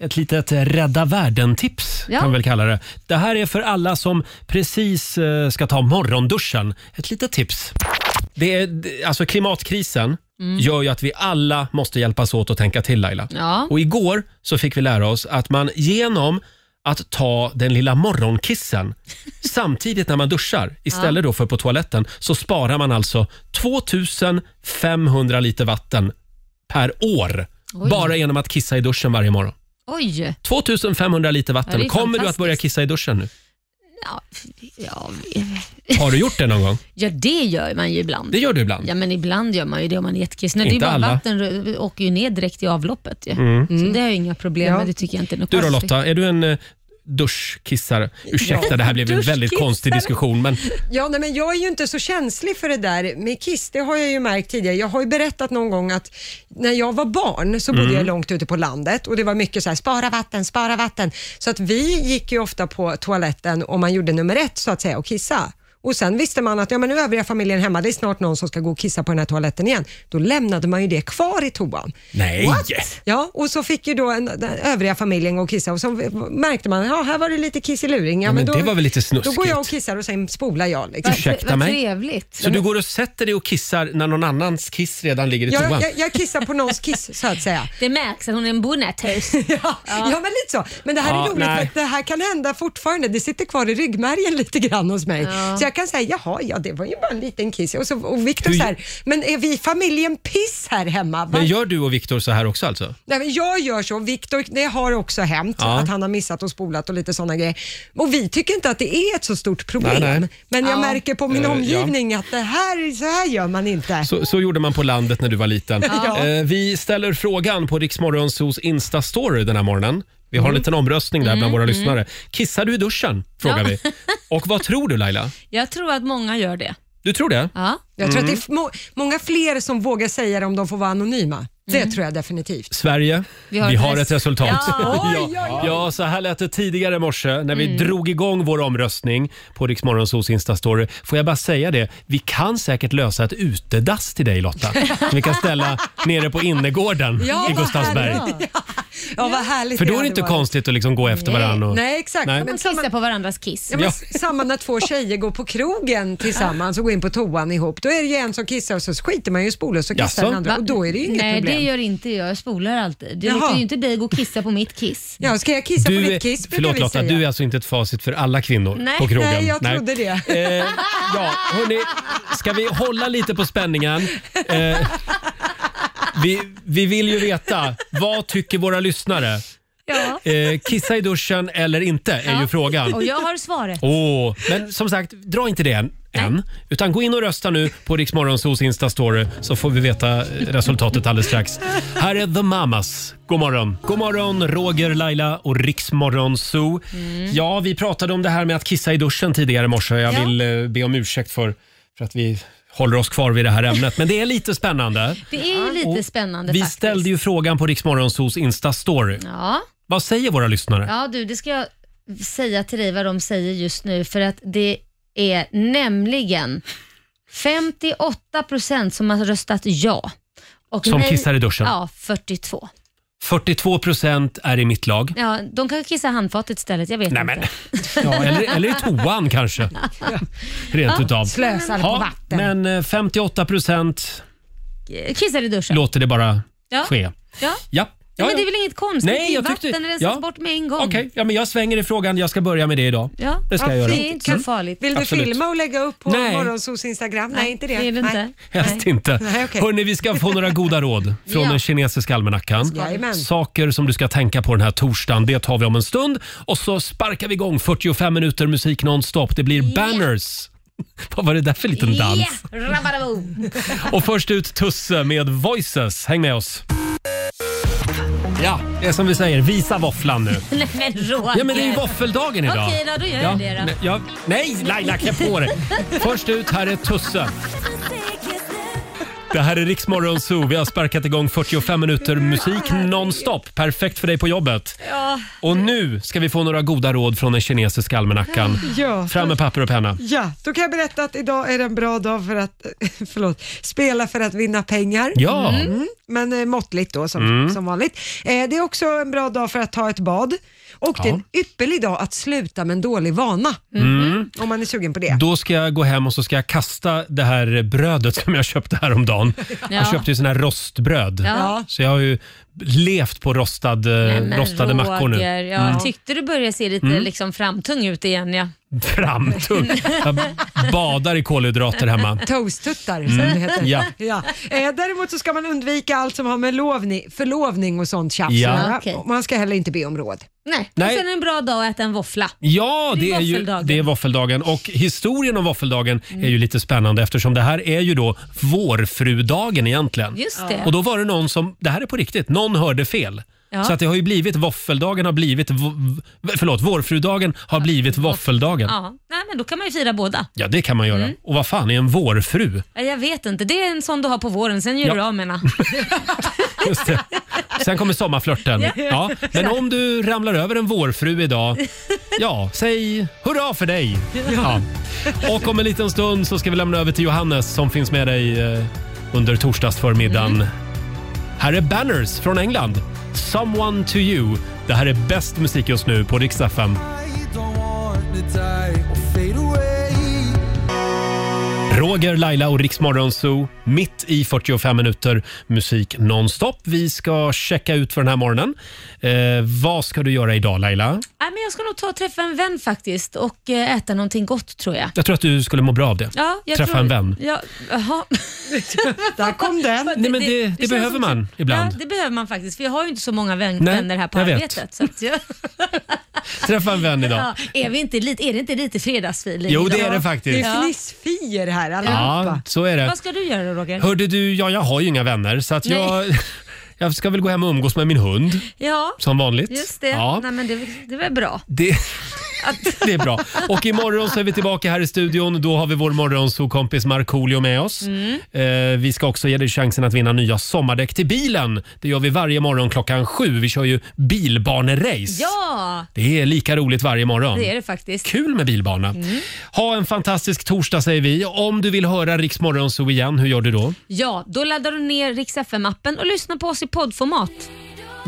S1: ett litet rädda världen-tips
S3: Ja.
S1: kan vi väl kalla det. Det här är för alla som precis eh, ska ta morgonduschen. Ett litet tips. Det är, d- alltså klimatkrisen
S3: Mm.
S1: gör ju att vi alla måste hjälpas åt att tänka till Laila.
S3: Ja.
S1: Och igår så fick vi lära oss att man genom att ta den lilla
S3: *laughs*
S1: morgonkissen samtidigt när man duschar istället då för på toaletten så sparar man alltså 2500 liter vatten per år
S3: Oj.
S1: bara genom att kissa i duschen varje morgon.
S3: Oj!
S1: 2500 liter
S3: Ja,
S1: vatten.
S3: det är
S1: Kommer du att
S3: fantastiskt.
S1: börja kissa i duschen nu?
S3: Ja, ja,
S1: Har du gjort det någon
S3: *laughs*
S1: gång?
S3: ja, det gör man ju ibland.
S1: Det gör du ibland.
S3: Ja, men ibland gör man ju det om man är jättekissnödig. Det är
S1: Inte
S3: bara
S1: alla.
S3: vatten åker ju ner direkt i avloppet ju.
S1: Mm.
S3: Så det har jag inga problem med. Det tycker jag inte är något
S1: Du då
S3: konstigt.
S1: Lotta, är du en eh, duschkissare? Ursäkta,
S2: Ja.
S1: det här blev en väldigt
S2: Duschkissare.
S1: konstig diskussion. Men
S2: Ja, nej, men jag är ju inte så känslig för det där med kiss. Det har jag ju märkt tidigare. Jag har ju berättat någon gång att när jag var barn så bodde
S16: Mm.
S2: jag långt ute på landet och det var mycket så här, spara vatten, spara vatten. Så att vi gick ju ofta på toaletten om man gjorde nummer ett så att säga och kissa. Och sen visste man att ja, men nu är övriga familjen hemma, det är snart någon som ska gå och kissa på den här toaletten igen. Då lämnade man ju det kvar i toan.
S1: nej!
S2: Ja, och så fick ju då en, den övriga familjen gå och kissa och så märkte man, ja här var det lite kiss i luring. Ja,
S1: Ja, men
S2: då,
S1: det var väl lite
S2: Då går
S1: snuskigt.
S2: jag och kissar och sen spolar jag. Liksom.
S1: Ursäkta mig? Så du går och sätter dig och kissar när någon annans kiss redan ligger i
S2: jag,
S1: toan?
S2: jag, jag kissar på någons kiss så att säga.
S3: Det märks att hon är en bonnetös.
S2: *laughs* ja, ja. men lite så. Men det här
S1: Ja,
S2: är roligt
S1: nej.
S2: för att det här kan hända fortfarande. Det sitter kvar i ryggmärgen lite grann hos mig.
S3: Ja.
S2: Så jag kan säga, jaha, ja det var ju bara en liten kiss. Och, så, och Victor så här, men är vi familjen piss här hemma? Va?
S1: Men gör du och Viktor så här också alltså?
S2: Nej, men jag gör så. Viktor, det har också hänt
S1: Ja.
S2: att han har missat och spolat och lite sådana grejer. Och vi tycker inte att det är ett så stort problem.
S1: Nej, nej.
S2: Men jag
S1: Ja.
S2: märker på min
S1: Eh, ja.
S2: omgivning att det här, så här gör man inte.
S1: Så, så gjorde man på landet när du var liten.
S2: Ja.
S1: Eh, vi ställer frågan på Riksmorgonsos Insta-story den här morgonen. Vi har en
S3: Mm.
S1: liten omröstning där bland
S3: Mm,
S1: våra
S3: mm.
S1: lyssnare. Kissar du i duschen? Frågar
S3: Ja.
S1: vi. Och vad tror du Laila?
S3: Jag tror att många gör det.
S1: Du tror det?
S3: Ja.
S2: Jag tror att det är
S1: Mm.
S2: f- må- många fler som vågar säga det om de får vara anonyma. Det
S3: Mm.
S2: tror jag definitivt.
S1: Sverige, vi
S2: Vi
S1: har,
S2: har ett
S1: ett
S2: res-
S1: resultat.
S2: Ja. Oj,
S1: ja.
S2: oj, oj.
S1: ja, så här lät det tidigare i morse när vi
S3: Mm.
S1: drog igång vår omröstning på Riksmorgonsos Insta-story. Får jag bara säga det, vi kan säkert lösa ett utedass till dig
S2: *laughs*
S1: Lotta. Som vi kan ställa nere på innergården i Gustavsberg.
S2: Ja, *laughs* ja, vad härligt
S1: För då är det
S2: hade
S1: inte
S2: varit.
S1: konstigt att liksom gå efter varandra. Och...
S2: Nej, exakt.
S1: Nej.
S2: Men
S3: Kissa på varandras kiss.
S2: Ja, men
S1: Ja.
S2: s- Samma när två tjejer går på krogen tillsammans och går in på toan ihop. Då är det ju en som kissar och så skiter man ju i spolen så kissar den andra och då är det ju inget
S3: Nej,
S2: problem.
S3: det gör inte jag. Jag spolar alltid. Du
S2: Jaha.
S3: låter ju inte dig gå och kissa på mitt kiss.
S2: Ja, ska jag kissa
S1: Du är, förlåt Lotta, du är alltså inte ett facit för alla kvinnor
S3: Nej,
S1: på krogen?
S3: nej, jag trodde det.
S1: Eh, ja, hörni, ska vi hålla lite på spänningen? Eh, vi, vi vill ju veta, vad tycker våra lyssnare?
S3: *laughs* Ja.
S1: Eh, kissa i duschen eller inte är ju frågan.
S3: Och jag har svaret.
S1: Åh, men som sagt, dra inte det än. än utan gå in och rösta nu på Riksmorgonsos Insta-story så får vi veta eh, resultatet alldeles strax. Här är The Mamas. God morgon. God morgon, Roger, Laila och Riksmorgonso.
S3: Mm.
S1: Ja, vi pratade om det här med att kissa i duschen tidigare i morse. Jag vill eh, be om ursäkt för, för att vi håller oss kvar vid det här ämnet, men det är lite
S3: *laughs*
S1: spännande.
S3: Det är ju lite spännande
S1: Vi
S3: faktiskt.
S1: ställde ju frågan på Riksmorgonsos Insta-story.
S3: Ja.
S1: Vad säger våra lyssnare?
S3: ja, du, det ska jag säga till dig vad de säger just nu för att det är nämligen 58% som har röstat ja. Och
S1: Som kissar i duschen.
S3: Ja, 42.
S1: 42 procent är i mitt lag.
S3: Ja, de kan kissa i handfatet istället, jag vet
S1: Nej,
S3: inte.
S1: men, ja, eller, eller i toan kanske. Rent
S3: Ja,
S1: utav.
S3: slösar på
S1: Ja,
S3: vatten.
S1: Men eh, 58 procent
S3: *laughs* Kissar i duschen.
S1: låter det bara
S3: Ja.
S1: ske. Ja.
S3: Ja.
S1: ja,
S3: Ja,
S1: ja.
S3: men det är väl inget konstigt?
S1: Nej,
S3: Det är
S1: jag
S3: vatten
S1: tyckte-
S3: rensas
S1: ja.
S3: bort med en gång.
S1: Okej, ja, men jag svänger i frågan. Jag ska börja med det idag.
S3: Ja.
S1: Det ska jag göra.
S3: Det är inte så
S1: Mm.
S3: farligt.
S2: Vill du
S1: Absolut.
S2: filma och lägga upp på
S1: Nej.
S2: Morgonsos Instagram? Nej, inte det.
S3: det är det inte.
S1: Helst inte.
S2: Nej, okej.
S1: Hörrni, vi ska få några goda råd från
S2: *laughs* Ja.
S1: den kinesiska almanackan.
S2: Jajamän.
S1: Saker som du ska tänka på den här torsdagen, det tar vi om en stund. Och så sparkar vi igång 45 minuter musik nonstop. Det blir banners. *laughs* Vad var det där för liten dans?
S3: Ja, rabadaboo.
S1: *laughs* Och först ut Tusse med Voices. Häng med oss. Ja, det är som vi säger. Visa våfflan nu.
S3: Nej men Roger.
S1: Ja, men det är ju våffeldagen idag.
S3: Okej då, då gör
S1: ja,
S3: jag det då.
S1: ne- Ja, nej, Laila, klä på dig. Först ut, här är Tusse. Det här är Riksmorgon Zoo. Vi har sparkat igång 45 minuter musik nonstop. Perfekt för dig på jobbet.
S2: Ja.
S1: Och nu ska vi få några goda råd från den kinesiska almanackan.
S2: Ja.
S1: Fram med papper och penna.
S2: Ja, då kan jag berätta att idag är det en bra dag för att *laughs* förlåt, spela för att vinna pengar.
S1: Ja.
S2: Mm, men eh, måttligt då som,
S1: Mm.
S2: som vanligt. Eh, det är också en bra dag för att ta ett bad. Och det är en ypperlig dag att sluta med en dålig vana.
S1: Mm.
S2: Om man är sugen på det.
S1: Då ska jag gå hem och så ska jag kasta det här brödet som jag köpte häromdagen.
S2: Ja.
S1: Jag köpte ju sån här rostbröd.
S16: Ja.
S1: Så jag har ju levt på rostad, eh,
S3: Nej, men
S1: rostade mackor nu.
S3: Roger, Jag
S1: Mm.
S3: tyckte du började se lite
S1: Mm.
S3: liksom framtung ut igen. Ja.
S1: Framtung. Jag badar i kolhydrater
S2: *laughs*
S1: hemma.
S2: Toasttuttar som
S1: Mm,
S2: det heter. *laughs*
S1: ja.
S2: Eh, däremot så ska man undvika allt som har med lovni, förlovning och sånt tjafs att
S1: Ja.
S2: göra.
S3: Okej.
S2: Och Man ska heller inte be om råd.
S3: Nej.
S1: Nej.
S3: Och sen är det en bra dag att äta en våffla.
S1: Ja,
S3: Det är
S1: det är, ju,
S3: våffeldagen.
S1: det är våffeldagen. Och historien om våffeldagen är ju lite spännande eftersom det här är ju då vårfrudagen egentligen.
S3: Just det.
S1: Och då var det någon som, det här är på riktigt, någon hörde fel.
S3: Ja.
S1: Så att det har ju blivit våffeldagen har blivit, v- förlåt, vårfrudagen har blivit våffeldagen.
S3: Ja. Mm. Nej, men då kan man ju fira båda.
S1: Ja, det kan man göra. Och vad fan är en vårfru?
S3: Ja, Jag vet inte, det är en sån du har på våren, sen gör
S1: Ja.
S3: du av med den.
S1: *laughs* Just det. Sen kommer sommarflörten.
S3: Ja.
S1: Ja. Men om du ramlar över en vårfru idag, ja, säg hurra för dig! Ja. Och om en liten stund så ska vi lämna över till Johannes som finns med dig eh, under torsdagsförmiddagen. Här är Banners från England. Someone to you. Det här är bäst musik just nu på Rix FM. Roger, Laila och Riksmorgon Zoo, mitt i 45 minuter musik nonstop. Vi ska checka ut för den här morgonen. Eh, vad ska du göra idag Laila?
S3: Nej, men jag ska nog ta och träffa en vän faktiskt och eh, äta någonting gott tror jag.
S1: Jag tror att du skulle må bra av det.
S3: Ja, jag
S1: Träffa
S3: tror,
S1: en vän.
S3: Ja,
S1: *laughs*
S3: jaha.
S2: Där kom den.
S1: Nej, men det, det,
S3: känns
S1: behöver
S3: som- typ-
S1: man ibland.
S3: Ja, det behöver man faktiskt, för jag har ju inte så många vän,
S1: Nej,
S3: vänner här på
S1: jag vet.
S3: arbetet. Så att jag,
S1: Träffa en vän idag.
S3: *laughs* ja, är, vi inte lite, är det inte lite fredagsfeeling?
S1: Jo,
S3: idag?
S1: det är det faktiskt.
S3: Ja.
S2: Fnissfier här
S1: Ja,
S2: allihopa.
S1: så är det.
S3: Vad ska du göra då Roger?
S1: Hörde du, ja, jag har ju inga vänner så att
S3: Nej.
S1: jag, *laughs* jag ska väl gå hem och umgås med min hund.
S3: Ja,
S1: Som vanligt.
S3: Just det.
S1: Ja.
S3: Nej, men det, det är väl bra.
S1: Det, *laughs* det är bra. Och imorgon så är vi tillbaka här i studion. Då har vi vår morgonsokompis Markoolio med oss.
S3: Mm.
S1: Eh, vi ska också ge dig chansen att vinna nya sommardäck till bilen. Det gör vi varje morgon klockan sju. Vi kör ju bilbanerace.
S3: Ja,
S1: Det är lika roligt varje morgon.
S3: det är det faktiskt. Mm.
S1: Kul med bilbana. Ha en fantastisk torsdag säger vi. Om du vill höra Rix Morgonzoo igen, hur gör du då?
S3: Ja, då laddar du ner Rix FM-appen och lyssnar på oss i poddformat.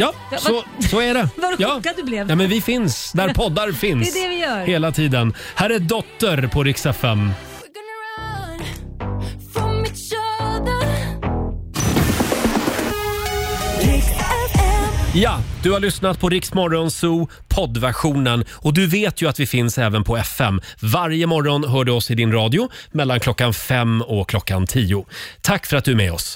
S1: Ja,
S3: Ja,
S1: så, så är det.
S3: *laughs* Vad
S1: ja.
S3: chockad du blev.
S1: Ja, men vi finns där poddar finns.
S3: *laughs* Det är det vi gör.
S1: Hela tiden. Här är Dotter på Rix FM. Ja, du har lyssnat på Rix Morgon Zoo poddversionen och du vet ju att vi finns även på FM. Varje morgon hör du oss i din radio mellan klockan fem och klockan tio. Tack för att du är med oss.